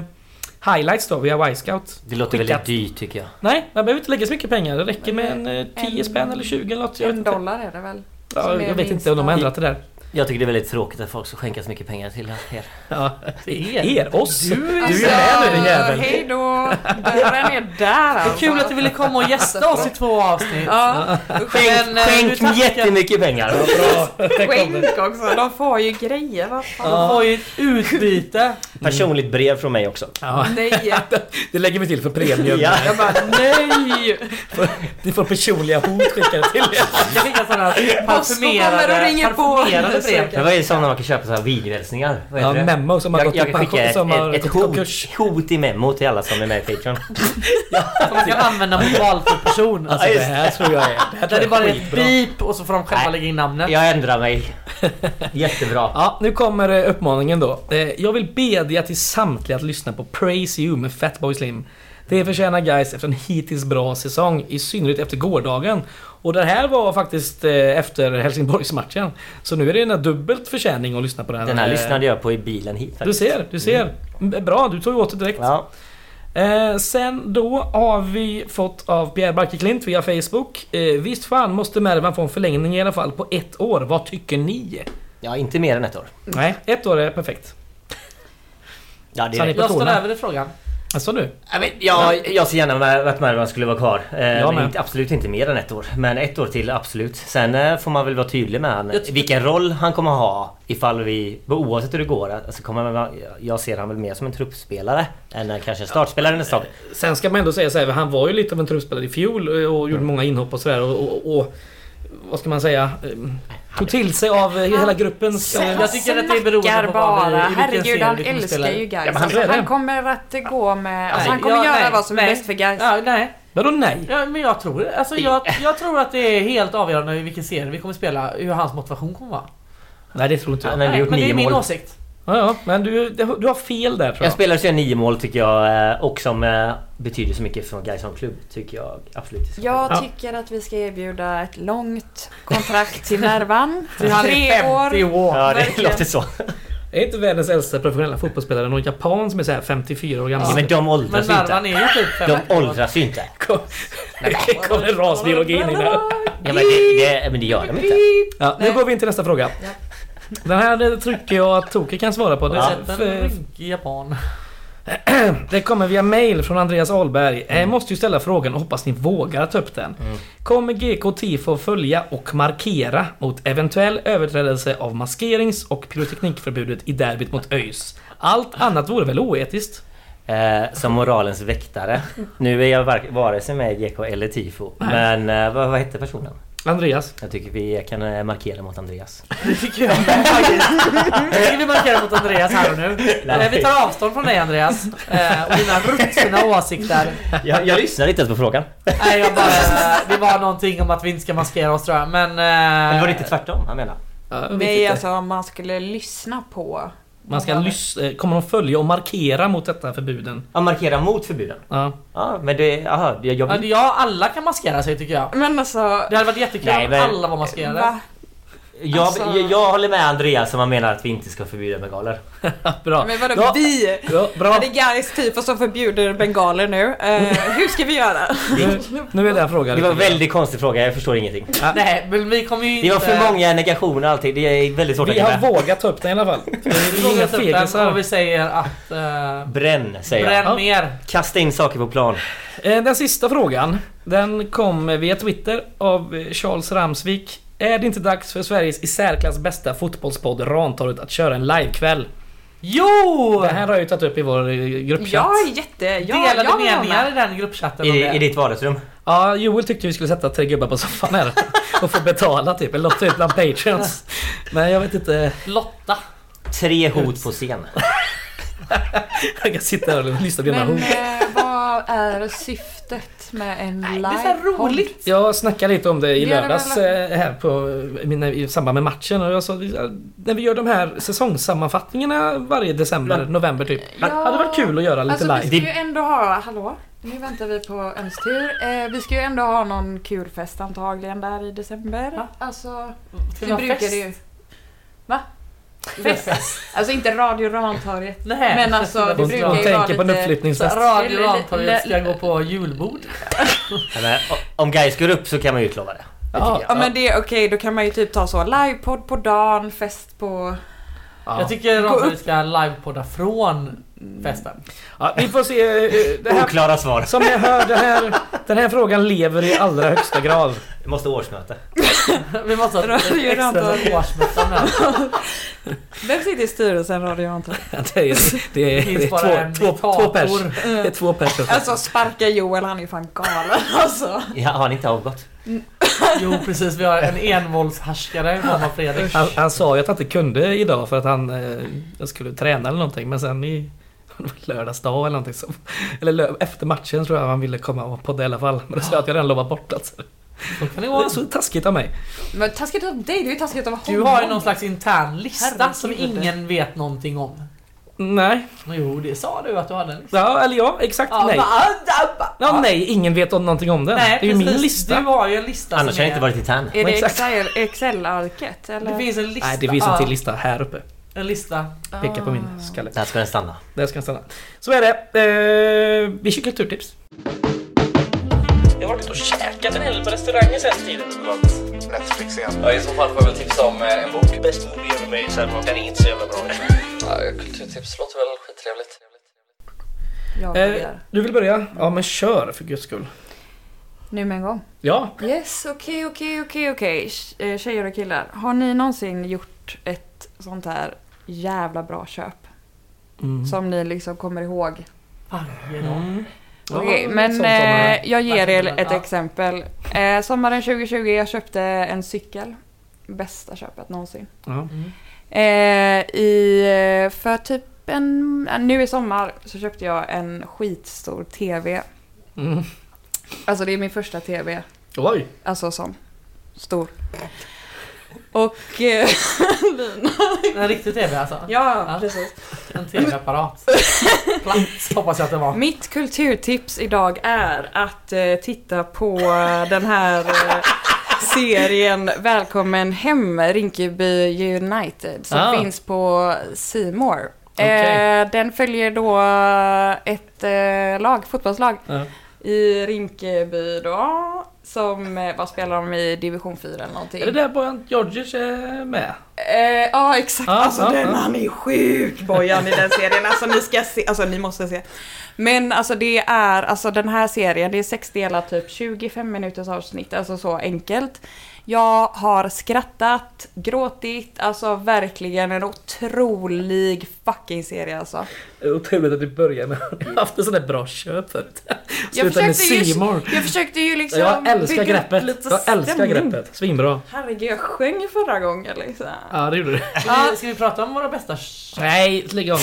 [SPEAKER 3] highlights då via Y-scout.
[SPEAKER 6] Det låter
[SPEAKER 3] Skickat.
[SPEAKER 6] väldigt dyrt tycker jag.
[SPEAKER 3] Nej, man behöver inte lägga så mycket pengar. Det räcker med en eh, 10
[SPEAKER 5] En-
[SPEAKER 3] spänn eller 20 eller något. Jag vet
[SPEAKER 5] En
[SPEAKER 3] inte,
[SPEAKER 5] dollar är det väl? som
[SPEAKER 3] ja,
[SPEAKER 5] är
[SPEAKER 3] jag vet inte
[SPEAKER 5] minsta.
[SPEAKER 3] om de har ändrat det där.
[SPEAKER 6] Jag tycker det är väldigt tråkigt att folk ska skänka så mycket pengar till er.
[SPEAKER 3] Ja, er, oss. Du,
[SPEAKER 5] Alltså,
[SPEAKER 3] är med nu din jävel.
[SPEAKER 5] Hej då! Dörren är där
[SPEAKER 4] Det är
[SPEAKER 5] alltså.
[SPEAKER 4] kul att du ville komma och gästa oss i två avsnitt.
[SPEAKER 5] Ja,
[SPEAKER 4] Men, eh, du
[SPEAKER 6] Skänk
[SPEAKER 4] tackar-
[SPEAKER 6] jättemycket pengar!
[SPEAKER 3] Mm. Bra, där kom det.
[SPEAKER 5] alltså. skänk också. De får ju grejer. Vad fan.
[SPEAKER 4] De får ju ett utbyte.
[SPEAKER 6] Personligt brev från mig också.
[SPEAKER 3] Ja,
[SPEAKER 5] Nej.
[SPEAKER 3] det lägger vi till för premium.
[SPEAKER 6] Ja.
[SPEAKER 5] Jag bara nej!
[SPEAKER 3] Ni får personliga hot skickade till er.
[SPEAKER 4] Jag fick en sån här parfymerade,
[SPEAKER 5] kommer och ringer på.
[SPEAKER 4] parfymerade brev.
[SPEAKER 6] Men vad är det som när man kan köpa så här videohälsningar? Vad
[SPEAKER 3] Ja,
[SPEAKER 6] heter det?
[SPEAKER 3] Memmo som har
[SPEAKER 6] Jag,
[SPEAKER 3] gått i
[SPEAKER 6] jag kan skicka
[SPEAKER 3] pension,
[SPEAKER 6] ett,
[SPEAKER 3] som har
[SPEAKER 6] ett,
[SPEAKER 3] gått
[SPEAKER 6] ett
[SPEAKER 3] i konkurs.
[SPEAKER 6] hot, hot i memo till alla som är med i Patreon.
[SPEAKER 4] Som man kan använda mot valfri person.
[SPEAKER 3] Alltså
[SPEAKER 6] Ja,
[SPEAKER 3] det
[SPEAKER 6] just
[SPEAKER 3] här tror jag är... Det här
[SPEAKER 4] Där
[SPEAKER 3] tror
[SPEAKER 4] det
[SPEAKER 3] jag
[SPEAKER 4] bara
[SPEAKER 3] är
[SPEAKER 4] är ett
[SPEAKER 3] skitbra.
[SPEAKER 4] beep och så får de själva
[SPEAKER 6] Nej.
[SPEAKER 4] lägga in namnet.
[SPEAKER 6] Jag ändrar mig. Jättebra.
[SPEAKER 3] Ja, nu kommer eh, uppmaningen då. Eh, Jag vill bedja till samtliga att lyssna på Praise You med Fatboy Slim. Det förtjänar guys efter en hittills bra säsong, i synnerhet efter gårdagen. Och det här var faktiskt eh, efter Helsingborgsmatchen. Så nu är det en dubbelt förtjäning att lyssna på den.
[SPEAKER 6] Den här
[SPEAKER 3] Eh,
[SPEAKER 6] lyssnade jag på i bilen hit
[SPEAKER 3] Du
[SPEAKER 6] faktiskt.
[SPEAKER 3] ser, du ser. Mm, Bra, du tog ju åt det direkt.
[SPEAKER 6] Ja.
[SPEAKER 3] Eh, sen då har vi fått av Pierre Barkeklint via Facebook. Eh, visst fan måste Mervan få en förlängning i alla fall på ett år. Vad tycker ni?
[SPEAKER 6] ja, inte mer än ett år.
[SPEAKER 3] Nej, ett år är perfekt.
[SPEAKER 6] Ja, det
[SPEAKER 3] Så
[SPEAKER 6] är
[SPEAKER 3] ni-
[SPEAKER 6] rätt.
[SPEAKER 4] Jag står
[SPEAKER 3] personen.
[SPEAKER 4] över i frågan.
[SPEAKER 3] Alltså nu.
[SPEAKER 6] Ja, men jag, jag ser gärna med- att Mervan skulle vara kvar. Eh,
[SPEAKER 3] Jag
[SPEAKER 6] men
[SPEAKER 3] med.
[SPEAKER 6] inte, absolut inte mer än ett år. Men ett år till, absolut. Sen eh, får man väl vara tydlig med han,
[SPEAKER 4] Jag tycker-
[SPEAKER 6] vilken roll han kommer ha. Ifall vi, oavsett hur det går. Alltså kommer han, vara- jag ser han väl mer som en truppspelare. Än en- kanske en startspelare nästa år.
[SPEAKER 3] Sen ska man ändå säga så här, han var ju lite av en truppspelare i fjol eh, och gjorde många inhopp och sådär och, och, och... Vad ska man säga? eh, Tog till sig av eh, hela gruppens... eh,
[SPEAKER 4] Jag tycker att det är beroende på vad vi,
[SPEAKER 5] bara.
[SPEAKER 4] i vilken
[SPEAKER 5] Herregud,
[SPEAKER 4] serie
[SPEAKER 5] han
[SPEAKER 4] vi kommer
[SPEAKER 5] älskar
[SPEAKER 4] spela i.
[SPEAKER 5] ju guys.
[SPEAKER 6] Ja, men han-
[SPEAKER 5] alltså, han kommer att gå med... Alltså, han kommer
[SPEAKER 4] Ja,
[SPEAKER 5] göra
[SPEAKER 4] nej,
[SPEAKER 5] vad som är
[SPEAKER 4] nej.
[SPEAKER 5] bäst för guys.
[SPEAKER 4] Ja, nej.
[SPEAKER 3] Vadå nej?
[SPEAKER 4] Ja, men jag tror, alltså, jag, jag tror att det är helt avgörande i vilken serie vi kommer spela, hur hans motivation kommer vara.
[SPEAKER 3] Nej det tror inte
[SPEAKER 6] Han
[SPEAKER 3] jag.
[SPEAKER 6] har ändå
[SPEAKER 4] Nej,
[SPEAKER 6] gjort
[SPEAKER 4] men det är
[SPEAKER 6] nio
[SPEAKER 4] min
[SPEAKER 6] mål.
[SPEAKER 4] åsikt.
[SPEAKER 3] Ja, ja, men du, du har fel där tror
[SPEAKER 6] En
[SPEAKER 3] jag.
[SPEAKER 6] spelare som gör nio mål tycker jag eh, och som eh, betyder så mycket för Gais som klubb tycker jag absolut.
[SPEAKER 3] Ja.
[SPEAKER 5] Jag tycker att vi ska erbjuda ett långt kontrakt till Nervan.
[SPEAKER 4] Till han är 50 år.
[SPEAKER 6] Ja, det
[SPEAKER 5] verkligen.
[SPEAKER 6] låter så.
[SPEAKER 3] Är inte världens äldsta professionella fotbollsspelare någon japan som är så här 54 år gammal?
[SPEAKER 6] Ja, men de
[SPEAKER 4] Men
[SPEAKER 6] åldras ju inte.
[SPEAKER 4] Mervan är ju typ 50
[SPEAKER 6] De åldras ju inte.
[SPEAKER 3] Kom- Kommer rasbiologin in här.
[SPEAKER 6] Ja, men, det, det, men det gör de inte.
[SPEAKER 3] Ja, nu
[SPEAKER 5] Nej.
[SPEAKER 3] går vi in till nästa fråga.
[SPEAKER 5] Ja.
[SPEAKER 3] Den här eh, tycker jag att Toke kan svara på. Det,
[SPEAKER 6] Ja.
[SPEAKER 4] Sätt en
[SPEAKER 3] för,
[SPEAKER 4] rynkig japan.
[SPEAKER 3] eh, det kommer via mail från Andreas Ahlberg. Jag måste ju ställa frågan och hoppas ni vågar ta upp den. Kommer GK Tifo att följa och markera mot eventuell överträdelse av maskerings och pyroteknikförbudet i derbyt mot ÖIS? Allt annat vore väl oetiskt?
[SPEAKER 6] Eh, som moralens väktare. Nu är jag vark- vare sig med i GK eller Tifo. Men eh, vad, vad hette personen?
[SPEAKER 3] Andreas?
[SPEAKER 6] Jag tycker vi kan eh, markera mot Andreas.
[SPEAKER 4] Det tycker jag faktiskt. Det tycker vi markerar mot Andreas här och nu. Eh, Vi tar avstånd från dig Andreas. Eh, Och dina ruttna åsikter.
[SPEAKER 6] Jag, jag lyssnar inte ens på frågan.
[SPEAKER 4] Nej, jag bara, det var någonting om att vi inte ska maskera oss tror jag. Men... eh,
[SPEAKER 6] Det var lite tvärtom han menar.
[SPEAKER 3] Ja, jag vet
[SPEAKER 5] Nej
[SPEAKER 3] inte.
[SPEAKER 5] alltså om man skulle lyssna på
[SPEAKER 3] Man ska lyssna, kommer de följa och markera mot detta förbuden?
[SPEAKER 6] Ja, markera mot förbuden.
[SPEAKER 3] Ja.
[SPEAKER 6] Ja, men det... Aha, jag, jag,
[SPEAKER 4] Ja, det- eh, Ja, alla kan maskera sig tycker jag.
[SPEAKER 5] Men alltså...
[SPEAKER 4] Det hade varit jättekul
[SPEAKER 6] Nej,
[SPEAKER 4] om
[SPEAKER 6] men-
[SPEAKER 4] alla var maskerade.
[SPEAKER 5] Va?
[SPEAKER 6] jag,
[SPEAKER 5] alltså-
[SPEAKER 6] jag, jag håller med Andreas som han menar att vi inte ska förbjuda bengaler.
[SPEAKER 3] Bra.
[SPEAKER 5] Men vadå
[SPEAKER 3] Ja.
[SPEAKER 5] vi?
[SPEAKER 3] Ja, bra.
[SPEAKER 5] Är det guys typ som förbjuder bengaler nu? Eh, hur ska vi göra?
[SPEAKER 3] Nu, nu är den frågan.
[SPEAKER 6] Det var en väldigt konstig fråga, jag förstår ingenting.
[SPEAKER 4] Nej, men vi kommer ju inte...
[SPEAKER 6] Ah. Det var för många negationer alltid, det är väldigt svårt att
[SPEAKER 3] Vi
[SPEAKER 6] hänga
[SPEAKER 3] har
[SPEAKER 6] med.
[SPEAKER 3] vågat ta upp den i alla fall. Det
[SPEAKER 4] Vi
[SPEAKER 3] är
[SPEAKER 4] vågar
[SPEAKER 3] inga
[SPEAKER 4] ta upp den och vi
[SPEAKER 3] fegisar.
[SPEAKER 4] säger att... eh,
[SPEAKER 6] Bränn, säger jag.
[SPEAKER 4] bränn
[SPEAKER 3] Ja.
[SPEAKER 4] mer.
[SPEAKER 6] Kasta in saker på plan.
[SPEAKER 3] Eh, Den sista frågan, den kom via Twitter av eh, Charles Ramsvik. Är det inte dags för Sveriges i särklass bästa fotbollspodd Rantorget att köra en livekväll?
[SPEAKER 4] Jo!
[SPEAKER 3] Det här har jag ju tagit upp i vår eh, gruppchatt.
[SPEAKER 5] Jag är jätte... Jag,
[SPEAKER 4] Delade
[SPEAKER 5] jag vill vara
[SPEAKER 4] meningar i
[SPEAKER 5] med.
[SPEAKER 4] den gruppchatten
[SPEAKER 6] I,
[SPEAKER 4] om det.
[SPEAKER 6] I ditt vardagsrum.
[SPEAKER 3] Ja, Joel tyckte vi skulle sätta tre gubbar på soffan här och få betala typ, eller något typ bland patreons. Men jag vet inte,
[SPEAKER 4] Lotta.
[SPEAKER 6] Tre hot på scen.
[SPEAKER 3] jag kan sitta här och lyssna på dina
[SPEAKER 5] Men
[SPEAKER 3] hot.
[SPEAKER 5] eh, vad är syftet med en live
[SPEAKER 4] Det är så här roligt.
[SPEAKER 3] Jag snackade lite om det i
[SPEAKER 5] Gör det
[SPEAKER 3] lördags eh, här på, eh, mina- i samband med matchen och jag sa eh, när vi gör de här säsongssammanfattningarna varje december, november typ.
[SPEAKER 5] Ja.
[SPEAKER 3] Hade varit kul att göra lite
[SPEAKER 5] Alltså vi
[SPEAKER 3] live.
[SPEAKER 5] ska ju ändå ha, hallå? Nu väntar vi på Öms tur. Eh, vi ska ju ändå ha någon kul fest antagligen där i december.
[SPEAKER 4] Ja.
[SPEAKER 5] Alltså,
[SPEAKER 4] Ska
[SPEAKER 5] vi
[SPEAKER 4] vi ha
[SPEAKER 5] brukar
[SPEAKER 4] fest?
[SPEAKER 5] det ju... Va? Fest? alltså inte Radio Rantorget.
[SPEAKER 4] Nej.
[SPEAKER 5] Men alltså det
[SPEAKER 3] Hon,
[SPEAKER 5] brukar
[SPEAKER 3] hon
[SPEAKER 5] ju vara
[SPEAKER 3] tänker på en
[SPEAKER 5] lite...
[SPEAKER 4] Så
[SPEAKER 3] uppflyttningsfest.
[SPEAKER 4] Radio
[SPEAKER 5] Le-
[SPEAKER 4] Rantorget ska
[SPEAKER 5] le-
[SPEAKER 4] gå på julbord.
[SPEAKER 6] Ja, men, o- Om guys går upp så kan man ju utlova det. Det
[SPEAKER 3] Ja.
[SPEAKER 6] tycker
[SPEAKER 5] Ja
[SPEAKER 6] jag.
[SPEAKER 5] men det är okej, då kan man ju typ ta så livepodd på dagen, fest på...
[SPEAKER 3] Ja.
[SPEAKER 4] Jag tycker
[SPEAKER 5] Gå
[SPEAKER 4] Rantorget ska livepodda från festen.
[SPEAKER 3] Ja, vi får se. eh, Det här,
[SPEAKER 6] Oklara svar.
[SPEAKER 3] som jag hör, det här, den här frågan lever i allra högsta grad.
[SPEAKER 6] Det måste årsmöte.
[SPEAKER 4] Vi måste ha ett
[SPEAKER 5] Radio
[SPEAKER 4] extra
[SPEAKER 5] Rantorget.
[SPEAKER 4] årsmöte nu.
[SPEAKER 5] Vem sitter i styrelsen Radio Rantorget?
[SPEAKER 3] Det är, det är, det
[SPEAKER 4] Alltså, finns bara
[SPEAKER 3] är
[SPEAKER 4] en
[SPEAKER 3] två, två, två pers.
[SPEAKER 4] diktator.
[SPEAKER 3] Det är två pers.
[SPEAKER 5] Alltså sparka Joel, han är ju fan galen alltså.
[SPEAKER 6] Ja, har ni inte avgått?
[SPEAKER 4] Jo precis, vi har en envåldshärskare i form av Fredrik.
[SPEAKER 3] Han, han sa ju att han inte kunde idag för att han eh, jag skulle träna eller någonting men sen i det var lördagsdag eller någonting som, Eller lö, efter matchen tror jag han ville komma och podda i alla fall. Men då sa jag att jag redan lovat bort alltså.
[SPEAKER 4] Så kan det
[SPEAKER 3] Det var
[SPEAKER 4] gå.
[SPEAKER 3] så taskigt av mig.
[SPEAKER 5] Men taskigt av dig, det är ju taskigt av honom.
[SPEAKER 4] Du har ju någon slags intern lista
[SPEAKER 5] Herregud.
[SPEAKER 4] som ingen vet någonting om.
[SPEAKER 3] Nej.
[SPEAKER 4] Jo, det sa du att du hade en lista.
[SPEAKER 3] Ja, eller ja, exakt
[SPEAKER 4] Ja,
[SPEAKER 3] nej.
[SPEAKER 4] bara, ah, ah, ah.
[SPEAKER 3] Ja, nej, ingen vet om någonting om den.
[SPEAKER 4] Nej,
[SPEAKER 3] det är ju
[SPEAKER 4] precis.
[SPEAKER 3] min lista.
[SPEAKER 4] Du har ju en lista
[SPEAKER 6] Annars
[SPEAKER 4] som
[SPEAKER 6] har jag
[SPEAKER 4] är-
[SPEAKER 6] inte varit intern.
[SPEAKER 5] Är det
[SPEAKER 3] Exakt.
[SPEAKER 5] Excel- Excel-arket eller?
[SPEAKER 4] Det finns en lista.
[SPEAKER 3] Nej, det finns en till
[SPEAKER 4] Ja, Ah.
[SPEAKER 3] lista här uppe.
[SPEAKER 4] En lista.
[SPEAKER 3] Peka på min skalle.
[SPEAKER 6] Där ska den stanna.
[SPEAKER 3] Där ska den stanna. Så är det. Eh, vi kör kulturtips. Jag har varit och käkat en hel del på restauranger senaste tiden.
[SPEAKER 7] Netflix igen.
[SPEAKER 8] Ja, I så fall får jag väl tipsa om eh, en bok.
[SPEAKER 9] Bäst movie ever made, så här, den är inte så jävla bra.
[SPEAKER 8] Ja, Kulturtips låter väl skittrevligt.
[SPEAKER 5] Jag
[SPEAKER 3] Eh,
[SPEAKER 5] börjar.
[SPEAKER 3] du vill börja? Ja men kör för guds skull.
[SPEAKER 5] Nu med en gång.
[SPEAKER 3] Ja.
[SPEAKER 5] Yes, okej, okej, okej, okej. Eh, Tjejer och killar, har ni någonsin gjort ett sånt här jävla bra köp?
[SPEAKER 4] Mm.
[SPEAKER 5] Som ni liksom kommer ihåg?
[SPEAKER 4] Varje dag.
[SPEAKER 3] Ja,
[SPEAKER 5] Okej,
[SPEAKER 3] sånt
[SPEAKER 5] men
[SPEAKER 3] som är-
[SPEAKER 5] eh, jag ger er ett
[SPEAKER 4] Ja.
[SPEAKER 5] exempel. Eh, sommaren 2020, jag köpte en cykel. Bästa köpet någonsin.
[SPEAKER 3] Ja.
[SPEAKER 5] Eh, i, eh, för typ en, eh, nu i sommar så köpte jag en skitstor TV.
[SPEAKER 3] Mm.
[SPEAKER 5] Alltså det är min första TV.
[SPEAKER 3] Oj.
[SPEAKER 5] Alltså som stor. Och... Eh, Lina.
[SPEAKER 4] En riktig TV alltså.
[SPEAKER 5] ja,
[SPEAKER 4] Ja.
[SPEAKER 5] precis.
[SPEAKER 4] En TV-apparat. Plats hoppas jag att det var.
[SPEAKER 5] Mitt kulturtips idag är att eh, titta på eh, den här eh, serien Välkommen hem Rinkeby United som
[SPEAKER 3] Ah.
[SPEAKER 5] finns på C More.
[SPEAKER 3] Okej.
[SPEAKER 5] Eh, den följer då ett eh, lag, fotbollslag
[SPEAKER 3] Ja.
[SPEAKER 5] i Rinkeby då. Som, eh, vad spelar de i division 4 eller någonting?
[SPEAKER 3] Är det där Bojan Georgic är med?
[SPEAKER 5] Eh, ja exakt,
[SPEAKER 3] Ja,
[SPEAKER 5] alltså
[SPEAKER 3] ja,
[SPEAKER 5] den
[SPEAKER 3] ja.
[SPEAKER 5] han är sjuk Bojan i den serien. Alltså ni ska se, alltså ni måste se. Men alltså det är, alltså den här serien, det är sex delar typ 25 minuters avsnitt, alltså så enkelt. Jag har skrattat, gråtit, alltså verkligen en otrolig fucking serie alltså.
[SPEAKER 3] Otroligt att du börjar med Jag har haft en sån där bra köp förut.
[SPEAKER 5] Jag
[SPEAKER 3] Sluta med
[SPEAKER 5] försökte ju-
[SPEAKER 3] C More.
[SPEAKER 5] Jag försökte ju liksom
[SPEAKER 3] Jag älskar
[SPEAKER 5] bygga upp
[SPEAKER 3] greppet.
[SPEAKER 5] lite
[SPEAKER 3] Jag älskar
[SPEAKER 5] stämning.
[SPEAKER 3] greppet. Svinbra.
[SPEAKER 5] Herregud, jag sjöng ju förra gången liksom.
[SPEAKER 3] Ja det gjorde du.
[SPEAKER 4] Ska vi, Eh, ska vi prata om våra bästa... sh-
[SPEAKER 3] Nej, lägg av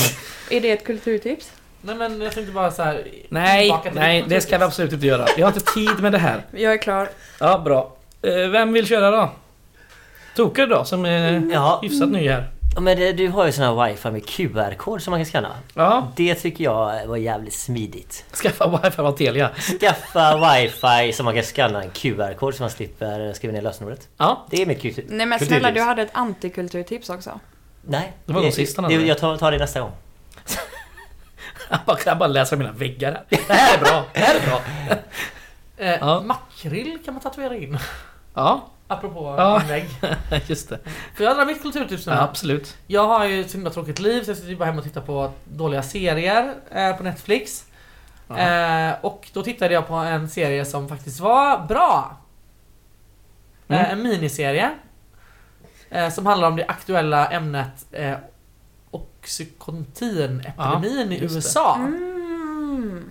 [SPEAKER 3] nu.
[SPEAKER 5] Är det ett kulturtips?
[SPEAKER 4] Nej men jag tänkte bara så här.
[SPEAKER 3] Nej,
[SPEAKER 4] tillbaka till
[SPEAKER 3] nej
[SPEAKER 4] ditt
[SPEAKER 3] det ska vi
[SPEAKER 4] kulturtips.
[SPEAKER 3] absolut inte göra. Jag har inte tid med det här.
[SPEAKER 5] Jag är klar.
[SPEAKER 3] Ja bra. Eh, Vem vill köra då? Toker då som är
[SPEAKER 6] Ja,
[SPEAKER 3] hyfsat ny här.
[SPEAKER 6] Ja, Men det, du har ju sån här wifi med QR-kod som man kan skanna.
[SPEAKER 3] Ja,
[SPEAKER 6] Det tycker jag var jävligt smidigt.
[SPEAKER 3] skaffa wifi av Telia.
[SPEAKER 6] Skaffa wifi som man kan skanna en QR-kod så man slipper skriva ner lösenordet.
[SPEAKER 3] Ja,
[SPEAKER 6] Det är mitt kultur.
[SPEAKER 5] Nej men snälla, du hade ett antikulturtips också.
[SPEAKER 6] Nej.
[SPEAKER 3] Det var de sista
[SPEAKER 6] det,
[SPEAKER 3] nu.
[SPEAKER 6] Jag tar, tar det nästa gång.
[SPEAKER 3] jag bara, jag bara läser mina väggar här. Det här är bra, det här är bra.
[SPEAKER 4] Eh,
[SPEAKER 3] Ja.
[SPEAKER 4] Makrill kan man tatuera in.
[SPEAKER 3] Ja,
[SPEAKER 4] Apropå
[SPEAKER 3] Ja.
[SPEAKER 4] inlägg.
[SPEAKER 3] just det.
[SPEAKER 4] För jag drar mitt kulturtips nu.
[SPEAKER 3] Ja, absolut.
[SPEAKER 4] Jag har ju ett himla tråkigt liv så jag sitter ju bara hemma och tittar på dåliga serier eh, på Netflix. Eh, och då tittade jag på en serie som faktiskt var bra.
[SPEAKER 3] Mm.
[SPEAKER 4] Eh, en miniserie. Eh, som handlar om det aktuella ämnet eh, Oxycontin-epidemin i
[SPEAKER 3] just det.
[SPEAKER 4] USA.
[SPEAKER 5] Mm.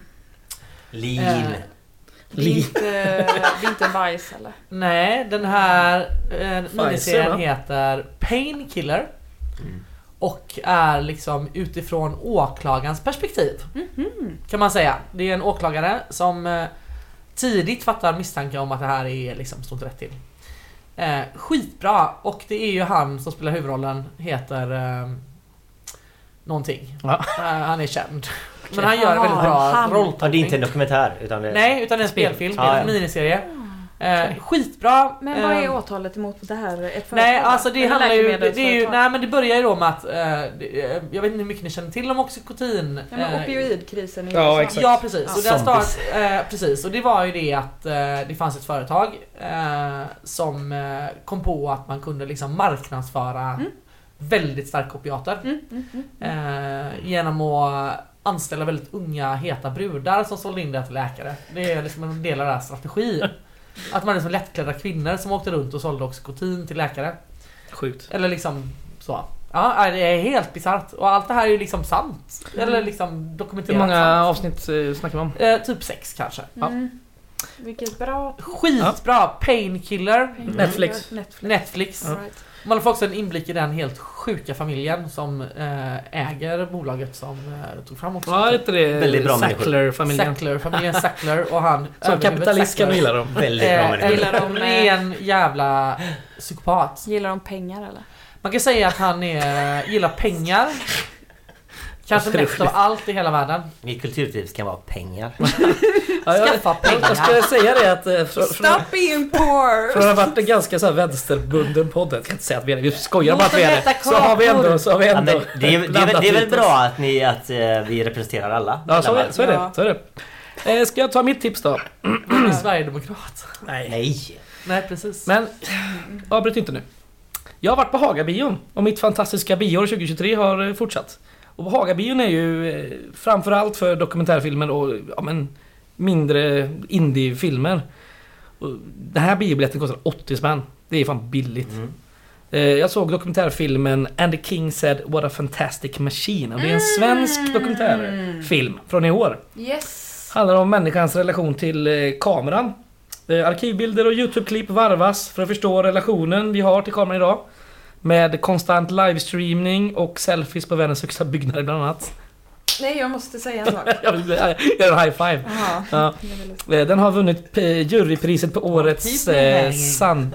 [SPEAKER 6] Lean.
[SPEAKER 4] Eh,
[SPEAKER 5] Det är inte, det är inte bajs eller?
[SPEAKER 4] Nej, den här eh,
[SPEAKER 3] va? Mm.
[SPEAKER 4] miniserien heter Painkiller. Och är liksom utifrån åklagarens perspektiv.
[SPEAKER 5] Mhm.
[SPEAKER 4] Kan man säga. Det är en åklagare som eh, tidigt fattar misstanke om att det här är liksom står inte rätt till. Eh, skitbra! Och det är ju han som spelar huvudrollen, heter eh, någonting.
[SPEAKER 3] Ja.
[SPEAKER 4] Eh, han är känd. Men han gör en väldigt
[SPEAKER 5] Jaha,
[SPEAKER 4] bra
[SPEAKER 5] han.
[SPEAKER 6] Ja, det är
[SPEAKER 4] rolltolkning.
[SPEAKER 6] inte en dokumentär utan det...
[SPEAKER 4] Nej, utan en
[SPEAKER 3] Spel.
[SPEAKER 4] spelfilm,
[SPEAKER 6] Ja, ja.
[SPEAKER 4] en miniserie. Eh, skitbra!
[SPEAKER 5] Ah, Men vad är
[SPEAKER 4] Eh,
[SPEAKER 5] åtalet emot det här? Ett företag?
[SPEAKER 4] Nej alltså det
[SPEAKER 5] Eller
[SPEAKER 4] handlar ju, det är ju,
[SPEAKER 5] läkemedelsföretag?
[SPEAKER 4] nej men det börjar ju då med att, eh, det, eh, jag vet inte hur mycket ni känner till om oxycotin.
[SPEAKER 5] Ja, men
[SPEAKER 4] eh,
[SPEAKER 5] opioidkrisen i
[SPEAKER 3] Ja,
[SPEAKER 5] USA.
[SPEAKER 3] exakt.
[SPEAKER 4] Ja precis. Och, den start,
[SPEAKER 6] Zombies.
[SPEAKER 4] eh, precis. och det var ju det att eh, det fanns ett företag eh, som eh, kom på att man kunde liksom marknadsföra
[SPEAKER 5] Mm.
[SPEAKER 4] väldigt starka opiater. Eh, genom att anställa väldigt unga heta brudar som sålde in det till läkare. Det är liksom en del av deras strategi. Att man är liksom lättklädda kvinnor som åkte runt och sålde oxycotin till läkare.
[SPEAKER 3] Sjukt.
[SPEAKER 4] Eller liksom så. Ja, nej, det är helt bisarrt. Och allt det här är ju liksom sant.
[SPEAKER 5] Mm,
[SPEAKER 4] Eller liksom
[SPEAKER 3] Mm. Hur
[SPEAKER 4] dokumenterat
[SPEAKER 3] många
[SPEAKER 4] sant.
[SPEAKER 3] avsnitt eh, snackar vi om?
[SPEAKER 4] Eh, typ sex kanske.
[SPEAKER 5] Mm. Vilket bra
[SPEAKER 4] Skitbra! Painkiller.
[SPEAKER 3] Netflix.
[SPEAKER 5] Netflix.
[SPEAKER 4] Netflix.
[SPEAKER 5] All right.
[SPEAKER 4] Man får också en inblick i den helt sjuka familjen som eh, äger bolaget som eh, tog fram också.
[SPEAKER 3] Ja, är inte det
[SPEAKER 6] Väldigt bra
[SPEAKER 3] Sackler-familjen?
[SPEAKER 4] Sackler, familjen Sackler och han
[SPEAKER 3] Som
[SPEAKER 4] överhuvudet
[SPEAKER 3] kapitalist kan du
[SPEAKER 4] Sackler.
[SPEAKER 3] gilla dem.
[SPEAKER 6] Väldigt bra
[SPEAKER 4] Eh,
[SPEAKER 6] människor.
[SPEAKER 5] eller-
[SPEAKER 4] en ren jävla psykopat.
[SPEAKER 5] Gillar de pengar eller?
[SPEAKER 4] Man kan säga att han är, gillar pengar. Kanske mest av allt i hela världen.
[SPEAKER 5] eh.
[SPEAKER 6] Mitt kulturtips kan vara pengar.
[SPEAKER 3] Ja, jag-
[SPEAKER 4] Skaffa
[SPEAKER 3] jag, jag skulle
[SPEAKER 4] pengar.
[SPEAKER 3] säga det att eh, från, från,
[SPEAKER 5] Stop being poor!
[SPEAKER 3] från att ha varit en ganska så här vänsterbunden podd, jag ska inte säga att vi är det, vi skojar bara
[SPEAKER 4] Låt
[SPEAKER 3] att vi är
[SPEAKER 4] dem
[SPEAKER 3] det,
[SPEAKER 4] äta
[SPEAKER 3] så har vi ändå, så har vi
[SPEAKER 6] Ja, men det,
[SPEAKER 3] ändå
[SPEAKER 6] är, det, är, väl- det är väl bra att, ni, att eh, vi representerar alla?
[SPEAKER 3] Ja, så, är- så är det.
[SPEAKER 5] Ja.
[SPEAKER 3] Så är det. Eh, ska jag ta mitt tips då?
[SPEAKER 4] Du är sverigedemokrat.
[SPEAKER 6] Nej!
[SPEAKER 4] Nej precis.
[SPEAKER 3] Men, avbryt inte nu. Jag har varit på Hagabion och mitt fantastiska bioår 2023 har eh, fortsatt. Och Hagabion är ju eh, framförallt för dokumentärfilmer och ja, men, mindre indiefilmer. Och Den här biobiljetten kostar 80 spänn. Det är fan billigt. Eh, Jag såg dokumentärfilmen And the King said What a fantastic machine. Och det är en svensk dokumentärfilm från i år.
[SPEAKER 5] Yes!
[SPEAKER 3] Handlar om människans relation till eh, kameran. Eh, arkivbilder och YouTube-klipp varvas för att förstå relationen vi har till kameran idag. Med konstant livestreamning och selfies på världens högsta byggnader bland annat.
[SPEAKER 5] Nej, jag måste säga en sak.
[SPEAKER 3] Jag vill eh, göra en high five.
[SPEAKER 5] Jaha.
[SPEAKER 3] Ja.
[SPEAKER 5] det är väldigt-
[SPEAKER 3] Eh, Den har vunnit eh, jurypriset på årets eh,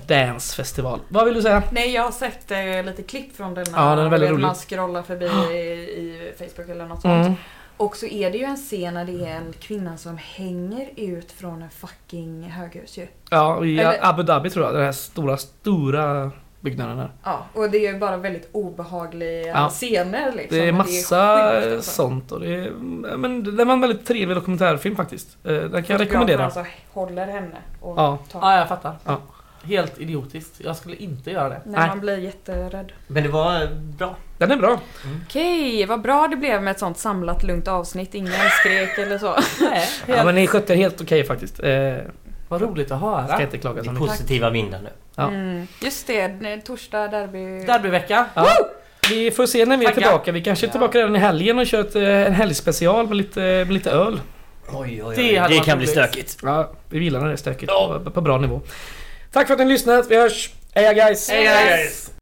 [SPEAKER 3] Sundance-festival. Vad vill du säga?
[SPEAKER 5] Nej, jag har sett eh, lite klipp från den.
[SPEAKER 3] Ja, den är väldigt
[SPEAKER 5] när Man
[SPEAKER 3] rolig.
[SPEAKER 5] scrollar förbi i, i Facebook eller något sånt.
[SPEAKER 3] Mm.
[SPEAKER 5] Och så är det ju en scen när det är en kvinna som hänger ut från en fucking höghus ju.
[SPEAKER 3] Ja, i
[SPEAKER 5] Eller-
[SPEAKER 3] Abu Dhabi tror jag. Den här stora, stora byggnaden där.
[SPEAKER 5] Ja, och det är ju bara väldigt obehagliga
[SPEAKER 3] Ja.
[SPEAKER 5] scener liksom.
[SPEAKER 3] Det är
[SPEAKER 5] Men
[SPEAKER 3] massa
[SPEAKER 5] sjukt, alltså.
[SPEAKER 3] sånt och det är, men det var en väldigt trevlig dokumentärfilm faktiskt. Eh, Den kan jag
[SPEAKER 5] Fotografen
[SPEAKER 3] rekommendera.
[SPEAKER 5] Alltså, håller henne och
[SPEAKER 3] Ja.
[SPEAKER 5] tar.
[SPEAKER 4] Ja, jag fattar.
[SPEAKER 3] Ja.
[SPEAKER 4] Helt idiotiskt. Jag skulle inte göra det.
[SPEAKER 5] När
[SPEAKER 3] Nej.
[SPEAKER 5] man blir jätterädd.
[SPEAKER 6] Men det var bra.
[SPEAKER 3] Den är bra.
[SPEAKER 5] Okej, vad bra det blev med ett sånt samlat lugnt avsnitt. Ingen skrek eller så.
[SPEAKER 4] Nej,
[SPEAKER 3] Ja,
[SPEAKER 4] helt,
[SPEAKER 3] men ni skötte er helt okej faktiskt. Eh,
[SPEAKER 4] vad roligt att höra.
[SPEAKER 3] ska inte klaga
[SPEAKER 6] Det
[SPEAKER 3] så
[SPEAKER 6] är
[SPEAKER 3] mycket.
[SPEAKER 6] positiva vindar nu.
[SPEAKER 3] Ja.
[SPEAKER 5] Mm. Just det, n- torsdag derby.
[SPEAKER 4] Derbyvecka.
[SPEAKER 3] Ja. Vi får se när vi är
[SPEAKER 4] Tagga.
[SPEAKER 3] tillbaka. Vi kanske är tillbaka redan i helgen och kör ett, eh, en helgspecial med lite, eh, med lite öl.
[SPEAKER 6] Oj, oj, oj.
[SPEAKER 4] Det hade
[SPEAKER 6] Det
[SPEAKER 4] varit
[SPEAKER 6] kan bli
[SPEAKER 4] roligt.
[SPEAKER 6] stökigt.
[SPEAKER 3] Ja, vi gillar när det är stökigt på, på bra nivå. Tack för att ni har lyssnat. Vi hörs. Heja guys!
[SPEAKER 4] Hej, guys.